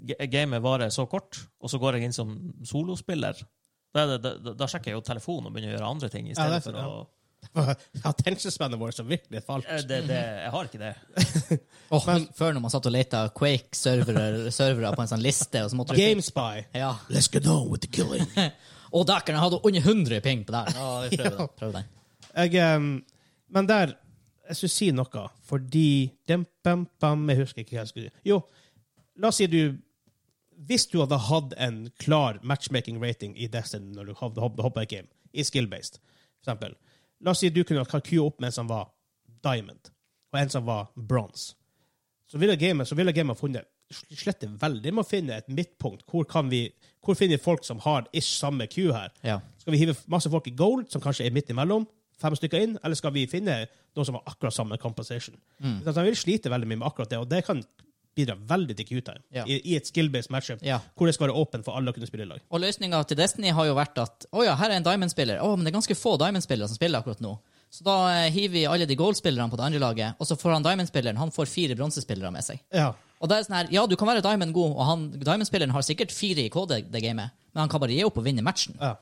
B: g- gamet varer så kort, og så går jeg inn som solospiller, da, er det, da, da sjekker jeg jo telefonen og begynner å gjøre andre ting i
A: Ja,
B: stedet
A: det er
B: for
A: sant, <laughs>
B: å
A: Attention-spannet vårt som virkelig falt.
B: Eh, det, det, Jeg har ikke det.
C: Åh, før når man satt og leta Quake-servere servere på en sånn liste, og så måtte du
A: GameSpy.
C: Ja.
A: Let's get on with the killing.
C: Og dækeren, jeg hadde under 100 ping på der. Ja, vi
A: <laughs>
C: prøver,
A: Ja.
C: den. prøver den.
A: <laughs> jeg, um, men der Jeg skulle si noe, fordi dem, bam, bam, Jeg husker ikke hva jeg skulle si. Jo, la oss si du Hvis du hadde hatt en klar matchmaking-rating i Destiny når du hadde hopp- hoppet et game, i skill-based, for eksempel La oss si du kunne ha queue opp med en som var diamond, og en som var bronze. Så ville gamet, så ville gamet funnet slett veldig med å finne et midtpunkt. Hvor, kan vi, hvor finner vi folk som har ish samme queue her?
C: Ja.
A: Skal vi hive masse folk i gold, som kanskje er midt imellom, fem stykker inn, eller skal vi finne noen som har akkurat samme composition? Mm. De vil slite veldig mye med akkurat det, og det kan bidra veldig til queue time
C: Ja.
A: i, i et skill-based matchup
C: Ja.
A: hvor det skal være åpent for alle å kunne spille i lag.
C: Og løsninga til Destiny har jo vært at å ja, her er en Diamond-spiller. Å, men det er ganske få Diamond-spillere som spiller akkurat nå. Så da eh, hiver vi alle de Gold-spillerne på det andre laget, og så får han Diamond-spilleren han får fire bronsespillere med seg.
A: Ja.
C: Og det er sånn her, ja, du kan være Diamond god, og han, Diamond-spilleren har sikkert fire i KD det gamet, men han kan bare gi opp og vinne matchen.
A: Ja.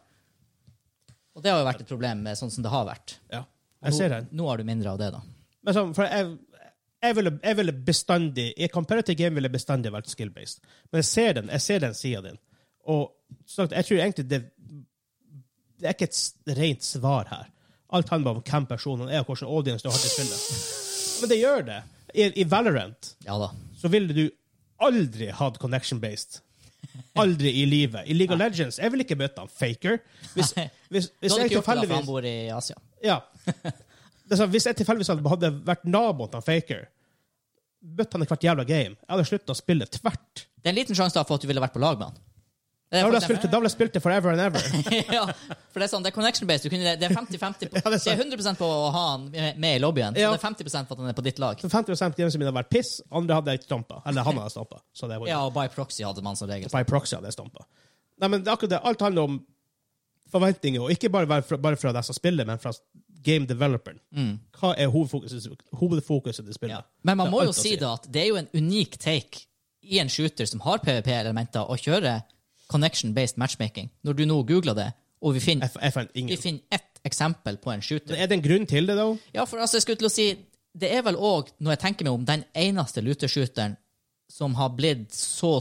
C: Og det har jo vært et problem eh, sånn som det har vært.
A: ja.
C: Og
A: Jeg ser
C: nå,
A: den.
C: nå har du mindre av det, da.
A: Men sånn, for jeg, jeg, ville, jeg ville bestandig I comparative game ville jeg bestandig vært skill-based. Men jeg ser den jeg ser den sida din. Og som sagt, jeg tror egentlig det Det er ikke et s- rent svar her. Alt handler om hvem personen er, og hvilken audience du har til spillet. Men det gjør det. I, i Valorant
C: Ja da.
A: så ville du aldri hatt connection-based. Aldri i livet. I League of Legends jeg ville ikke møte han faker. Hvis, hvis,
C: Du
A: hvis
C: hadde
A: jeg
C: ikke gjort det, da, for
A: tilfeldigvis
C: han bor i Asia.
A: ja. Det er sånn, hvis jeg tilfeldigvis hadde- hadde vært naboen til han Faker, møtt han i hvert jævla game, jeg hadde sluttet å spille tvert.
C: Det er en liten sjanse da for at du ville vært på lag med han.
A: Da
C: Det er
A: ville jeg
C: for
A: spilt, da ville jeg spilt det forever and ever.
C: eksempel- <laughs> ja, for det er sånn, det er connection-based. Du kunne- Det er 50-50
A: <laughs>
C: på-
A: Ja, det er
C: det er 100 på å ha han med i lobbyen,
A: Ja.
C: og det er 50 på at han er på ditt lag.
A: Så 50 gamesene mine hadde vært piss, andre hadde jeg stampa. Eller han hadde stampa. Så det var
C: Ja, og by proxy hadde man som regel.
A: By proxy hadde jeg stampa. Nei, men det er akkurat det. Alt handler om forventninger, og ikke bare, være fra, bare fra deg som spiller, men fra game developeren. Hva er hovedfokuset, hovedfokuset til spillet?
C: Mm. Ja. Men man
A: Det
C: må
A: er
C: jo
A: alt å
C: si da at det er jo en unik take i en shooter som har PVP-elementer, å kjøre connection-based matchmaking. Når du nå googler det, og vi
A: Jeg,
C: finner,
A: f- jeg fant
C: vi
A: ingen.
C: finner ett eksempel på en shooter.
A: Er det en grunn til det, da?
C: Ja, for altså, jeg skulle til å si, det er vel òg, når jeg tenker meg om, den eneste luteshooteren som har blitt så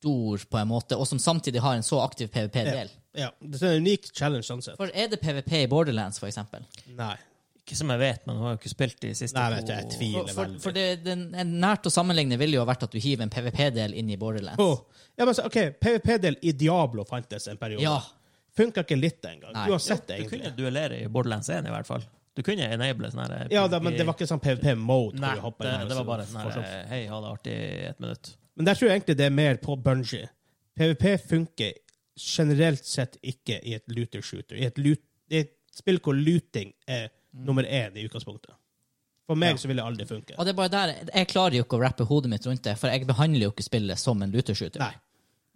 C: stor, på en måte, og som samtidig har en så aktiv PVP-del.
A: Ja. Det er en unik challenge, sånn sett.
C: For er det PVP i Borderlands, for eksempel?
A: Nei.
B: Ikke som jeg vet, men hun har jo ikke spilt de siste
A: Nei, vet du, jeg tviler.
C: For, for,
A: veldig.
C: for det, den, en nært å sammenligne ville jo vært at du hiver en PVP-del inn i Borderlands.
A: Åh. Ja, men så, ok, PVP-del i Diablo fantes en periode.
C: Ja.
A: Funka ikke litt engang.
C: Nei.
A: Uansett,
B: Du kunne
A: egentlig.
B: duellere i Borderlands 1 i hvert fall. Du kunne enable sånn her
A: Ja, da, men det var ikke sånn PVP-mode.
B: Nei, det, det var bare sånn her Hei, ha det artig i ett minutt.
A: Men der tror jeg egentlig det er mer på Bungie. PVP funker generelt sett ikke i et looter shooter. I et, loot, i et spill hvor looting er
B: Mm.
A: nummer én i utgangspunktet. For meg så vil det aldri funke.
C: Og det er bare der, Jeg klarer jo ikke å rappe hodet mitt rundt det, for jeg behandler jo ikke spillet som en luther-shooter.
A: Nei.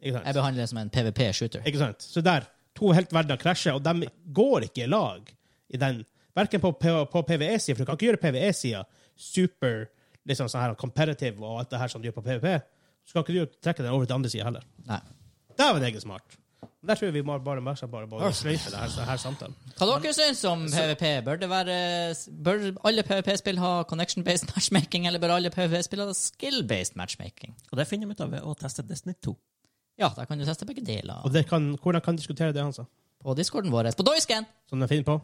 A: Ikke sant?
C: Jeg behandler det som en PVP-shooter.
A: Ikke sant? Så der, to helt verdener krasjer, og de går ikke i lag i den, hverken på, P- på PVE-siden, for du kan ikke gjøre PVE-siden super, liksom sånn her competitive og alt det her som du gjør på PVP, så kan ikke du trekke den over til andre siden heller.
C: Nei.
A: Det var det ikke smart. Der tror jeg vi må bare mer seg bare bare sløyfe det her, det her samtalen.
C: Hva dere syns om PVP? Bør, det være, bør alle PVP-spill ha connection-based matchmaking, eller bør alle PVP-spill ha skill-based matchmaking?
B: Og det finner vi ut av ved å teste Destiny 2.
C: Ja, der kan du teste begge deler.
A: Og det kan, hvordan kan diskutere det han sa?
C: På discorden vår. På Doisken!
A: Som de finner på?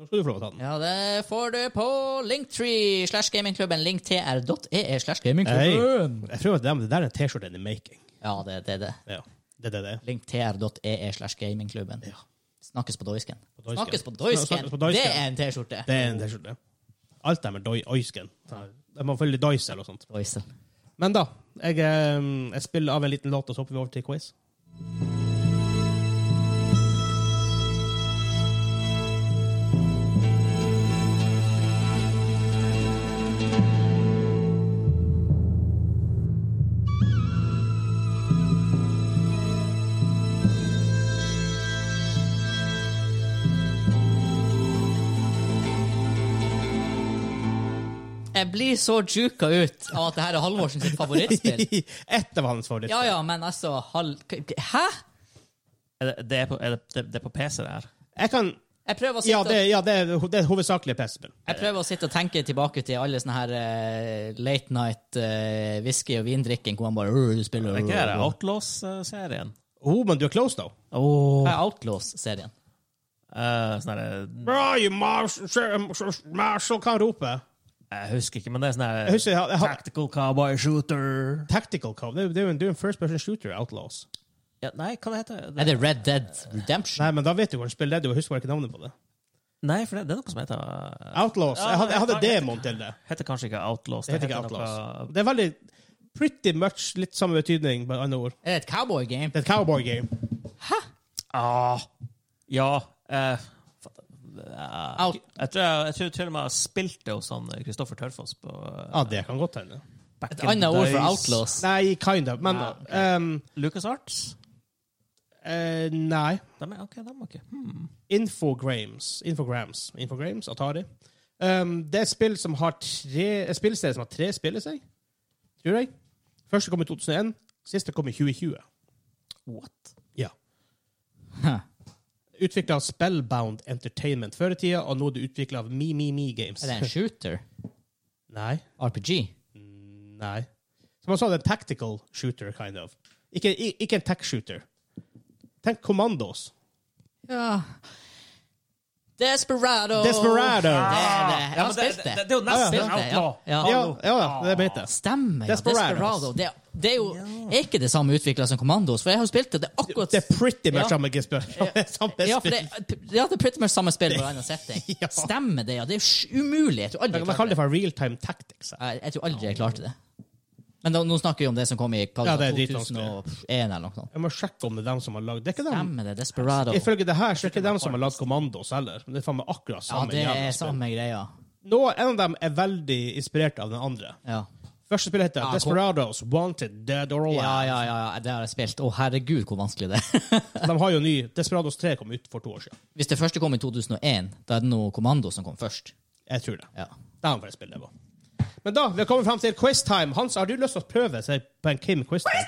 A: Nå skal du få lov å ta den.
C: Ja, det får du på linktree slash gamingklubben. Linktr.ee E slash
A: Hei.
C: gamingklubben.
A: Jeg tror at det, det der er en T-skjorte in the making.
C: Ja, det er det, det.
A: Ja. Det er det det er.
C: Linktr.ee E slash gamingklubben.
A: Ja.
C: Snakkes på Doisken.
A: På Doisken.
C: Snakkes på
A: Snakkes
C: Doisken!
A: på Doisken.
C: Det er en T-skjorte.
A: Det er en T-skjorte. Alt det med doi, oisken. Det må følge Dice eller noe sånt.
C: Doisel.
A: Men da, jeg, eh, jeg spiller av en liten låt, og så hopper vi over til quiz.
C: Jeg blir så juka ut av at det her er Halvorsen sitt
A: <laughs>
C: favorittspill.
A: Ett av hans favoritter.
C: Ja ja, men altså hal... Hæ?!
B: Er det, det, er på, er det, det, det er på PC, det her.
A: Jeg kan
C: Jeg prøver å sitte,
A: Ja, det, ja, det, er, ho- det er hovedsakelig PC-spill.
C: jeg prøver å sitte og tenke tilbake til alle sånne her eh, late night eh, whisky- og vindrikking hvor man bare «Øh, du spiller
B: Det er ikke det Outlaws-serien.
A: Oh, men du er close, though.
B: Oh.
C: Hva er Outlaws-serien?
B: sånn her,
A: Bra, you marshal, marshal kan rope.
B: Jeg husker ikke, men det er sånn her
A: Jeg husker jeg, jeg har
B: Tactical Cowboy Shooter.
A: Tactical Cove. Det er jo- det er jo en, det er jo en first person shooter, Outlaws.
B: Ja, nei, hva det heter
C: Er
B: det?
C: det Red Dead Redemption?
A: Nei, men da vet du hvordan spillet er. Du husker bare ikke navnet på det.
B: Nei, for det, det er noe som heter uh,
A: Outlaws. Jeg hadde, jeg hadde demoen til det.
B: Heter kanskje ikke Outlaws.
A: Det heter ikke
B: noe-
A: Outlaws. Det er veldig pretty much litt samme betydning, bare andre ord.
C: Er det et cowboy-game?
A: Det er et cowboy game.
B: Ah, ja eh, fatt- eh,
C: Out-
B: jeg, tror jeg, jeg tror til og med jeg har spilt det hos han Kristoffer Tørfoss på eh,
A: Ja, det kan godt hende.
B: back
C: Et
B: in
C: annet
B: the
C: ord for
B: days.
C: Outlaws.
A: Nei, kind of. Men
B: Ja, ok.
A: ehm,
B: LucasArts?
A: eh, Nei.
B: De er, ok, de er ikke. Hmm.
A: Infogrames. Infograms. Infogrames, Atari. Ehm, det er et spill som har tre et spillserie som har tre spill i seg, tror jeg. Første kom i 2001, siste kom i 2020.
B: What?
A: Ja.
C: Hæ.
A: Utvikla av Spellbound Entertainment før i tida, og nå er det utvikla av Me Me Me Games.
C: <laughs> Er det en shooter?
A: Nei.
C: RPG?
A: Nei. Som han sa, det er en tactical shooter, kind of. Ikke, i- ikke en tech-shooter. Tenk Commandos.
C: Ja Desperado!
A: Desperado!
C: Det er det. Jeg
B: Ja,
C: har
B: men det-
C: spilt det.
B: det- det er jo nesten
C: Jeg har spilt det,
B: Outlaw.
C: Ja. Ja.
A: Ja, ja da, det vet jeg.
C: Stemmer, ja.
A: Desperados.
C: Desperado. Det, det er jo er ikke det samme utvikla som Commandos, for jeg har jo spilt det. Det er akkurat
A: Det er pretty much
C: Ja.
A: samme spill. <laughs> Samme
C: ja, for
A: spill.
C: det, ja, det er pretty much samme spill, bare annen setting.
A: <laughs> Ja.
C: Stemmer det, ja. Det er jo umulig. Jeg tror aldri
A: Man
C: jeg
A: man kaller det
C: klarte det.
A: for real-time tactics.
C: Jeg, jeg tror aldri jeg klarte det. Men da, nå snakker vi om det som kom i hva
A: Ja,
C: det var,
A: det er
C: 2001 eller noe sånt.
A: Jeg må sjekke om det er dem som har lagd Det er ikke dem.
C: Stemmer det. Desperado.
A: Ifølge det her så er det ikke dem som har lagd Commandos heller. Det er faen meg akkurat
C: Ja,
A: samme
C: det
A: jævla
C: er
A: spill.
C: samme greia.
A: Nå, en av dem er veldig inspirert av den andre.
C: Ja.
A: Første spillet heter
C: Ja, kom-
A: Desperados Wanted Dead or
C: Ja,
A: Alive.
C: ja, ja, ja, det har jeg spilt. Å, herregud, hvor vanskelig det er.
A: De har jo ny Desperados 3 kom ut for to år siden.
C: Hvis det første kom i 2001, da er det noe kommando som kom først.
A: Jeg tror det.
C: Ja.
A: Det er han for et spill det var. Men da, vi har kommet frem til quiztime. Hans, har du lyst til å prøve seg på en Kim quiztime?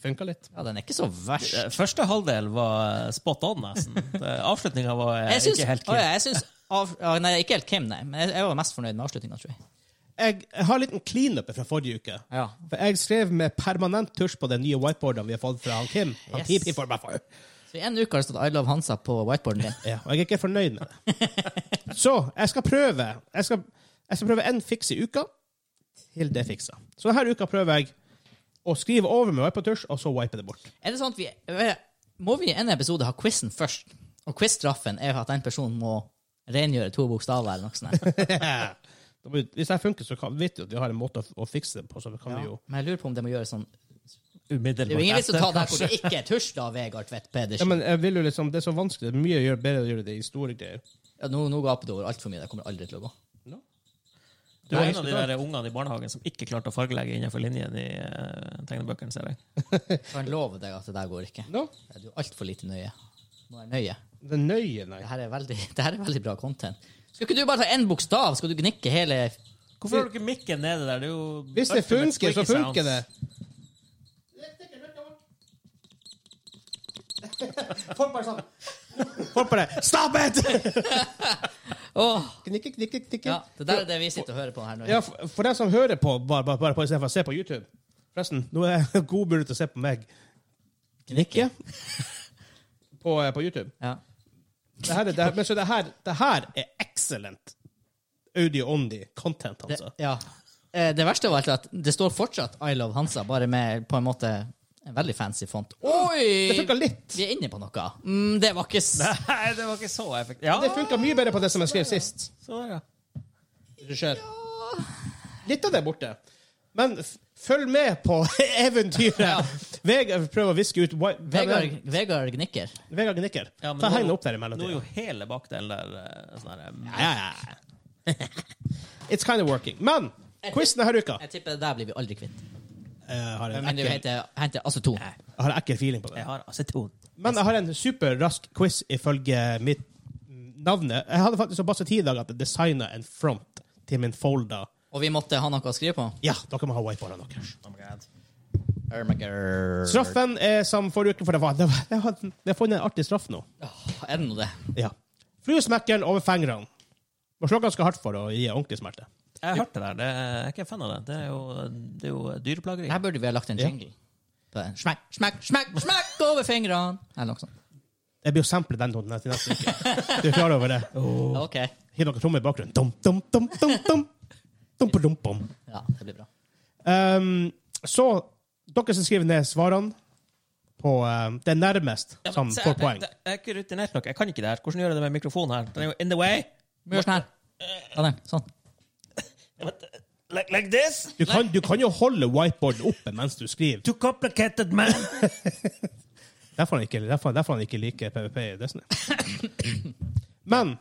A: Funka litt.
C: ja, den er ikke så verst.
B: Eh, Første halvdel var eh, spot on, nesten. Avslutninga var eh,
C: Jeg syns,
B: ikke helt
C: Å, ja, jeg syns av, ja, Nei, ikke helt Kim, nei. Men jeg, jeg var mest fornøyd med avslutninga, tror jeg.
A: Jeg, jeg har en liten cleanup fra forrige uke.
C: Ja.
A: For jeg skrev med permanent tusj på den nye whiteboarden vi har fått fra han Kim. Han
C: Yes.
A: Kim, Kim for meg for.
C: Så i en uke har det stått I love Hansa på whiteboarden din.
A: Ja, og jeg er ikke fornøyd med det.
C: <laughs>
A: Så jeg skal prøve Jeg skal, jeg skal prøve én fiks i uka til det er fiksa. Så denne uka prøver jeg å skrive over med wipe-tusj, og så wipe det
C: <laughs>
A: bort.
C: Er det sånn at vi Må vi i en episode ha quizen først? Og quizstraffen er at den personen må rengjøre to bokstaver eller noe sånt. der.
A: Da må vi- Hvis det her funker, så kan, vet vi at vi har en måte å, å fikse det på. Så kan vi jo
C: Men jeg lurer på om det må gjøres sånn Det
B: umiddelbart
C: er jo ingen vits å
B: etter,
C: ta det her
B: kanskje.
C: hvor det ikke er tusj, da, Vegard Tvedt
A: ja,
C: Pedersen.
A: men jeg vil jo liksom, Det er så vanskelig. Det er mye å gjøre bedre å gjøre det i store greier.
C: Ja, nå, nå gaper du over altfor mye. Det kommer aldri til å gå.
B: Du
A: Nei,
B: var en av de
A: ikke
B: der ungene i barnehagen som ikke klarte å fargelegge innenfor linjen i eh, tegnebøkene, ser jeg.
C: Jeg kan love deg at det der går ikke.
A: No?
C: Du er altfor lite nøye. Må være nøye.
A: Det er nøye, nei.
C: Det her er veldig, <laughs> det her er veldig bra content. Skal ikke du bare ta én bokstav? Skal du gnikke hele
B: Hvorfor har du ikke mikken nede der? Det er jo
A: Hvis det
B: ultimate
A: funker, så
B: squeaky
A: funker det.
B: sounds.
A: Folk bare sånn. Folk bare Stop it!
C: Åh,
A: Knikke, knikke, knikke.
C: ja, det der er det vi sitter og hører på her nå.
A: Ja, for, for dem som hører på, bare, bare, bare på, i stedet for å se på YouTube Forresten, nå er det god mulighet til å se på meg. Knikke. På, eh, på YouTube.
C: Ja.
A: Det her, er- det, her- men så det her, det her er excellent audio-only content,
C: Det,
A: altså.
C: ja. Eh, det verste var at det står fortsatt I Love Hansa, bare med på en måte en veldig fancy font.
A: Det funka
C: Oi!
A: litt.
C: Vi er inne på noe. Mm, det var ikke s...
B: <laughs> Nei, det var ikke så effektivt. Ja,
A: Det funka mye bedre på det som jeg skrev sist.
B: så der, ja.
A: Hvis du ser. Litt av det er borte. Men f følg med på <laughs> eventyret. Vegard prøver å viske ut whi-
C: Vegard, Vegard Gnikker.
A: Vegard gnikker.
B: Ja, men
A: Ta
B: nå-
A: hendene opp der i
B: Nå er
A: mellomtida.
B: jo hele bakdelen der eh, sånn her eh,
A: Ja, ja, ja. <laughs> It's kind of working. Men quizen denne uka
C: Jeg tipper der blir vi aldri kvitt.
A: Jeg har en
C: Men det
A: ekkel,
C: heter, heter aceton.
A: jeg har en ekkel feeling på det.
B: Jeg har aceton.
A: Men jeg har en superrask quiz ifølge mitt navnet. Jeg hadde faktisk såpass tid i dag at jeg designa en front til min folder.
C: Og vi måtte ha noe å skrive på.
A: Ja, dere må ha whiteboardene deres.
B: Oh my god.
A: Straffen er som forrige uke, for det var Det var- det var- det er funnet en artig straff nå.
C: Åh, er det nå det?
A: Ja. Flysmekkeren over fingrene. Må slå ganske hardt for å gi ordentlig smerte.
B: Jeg hørte det der. Det, jeg er ikke en fan av det. Det er jo, det er jo dyreplageri.
C: Her burde vi ha lagt en
A: Ja.
C: jingle. På den. Smekk, smekk, smekk, smekk over fingrene! Eller noe sånt.
A: Det blir jo samplet den tonen til neste uke. Du er klar over det?
C: Ok.
A: Hiv noen trommer i bakgrunnen. Dum, dum, dum, dum, dum. Dum, på dum, bom.
C: Ja, det blir bra.
A: Um, så dere som skriver ned svarene på um, det nærmest
B: Ja, men
A: som
B: se,
A: får poeng.
B: Jeg, jeg, jeg er ikke rutinert nok. Jeg kan ikke det her. Hvordan gjør jeg det med mikrofonen her? Den er jo in the way.
C: Vi gjør sånn her. Ja, den. Sånn.
B: Like, like this?
A: Du kan, du kan jo holde whiteboarden oppe mens du skriver.
B: Too complicated, man.
A: Derfor han ikke, derfor, derfor han ikke liker PVP i Destiny. Men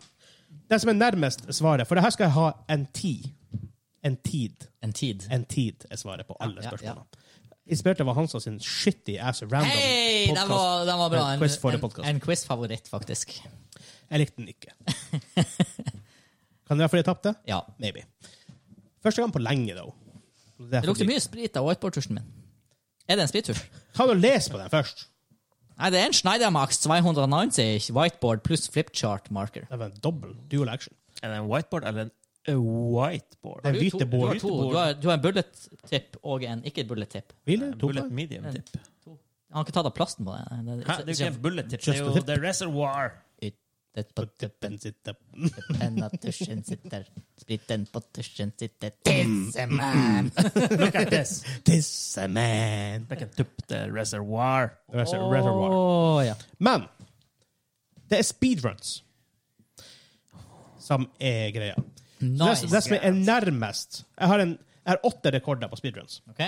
A: det som er nærmest svaret For det her skal jeg ha en tid. En tid.
C: En tid.
A: En tid er svaret på alle
C: Ja, ja,
A: spørsmålene. Inspirert av Hansa sin shitty ass random
C: Hei, den
A: podcast.
C: var, den var bra.
A: En
C: En,
A: quiz for det
C: en,
A: podcast.
C: en quiz-favoritt, faktisk.
A: Jeg likte den
C: <laughs>
A: ikke. kan det være fordi jeg tapte?
C: Ja.
A: Maybe. Første gang på lenge, though. Derfor
C: Det lukter
A: blir-
C: mye sprit av whiteboard-tusjen min. Er det en sprittusj?
A: Kan du lese på den først?
C: Nei, det er en Schneidermax 290 whiteboard pluss flipchart marker.
A: Det var en dobbel dual action.
B: Er det en whiteboard eller en a whiteboard?
A: Den
C: Du to-
A: hvite
C: Du har
A: bor.
C: to. Du har, du har en bullet tip og en ikke-bullet tip.
A: Hvile? To
B: Bullet
A: poeng.
B: medium tip.
C: Han har ikke tatt av plasten på den. Det-
B: Hæ? Det er jo ikke en bullet tip. Det
A: Just
B: er
A: a
B: jo
A: tip.
B: the reservoir.
C: Ut- det på
A: På tuppen sitt opp.
C: <laughs> tuppen av tusjen sitter. Spriten på tusjen sitter. Mm. Tissemann!
B: Look at this.
A: Tisseman.
B: Like a tip, the reservoir.
A: Reser- Reservoir.
C: Å, ja.
A: Men det er speedruns som er greia.
C: Nice.
A: Det, det som er nærmest Jeg har, en, jeg har åtte rekorder på speedruns.
C: Ok.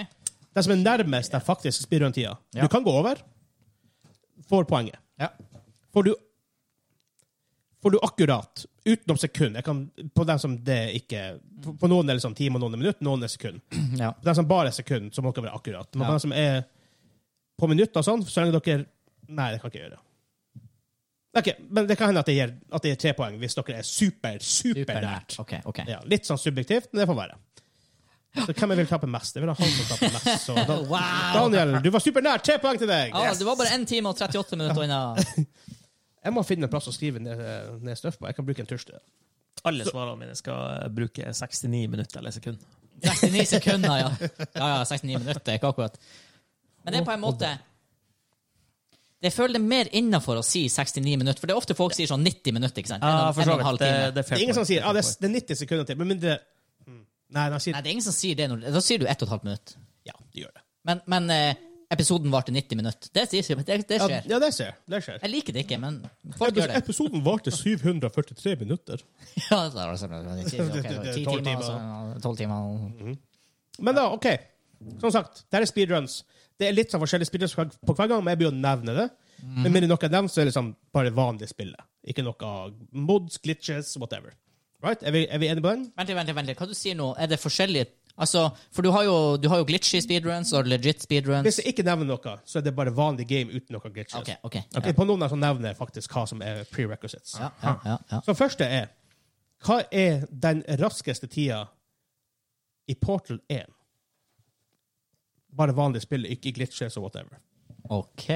A: Det som er nærmest den faktiske speedrun-tida.
C: Ja.
A: Du kan gå over. Får poenget.
C: Ja.
A: Får du Får du akkurat, utenom sekund jeg kan, På dem som det ikke På på noen er det liksom time, og noen er minutt, noen er sekund.
C: ja.
A: På dem som bare er sekund, så må dere være akkurat. Men
C: Ja.
A: på dem som er på minutt og sånn, så lenge dere Nei, det kan ikke jeg gjøre. Ok, men det kan hende at det gir, at det gir tre poeng hvis dere er super, supernært.
C: Supernært. Ok, ok.
A: Ja, litt sånn subjektivt, men det får være. Så hvem jeg vil tape mest? Jeg vil ha han som taper mest. Så Dan
C: <laughs> Wow!
A: Daniel, du var supernær! Tre poeng til deg!
C: Ja, det var bare 1 time og 38 minutter unna.
A: Jeg må finne en plass å skrive ned, eh, ned støff på. Jeg kan bruke en tusj til det.
B: Alle svarene mine skal eh, bruke 69 minutter eller sekund.
C: 69 sekunder, ja. Ja, ja, 69 minutter, ikke akkurat. Men det er på en måte Jeg føler det er mer innafor å si 69 minutter, for det er ofte folk sier sånn 90 minutter, ikke sant? En og-
B: Ja, for
C: en
B: så
C: og en halv
B: vidt. Det,
C: time.
B: det er
A: Det
B: fair
A: er ingen som
B: point.
A: sier
B: er
A: ah, det,
B: fair
A: er, det er 90 sekunder til, men mindre Mm. Nei, de sier
C: Nei, det er ingen som sier det. Når, da sier du 1 12 minutt.
A: Ja, det gjør det.
C: Men, men eh, episoden varte 90 minutter. Det, sier, det, det
A: Ja,
C: skjer.
A: ja det skjer. Det skjer.
C: Jeg liker det ikke, men folk gjør det.
A: Episoden varte 743 minutter.
C: <laughs> Ja, så er det sånn, ok, det var 10
A: Tolv
C: timer, Mhm.
A: timer.
C: så- 12 timer.
A: Men da, OK. Som sagt, det her er speedruns. Det er litt sånn forskjellige speedruns på hver gang, men jeg blir å nevne det.
C: Mhm.
A: Men med noe jeg nevner, så er det liksom bare vanlig spillet. Ikke noe mods, glitches, whatever. Right? Er vi, er vi enige på den?
C: Vent litt, vent litt, vent litt. Hva du sier nå? Er det forskjellige Altså, for du har jo, du har jo glitchy speedruns og legit speedruns.
A: Hvis jeg ikke nevner noe, så er det bare vanlig game uten noe glitches.
C: OK. ok.
A: På noen av dem så nevner jeg faktisk hva som er prerequisites.
C: Ja, ja, ja, ja.
A: Så første er Hva er den raskeste tida i Portal 1? Bare vanlig spill, ikke glitches og whatever.
C: OK.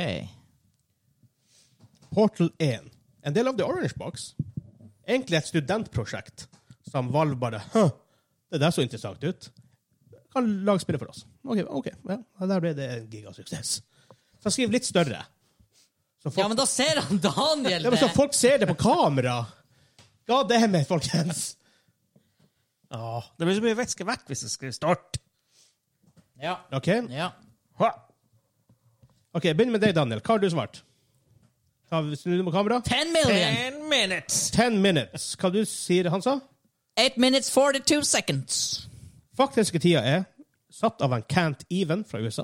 A: Portal 1, en del av The Orange Box, egentlig et studentprosjekt som Valve bare Hø, det der så interessant ut. Kan lag spille for oss. OK, ok, ja, der ble det en gigasuksess. Så skriv litt større. Så folk,
C: Ja, men da ser han Daniel
A: Ja, men så folk ser det på kamera! Ja, det er med, folkens!
B: Åh, det blir så mye væske vekk hvis jeg skriver start.
C: Ja.
A: OK,
C: ja.
B: Ha.
A: Ok, begynn med deg, Daniel. Hva har du svart? Ta- Snu deg mot kamera.
C: Ten million!
B: Ten minutes.
A: Ten minutes. Hva du sier han sa?
C: Eight minutes 42 seconds.
A: Faktiske tida er satt av en Cant Even fra USA.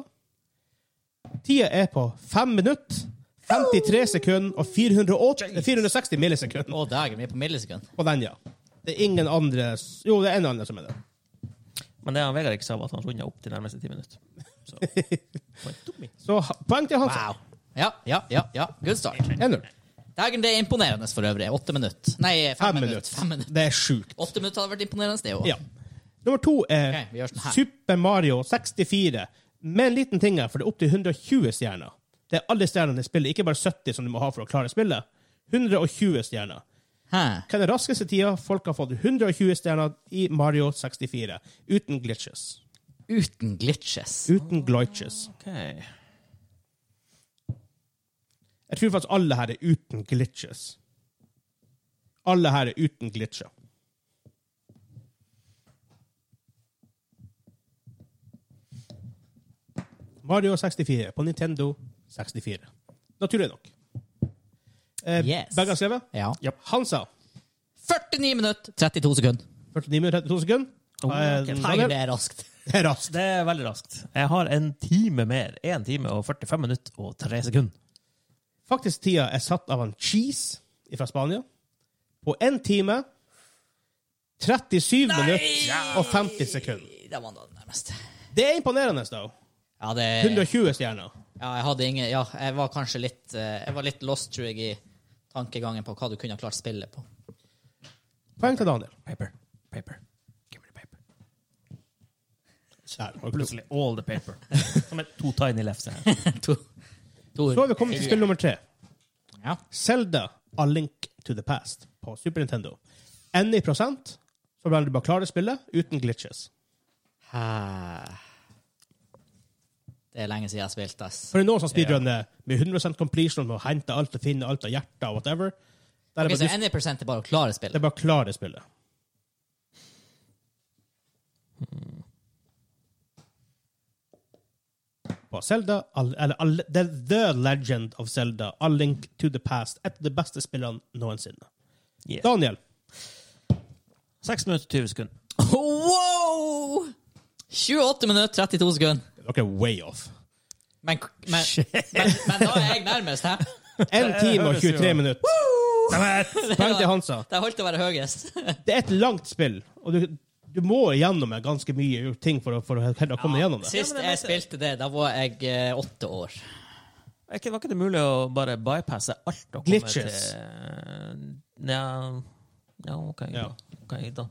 A: Tida er på 5 minutter, 53 sekunder og 408, eh, 460 millisekunder.
C: Å, dægen, vi er på millisekund.
A: På den, ja. Det er ingen andre s- Jo, det er en annen som er det.
B: Men det han Vegard ikke sa, var at han runda opp til nærmeste ti minutter. <laughs> Så. Han er dum i.
A: Så ha- poeng til Hansa.
C: Wow. Ja, ja, ja. ja. Good start.
A: 1-0.
C: Dægen, det er imponerende for øvrig. Åtte minutter. Nei, fem,
A: 5
C: minutter.
A: minutter.
C: Fem minutter.
A: Det er sjukt.
C: Åtte minutter hadde vært imponerende, det òg.
A: Ja. Nummer to er
C: Ok, vi gjør sånn her.
A: Super Mario 64. Med en liten ting her, for det er opptil 120 stjerner. Det er alle stjernene i spillet, ikke bare 70 som du må ha for å klare spillet. 120 stjerner. Hva er den raskeste tida folk har fått 120 stjerner i Mario 64? Uten glitches.
C: Uten glitches.
A: Uten glitches.
B: Ok.
A: Jeg tror faktisk alle her er uten glitches. Alle her er uten glitcher. Mario 64 på Nintendo 64. Naturlig nok. Eh,
C: Yes.
A: Begge har skrevet?
C: Ja.
A: Hansa.
C: 49 minutter, 32 sekunder.
A: 49 minutter 32 sekunder.
B: Oh,
A: Eh,
B: ok.
A: Daniel?
C: Dægen, det er raskt.
A: Det er raskt.
B: Det er veldig raskt. Jeg har en time mer. Én time og 45 minutter og tre sekunder.
A: Faktisk tida er satt av en Cheese fra Spania på 1 time, 37 minutter og 50 sekunder.
C: Det var da det nærmeste.
A: Det er imponerende, da.
C: Ja, det
A: 120 stjerner.
C: Ja, jeg hadde ingen Ja, jeg var kanskje litt eh, Jeg var litt lost, tror jeg, i tankegangen på hva du kunne ha klart spillet på. <laughs>
A: Poeng til Daniel.
B: Paper. Paper. Give me the paper.
A: Der, har du to.
B: Plutselig all the <laughs> paper. Som er to tiny lefts her.
C: to, to
A: Så har vi kommet til spill nummer tre.
C: Ja.
A: Zelda A Link to the Past på Super Nintendo. Enn i prosent, så ble det bare klare spillet uten glitches.
C: Hæ. Det er lenge siden jeg har spilt, ass.
A: For det er noen som speedrunner med 100 completion og henter alt og finner alt av hjerter og whatever. Der er
C: Ok,
A: bare,
C: så
A: dis-
C: any percent er bare å klare
A: det
C: spillet.
A: er bare klare spillet. På Zelda, al- eller al- The, the Legend of Zelda, A Link to the Past, et av de beste spillene noensinne.
B: Yeah.
A: Daniel,
B: 6 minutter og 20 sekunder.
C: Wow! 28 minutter, 32 sekunder.
A: dere er way off.
C: Men, men, men, men da er jeg nærmest, hæ?
A: 1 time og 23 minutter. Poeng til Hansa.
C: Det holdt å være høyest.
A: Det er et langt spill, og du, du må gjennom ganske mye ting for å, for å heller komme gjennom det.
C: Sist
B: Ja, men jeg
C: jeg
B: mente-
C: spilte det, da var jeg eh, åtte år.
B: Er ikke- Var ikke det mulig å bare bypasse alt og komme
A: Glitches.
B: til Nja Ja, OK.
A: Ja.
B: Ok, da.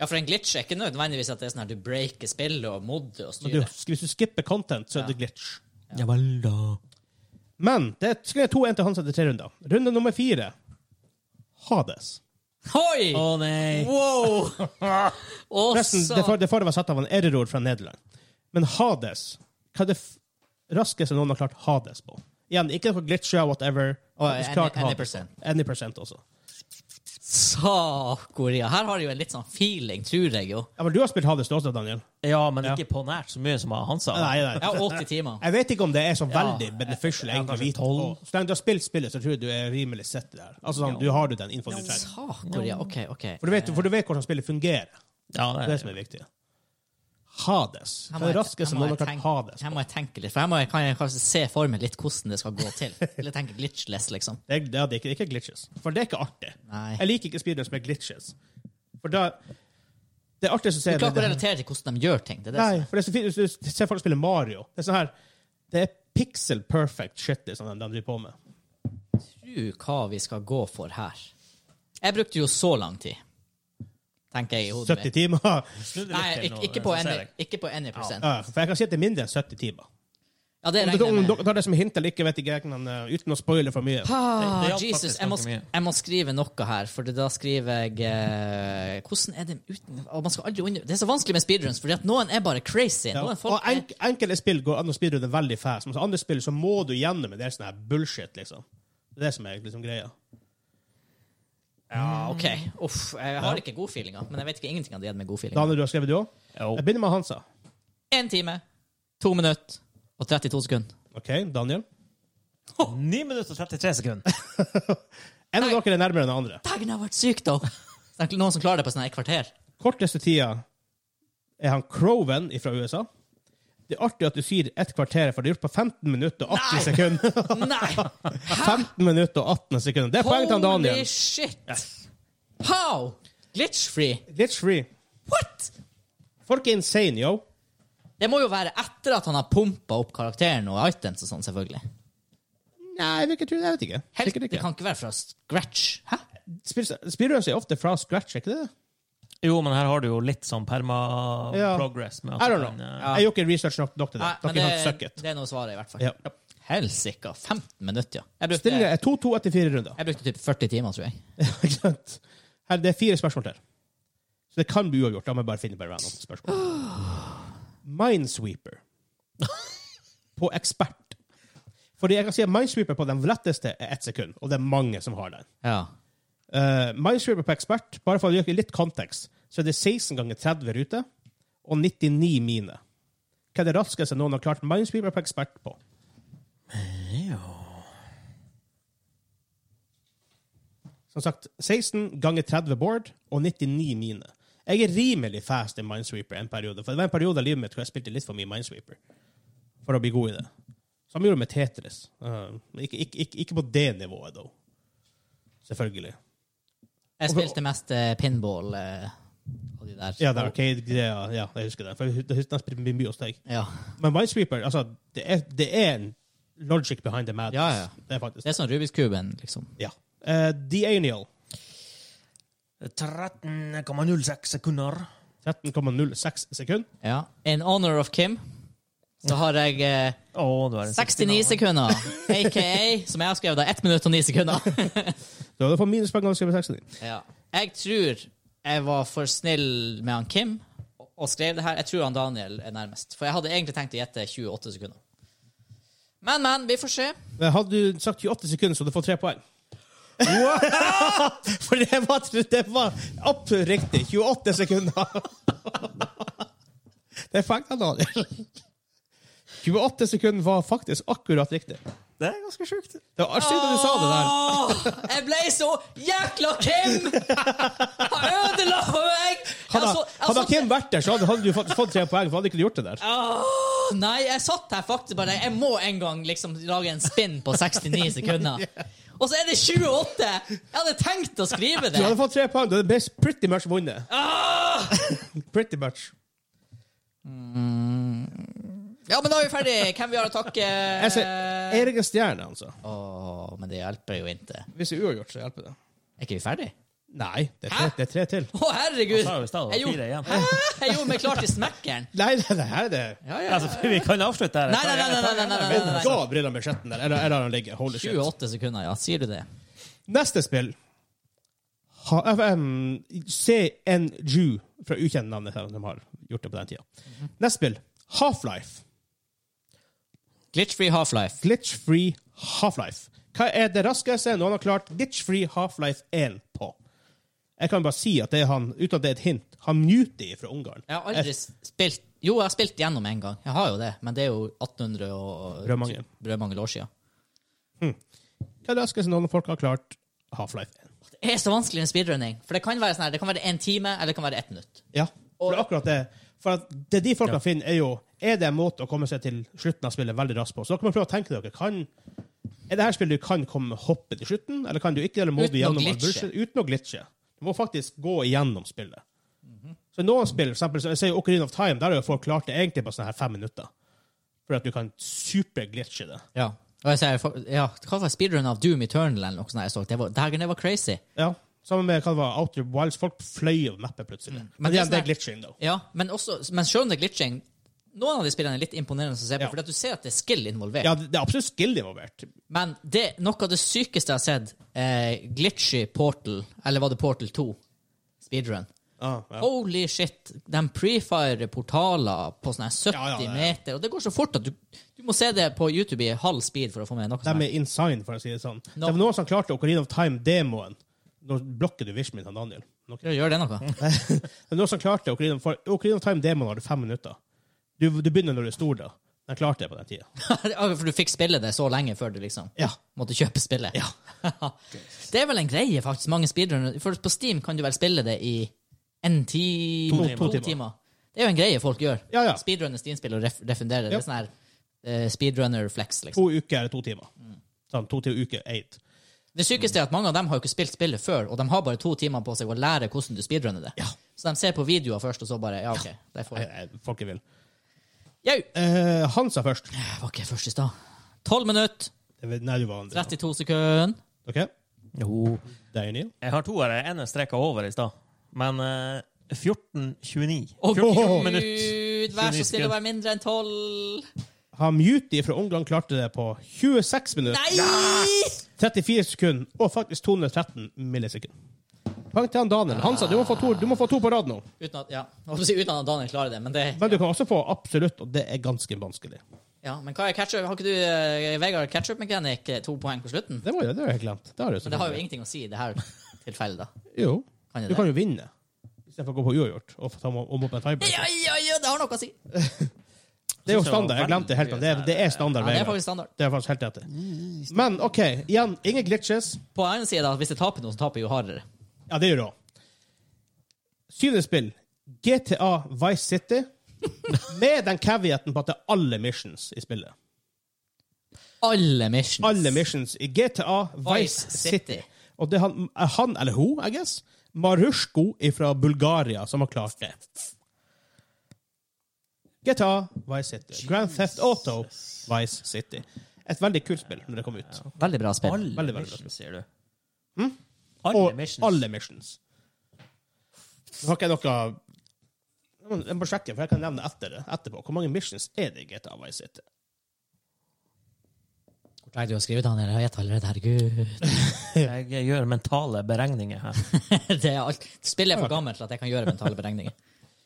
C: Ja, for en glitch er ikke nødvendigvis at det er sånn her du breaker spillet og mod og
A: Men du,
C: styrer.
A: hvis du skipper content, så er det glitch.
B: Ja vel, da.
A: Men det er- skal jeg to en til Hansa etter tre runder. Runde nummer fire. Hades.
C: Oi!
B: Å nei!
C: Wow! Og
A: <laughs> Forresten,
C: så
A: det for- det forrige var satt av en error fra Nederland. Men Hades Hva er det f- raskeste noen har klart Hades på? Igjen, ikke noe glitcher, whatever. Faktisk
C: any-
A: klart
C: any
A: Hades.
C: percent.
A: Any percent også.
C: Sa-Korea. Her har jeg jo en litt sånn feeling, tror jeg jo.
A: Ja, men du har spilt Hades du også, Daniel?
B: Ja, men ikke på nært så mye som han sa.
A: Nei, nei.
C: Jeg har 80 timer.
A: Jeg vet ikke om det er så veldig
B: Ja,
A: beneficial.
B: ja,
A: egentlig å
B: kanskje
A: vite
B: tolv.
A: på. Så lenge du har spilt spillet, så tror jeg du er rimelig sett der. Altså, sånn, Du har du den infoen du trenger.
C: Sa-Korea. OK, OK.
A: For du, vet, for du vet hvordan spillet fungerer.
B: Ja,
A: Det er det som er viktig. Hades.
C: Her
A: Det
C: må
A: er
C: jeg-
A: det raskeste
C: her
A: noen
C: må
A: har
C: jeg
A: klart
C: tenke-
A: Hades.
C: Her må jeg tenke litt, for her må jeg, kan jeg kanskje se for meg litt hvordan det skal gå til. Eller tenke glitchless, liksom.
A: Det er, ja, det er ikke, ikke glitches. For det er ikke artig.
C: Nei.
A: Jeg liker ikke speedruns med glitches. For da Det er artig å se
C: Du klarer
A: det-
C: ikke å relatere til hvordan de gjør ting. Det er det som
A: Nei, for det er så fint hvis du ser folk spille Mario. Det er sånn her Det er pixel perfect shit det er sånn de driver på med.
C: tro hva vi skal gå for her. Jeg brukte jo så lang tid, tenker jeg i hodet
A: 70 timer.
B: Snu det litt
C: Nei,
B: til
C: ikke,
B: nå,
C: ikke, på
B: så ser
C: any,
B: jeg.
C: ikke på any percent.
A: Ja, for jeg kan si at det er mindre enn 70 timer.
C: Ja, det
A: Om dere,
C: regner jeg
A: om
C: med.
A: dere tar det som hint eller ikke, vet ikke jeg, men eh, uten å spoile for mye.
C: Ah,
B: Det- det hjalp
C: Jesus,
B: faktisk
C: jeg må,
B: ganske mye.
C: jeg må skrive noe her, for da skriver jeg eh, Hvordan er det uten og man skal aldri under, Det er så vanskelig med speedruns, fordi at noen er bare crazy.
A: Ja.
C: Noen
A: Og
C: folk er,
A: enk, enkelte spill går an å speedrunne veldig fast. Men så andre spill så må du gjennom en del sånn her bullshit, liksom. Det er det som er liksom greia.
C: ja, OK. Uff, jeg har ikke godfeelinga, men jeg vet ikke ingenting hadde gitt meg godfeelinga.
A: Daniel, du har skrevet det òg?
B: Jo.
A: Jeg begynner med Hansa.
C: Én time, to minutter og 32 sekunder.
A: OK, Daniel.
B: 9 minutter og 33 sekunder.
A: En av
C: Nei.
A: dere er nærmere enn den andre.
C: Dagen har vært syk, da! Det er noen som klarer det på sånn her et kvarter.
A: Korteste tida er han Crowen fra USA. Det er artig at du sier ett kvarter, for det er gjort på 15 minutter og 18
C: Nei. <laughs>
A: sekunder.
C: Nei!
A: <laughs> 15 minutter og 18 sekunder. Det er poeng til han
C: Holy
A: Daniel.
C: shit! How? Glitch-free?
A: Glitch free.
C: What?!
A: Folk er insane, yo.
C: Det må jo være etter at han har pumpa opp karakteren og items og sånn, selvfølgelig.
A: Nei, jeg vil ikke tro det. Jeg vet ikke.
C: Helt,
A: Sikkert
C: det
A: ikke.
C: kan ikke være fra scratch. Hæ?
A: Spill- Speedruns er ofte fra scratch, er ikke det?
B: Jo, men her har du jo litt sånn
A: Ja.
B: perma-progress. med at
A: I don't
B: du
A: know.
B: kan, eh,
A: Jeg gjorde ikke research nok, nok til det.
C: Nei,
A: Dere
C: men det,
A: kan søke it.
C: det er noe svaret, i hvert fall.
A: Ja. eh,
C: Helsike. 15 minutter, ja. Jeg brukte,
A: Stillinga er 2-2 etter fire runder.
C: jeg brukte typ 40 timer, tror jeg.
A: <laughs> Ikke sant? Her, det er fire spørsmål til. Så det kan bli uavgjort. Da må jeg bare finne på et random spørsmål. Minesweeper. På ekspert. Fordi jeg kan si at Minesweeper på den letteste er ett sekund, og det er mange som har den.
C: Ja.
A: Eh, Minesweeper på ekspert, bare for å gjøre litt kontekst, så er det 16 ganger 30 ruter og 99 mine. Hva er det raskeste noen har klart Minesweeper på ekspert på? Som sagt, 16 ganger 30 board og 99 mine. Jeg er rimelig fast i Minesweeper en periode, for det var en periode i livet mitt hvor jeg spilte litt for mye Minesweeper for å bli god i det. Samme gjorde jeg med Tetris. Uh, men ikke, ikke, ikke, ikke på det nivået, da. Selvfølgelig.
C: Jeg spilte mest eh, pinball eh, og de der.
A: Ja, det er arcade-greia. Ja, jeg husker det. For jeg hus- jeg husker jeg spilte mye hos deg.
C: Ja.
A: Men Minesweeper, altså, det er, det er en logic behind the madness.
C: Ja, ja.
A: Det er faktisk
C: Det er sånn Rubiks kuben, liksom.
A: Ja. Uh, The Aniel.
B: eh, 13,06 sekunder.
A: 13,06 sekunder.
C: Ja. In honor of Kim så har jeg eh,
B: Å, du er en
C: 69
B: 69.
C: sekunder, aka, som jeg har skrevet, da, 1 minutt og 9 sekunder.
A: Så du får minuspoeng av å skrive 69.
C: Ja. Jeg tror jeg var for snill med han Kim og- og skrev det her. Jeg tror han Daniel er nærmest. For jeg hadde egentlig tenkt å gjette 28 sekunder. Men, men, vi får se.
A: Men Eh, Hadde du sagt 28 sekunder, så hadde du fått tre poeng. <laughs> For det var, det var absolutt riktig. 28 sekunder. <laughs> Det fant jeg, Daniel. 28 sekunder var faktisk akkurat riktig.
B: Det er ganske sjukt.
A: Det var sykt at du sa det der.
C: Åh, jeg ble så jækla Kim! Han ødela for meg! Jeg
A: Hadde,
C: så- jeg
A: hadde
C: satt-
A: Kim vært der, så hadde, hadde du fått, fått tre poeng. For hadde ikke du gjort det der.
C: Åh, Nei, jeg satt her faktisk bare Jeg må en gang liksom lage en spinn på 69 sekunder. Og så er det 28! Jeg hadde tenkt å skrive
A: Du hadde
C: det.
A: fått tre poeng. Du hadde best- pretty much vunnet.
C: Åh!
A: <laughs> Pretty much.
C: Ja, men da er vi ferdig. Hvem vi har å takke?
A: Jeg ser Erik er stjerne, altså.
C: Åh, men det hjelper jo ikke.
A: Hvis det er uavgjort, så hjelper det.
C: Er ikke vi ferdig?
A: Nei, det er tre,
C: Hæ?
A: det er tre til.
C: Å, herregud!
B: Sa jo i stad, det var
C: Jeg gjorde-
B: fire igjen.
C: Hæ? Jeg gjorde meg klar til smekkeren.
A: Nei, det, det her er det
C: Ja, ja.
B: <laughs> Altså, vi kan avslutte her.
C: Nei, nei, nei, nei, nei, nei, nei, nei, nei.
A: Ga brillene med skjetten der. Eller, eller han ligger. Holy shit.
C: 28 sekunder, ja. Sier du det?
A: Neste spill ha, um, Se en Jew fra ukjent navn. det er De har gjort det på den tida. Neste spill. Half-Life.
C: Glitch-free half-life.
A: Glitch-free Half-Life. Hva er det raskeste noen har klart glitch-free Half-Life 1 på? Jeg kan bare si at det er han, uten at det er et hint, han Muti fra Ungarn.
C: Jeg har aldri spilt Jo, jeg har spilt gjennom en gang. Jeg har jo det, men det er jo 1800 og
A: Brødmangel.
C: brødmangel år siden.
A: Hva er det raskeste noen folk har klart Half-Life 1?
C: Det er så vanskelig med speedrunning. For det kan være sånn her, det kan være en time, eller det kan være ett minutt.
A: Ja, for det er akkurat det. For at det de folka finner, er jo Er det en måte å komme seg til slutten av spillet veldig raskt på? Så dere må prøve å tenke dere. Kan, er det her spillet du kan komme hoppe til slutten, eller kan du ikke? Eller må
C: Uten
A: du
C: å
A: gjennom all
C: glitche.
A: bullshit- Uten å glitche. Du må faktisk gå igjennom spillet.
C: Mhm.
A: Så i noen spill, for eksempel, så jeg ser jo Ocarina of Time, der har jo folk klart det egentlig på sånne her fem minutter. For at du kan superglitche det.
C: Ja. Og jeg sier, for- ja, hva var speedrun av Doom Eternal eller noe sånt? Jeg så. Det var, det her det var crazy.
A: Ja. Sammen med hva det var, Outer Wilds. Folk fløy over mappet plutselig. Men,
C: Mm.
A: igjen,
C: det er
A: det
C: sånn
A: er glitching, da.
C: Ja, men, også, men selv om det er glitching, noen av de spillene er litt imponerende å se på,
A: Ja.
C: fordi at du ser at det er skill involvert.
A: Ja, det det er absolutt skill involvert.
C: Men det, noe av det sykeste jeg har sett, eh, glitchy Portal, eller var det Portal 2, speedrun.
A: Ah, ja.
C: Holy shit, de prefirer portaler på sånne her 70
A: Ja, ja, det er-
C: meter, og det går så fort at du, du må se det på YouTube i halv speed for å få med noe
A: De
C: sånt.
A: er insane, for å si det sånn.
C: No.
A: Det var noen som klarte Ocarina of Time-demoen. Nå blokker du vishen min, han Daniel. Nå-
C: Ja, Gjør det
A: <laughs>
C: noe?
A: Det er noen som klarte Ocarina, for Ocarina of Time-demoen har du fem minutter. Du, du begynner når du er stor, da. De klarte det på den tida.
C: for du fikk spille det så lenge før du liksom
A: Ja.
C: måtte kjøpe spillet. <laughs> det er vel en greie, faktisk, mange speedrunnere. For på Steam kan du vel spille det i en time,
A: To
C: to,
A: timer.
C: timer. Det er jo en greie folk gjør.
A: Ja, ja.
C: Speedrunner Steam-spill og ref refunderer. Det
A: Ja.
C: er sånn her eh, speedrunner flex, liksom.
A: To uker eller to timer. Sånn, to til uke, eight.
C: Det sykeste er at mange av dem har jo ikke spilt spillet før, og de har bare to timer på seg å lære hvordan du speedrunner det. Så de ser på videoer først, og så bare Ja, OK, det får
A: Nei,
C: jeg.
A: nei, eh, Folk er vill.
C: Jau!
A: Eh, Hansa først.
C: Jeg var ikke først i stad. 12 minutter,
A: Det var- Nei, du var andre.
C: 32 sekunder.
A: OK?
B: Jo.
A: Daniel.
B: Jeg har to her. En er streka over i stad. Men eh, 14.29.
C: Og
B: 14 minutter.
C: Gud, vær så snill å være mindre enn 12.
A: Ha Muti fra Ungarn klarte det på 26 minutter.
C: Nei!
A: 34 sekunder og faktisk 213 millisekunder. Poeng til han Daniel. Hansa, du må få to, du må få to på rad nå.
C: Uten at, ja, jeg holdt på å si uten at Daniel klarer det, men det
A: Men du kan også få absolutt, og det er ganske vanskelig.
C: Ja, men hva er ketchup? Har ikke du, eh, Vegard, ketchup-mekanikk eh, to poeng på slutten?
A: Det var jo det har jeg glemt. Det har, du
C: Men det har jo
A: selvfølgelig.
C: ingenting å si i det her tilfellet, da.
A: jo.
C: Kan jeg
A: Du
C: det?
A: kan jo vinne. Istedenfor å gå på uavgjort og få ta om om opp en
C: Ja,
A: tiebreaker.
C: ja, ja, det har noe å si! Ja,
A: Det er jo standard. Jeg glemte det helt. Det er, det er standard.
C: det er
A: Vegard.
C: faktisk standard. Mm,
A: det er faktisk helt rett. Men OK, igjen, ingen glitches.
C: På den ene siden, da, hvis jeg taper noe, så taper jeg jo hardere.
A: Ja, det gjør det òg. Syvende spill, GTA Vice City,
C: <laughs>
A: med den caveaten på at det er alle missions i spillet.
C: Alle missions.
A: Alle missions i GTA Vice
C: Vice
A: City.
C: City.
A: Og det er han, er han eller hun, I guess, Marushko fra Bulgaria som har klart det. GTA Vice City. Grand Theft Auto Vice City. Et veldig kult spill når det kom ut.
C: Veldig bra spill.
B: Alle
A: Veldig, veldig bra.
B: missions, sier du.
A: Og
B: Hm? Alle missions.
A: alle missions. Nå har ikke jeg noe Jeg må sjekke, for jeg kan nevne etter det, etterpå. Hvor mange missions er det i GTA Vice City?
C: Hvor er det du har skrevet, Daniel? Jeg har gjett allerede, herregud. <laughs>
B: Jeg gjør mentale beregninger her.
C: det er alt. Spillet er for gammelt til at jeg kan gjøre mentale beregninger.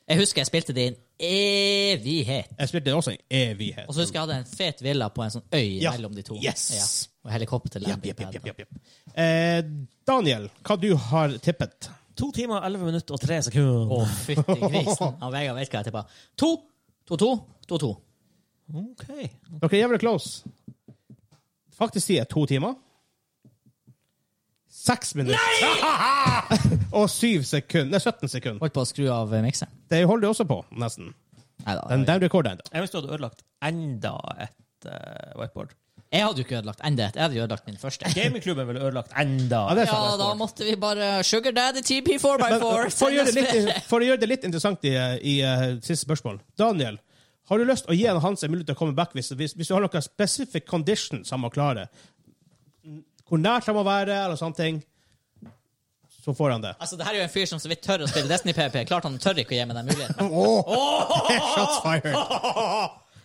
C: Jeg husker jeg spilte det i en evighet.
A: Jeg spilte det også i evighet.
C: Og så husker jeg hadde en fet villa på en sånn øy
A: Ja.
C: mellom de to.
A: Yes.
C: Ja. Og helikopter.
A: Japp, japp, japp, japp, japp, japp. Eh, Daniel, hva du har tippet?
B: To timer, 11 minutter og 3 sekunder.
C: Å, fytti grisen.
A: <laughs>
C: Ja, Vegard vet hva jeg tippa. To, to, to, to, to.
B: OK.
A: Dere er jævlig close. Faktisk sier jeg to timer. Seks minutter. <laughs> og syv sekunder. Nei, 17 sekunder.
C: Holdt på å skru av eh, mikseren.
A: Det holder du også på, nesten.
C: Nei da.
A: Den, den rekorder jeg ennå.
B: Jeg visste du hadde ødelagt enda et eh, whiteboard.
C: Jeg hadde jo ikke ødelagt enda et. Jeg hadde jo ødelagt min første.
B: Gamingklubben ville ødelagt enda
A: Ja, <laughs> det er
C: Ja,
A: sant.
C: da måtte vi bare Sugar Daddy TP 4x4.
A: Men øh, eh, for å gjøre det litt, for å gjøre det litt interessant i, i eh, siste spørsmål Daniel, har du lyst å gi han Hans en mulighet til å komme back hvis, hvis, hvis du har noen specific conditions han må klare? Hvor nært han må være, eller sånne ting. Så får han det.
C: Altså, det her er jo en fyr som så vidt tør å spille Destiny-PP. Klart han tør ikke å gi meg den muligheten.
A: <laughs> Shots fired.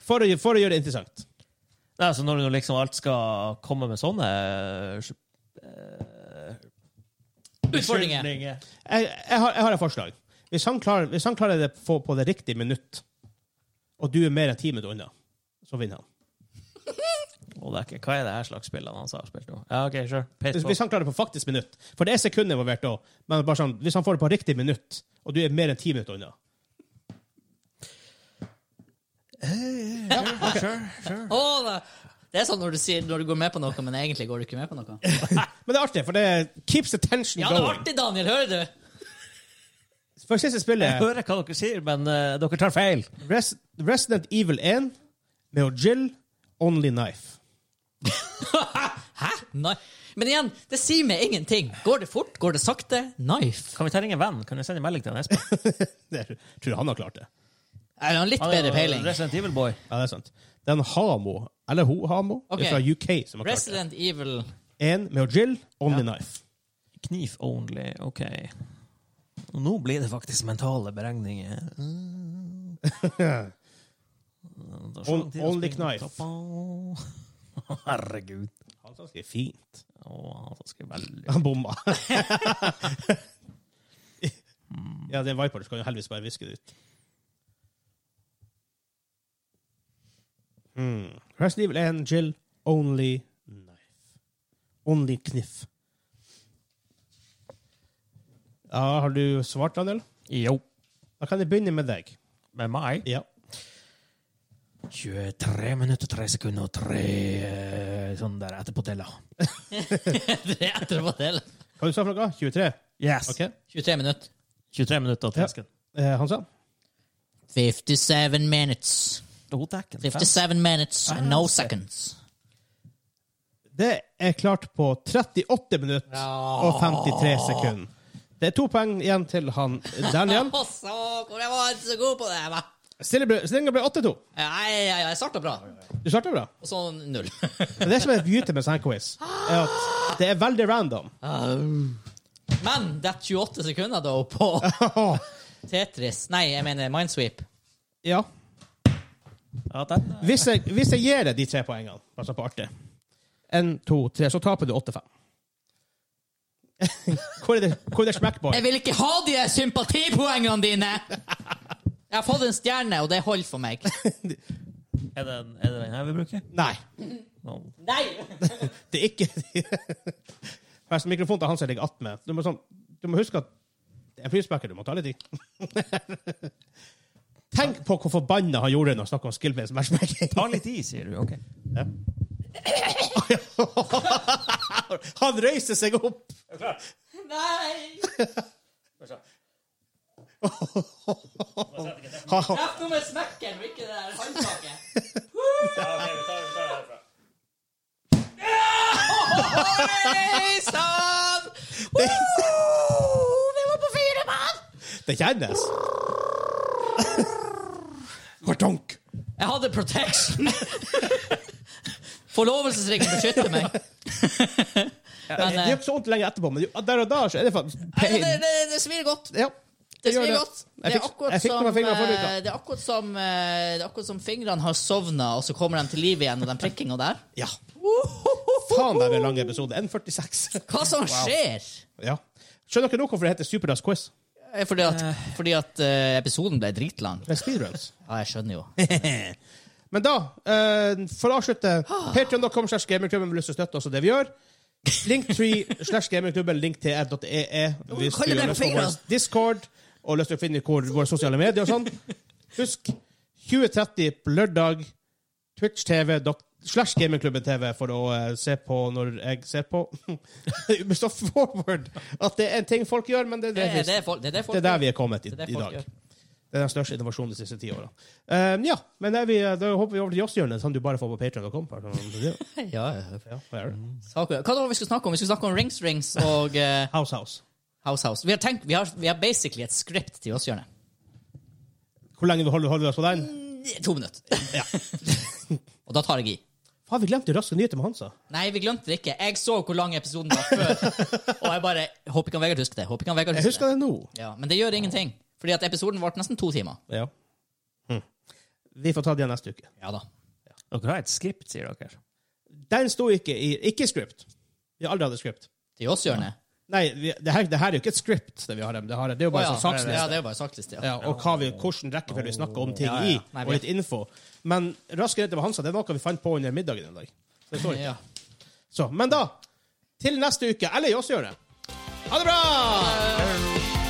A: For å, for å gjøre det interessant.
B: Nei, så når du liksom alt skal komme med sånne eh,
C: Utfordringer.
B: beskyldninger.
A: Jeg, jeg, har, jeg har et forslag. Hvis han klarer, hvis han klarer det på, på det riktige minutt, og du er mer enn ti minutter unna, så vinner han.
B: Å, det er ikke, hva er det her slags spillene han har spilt nå? Ja, OK, sure. Pace
A: Hvis,
B: på.
A: hvis han klarer det på faktisk minutt, for det er sekunder involvert òg, men bare sånn, hvis han får det på riktig minutt, og du er mer enn ti minutter unna
B: Ja, sure, sure.
C: Å, det- det er sånn når du, sier, når du går med på noe, men egentlig går du ikke med på
A: <laughs>
C: noe.
A: Men det er artig, for det keeps attention
C: Ja, det var
A: going.
C: artig, Daniel. Hører du?
A: For siste
B: Jeg
A: spillet,
B: hører hva dere sier, men eh, dere tar feil.
A: Res Resident Evil 1 med å Jill Only Knife.
C: Hæ? Nei. Men igjen, det sier meg ingenting. Går det fort? Går det sakte? Knife.
B: Kan vi ta ringe en venn? Kan du sende en melding til han Espen?
A: Det er- tror jeg han har klart det.
C: Er han litt
B: Han er
C: bedre
B: jo
C: peiling?
B: Resident Evil Boy.
A: Ja, det er sant. Det er en Hamo, eller hun Hamo,
C: Ok.
A: er fra UK som har klart det.
C: Resident Evil <laughs>
A: En med Jill, Only Knife.
B: Kniv only, OK. <laughs> Og nå blir det faktisk mentale beregninger. Det tar så lang tid å
A: Only
B: springe
A: knife.
B: opp trappa. <laughs> Herregud.
A: Han sa skrive fint.
B: Å, han skal veldig
A: Han <laughs> bomma. Mm. ja, det er en Viper, du skal jo heldigvis bare viske det ut. Hmm. Resident Evil 1, Jill, only knife. Only kniff. Ja, har du svart, Daniel?
B: Jo.
A: Da kan jeg begynne med deg.
B: Med meg
A: Ja.
B: 23 minutter, 3 sekunder og 3 eh, sånn der etterpådeler.
C: Det er etter å få til.
A: Hva du sa for noe? 23?
B: Yes!
A: Ok.
C: 23 minutter.
B: 23 minutter og 3
A: Ja.
B: sekunder.
A: Eh, han sa?
C: 57 minutes.
B: Oh, dekken.
C: 57 minutes and no seconds.
A: Det er klart på 38 minutter og 53 sekunder. Det er to poeng igjen til han Daniel.
C: Å, så, hvor jeg var så god på det her, hva?
A: Stillinga ble, stillingen ble 8-2.
C: Nei, ja, ja, jeg starta bra,
A: Du starta bra.
C: og så null. <laughs>
A: Men det som er beauty med sånn quiz, er at det er veldig random.
C: Um. Men det er 28 sekunder, da, <laughs> på Tetris Nei, jeg mener Mindsweep.
A: Ja.
B: Ja, den, eh,
A: Hvis jeg, hvis jeg gir deg de tre poengene, bare sånn på artig, én, to, tre, så taper du 8-5. <laughs> Hvor er det, hvor er det smackboy?
C: Jeg vil ikke ha de her sympatipoengene dine! Jeg har fått en stjerne, og det holder for meg.
B: er, det, er det den her vi bruker?
A: Nei.
B: No.
C: Nei!
A: Det er ikke <laughs> Forresten, mikrofonen til han som jeg ligger attmed. Du, må sånn, du må huske at det er en frisparker, du må ta litt i. <laughs> Tenk på hvor forbanna han gjorde når han snakket om skill-based matchmaking.
B: Ta litt i, sier du. Ok.
A: <laughs> Han reiser seg opp! <laughs>
C: Nei! Treff nå med smekken, og ikke det der håndtaket. <laughs> Hei sann! <laughs>
A: Det,
C: Oh, Vi var på fire mann!
A: det kjennes. <laughs> Kartonk.
C: Jeg hadde protection. <laughs> Forlovelsesringen beskytter meg. Men,
A: Det
C: eh,
A: gjør ikke så vondt lenge etterpå, men jo- der og da så er det faktisk
C: <laughs> nei, men
A: pain.
C: det, det, det svir godt.
A: Ja,
C: Det
A: gjør
C: svir godt. Det
A: Jeg
C: er
A: fikk-
C: akkurat
A: jeg fikk
C: som,
A: noen fingre forrige
C: eh,
A: uke.
C: det er akkurat som, eh, det er akkurat som fingrene har sovna, og så kommer de til liv igjen, og den prikkinga
A: <laughs>
C: der.
A: Ja. Faen, det er en lang episode. 1,46.
C: Hva som skjer?
A: <laughs> Ja. Skjønner dere nå hvorfor det heter Superdags quiz?
C: Eh, Fordi at, fordi at eh, episoden ble dritlang.
A: Det er speedruns.
C: Ja, jeg skjønner
A: <laughs>
C: jo.
A: Men da, eh, for å
C: <gasps>
A: avslutte Patreon.com slash gamingklubben vil lyst til å støtte oss og det vi gjør.
C: <laughs>
A: Linktree slash gamingklubben, linktr.ee E hvis
C: Kaller
A: du har
C: det
A: lyst på
C: fingeren.
A: vår Discord og lyst til å finne hvor våre sosiale medier og sånn.
C: <laughs>
A: Husk 2030 på lørdag Twitch-TV dok- slash gamingklubben TV for å eh, se på når jeg ser på <laughs> Ubisoft Forward. At det er en ting folk gjør, men det er
C: Det
A: det,
C: er
A: vi,
C: det folk- det er det folk
A: det er der vi er kommet i,
C: Det er det
A: i
C: folk
A: dag.
C: gjør.
A: Det er den største innovasjonen de siste ti åra. Um, ja, men er vi, da hopper vi over til Joss-hjørnet, som du bare får på Patreon.com. Ja,
C: <laughs> Ja, ja.
A: det er det.
C: Saker. Hva var det vi skulle snakke om? Vi skulle snakke om Rings Rings og eh,
A: House House.
C: House House. Vi har, tenkt, vi har, vi har basically et script til oss, Jørne.
A: Hvor lenge holder holder vi oss på den?
C: To minutter.
A: Ja.
C: <laughs> Og da tar jeg i.
A: Faen, vi glemte jo Raske nyheter med Hansa.
C: Nei, vi glemte det ikke. Jeg så hvor lang episoden var <laughs> før. Og jeg bare Håper ikke han Vegard husker det. Håper ikke han Vegard
A: Jeg
C: husker det.
A: husker det nå.
C: Ja, men det gjør ingenting. Fordi at episoden varte nesten to timer.
A: Ja. Hm. Vi får ta det igjen neste uke.
C: Ja da.
B: Dere har et skript, sier dere.
A: Den sto ikke i Ikke script. Vi har aldri hatt et script.
C: Til oss, Jørne.
A: Nei, vi, det, her, det her er jo ikke et script, det vi har. Det, har, det er jo
C: Å
A: bare
C: ja.
A: sånn saksliste.
C: ja, det er bare saksliste. Ja.
A: Ja, og hva vi, hvordan rekkefølge vi snakker om ting
C: Ja, ja.
A: i,
C: Nei,
A: og
C: vi-
A: litt info. Men Raske nyheter med Hansa det er noe vi fant på under middagen en dag. Så det står
C: <laughs>
A: ikke.
C: Ja.
A: Så, men da, til neste uke, eller i oss gjør det. Ha det bra!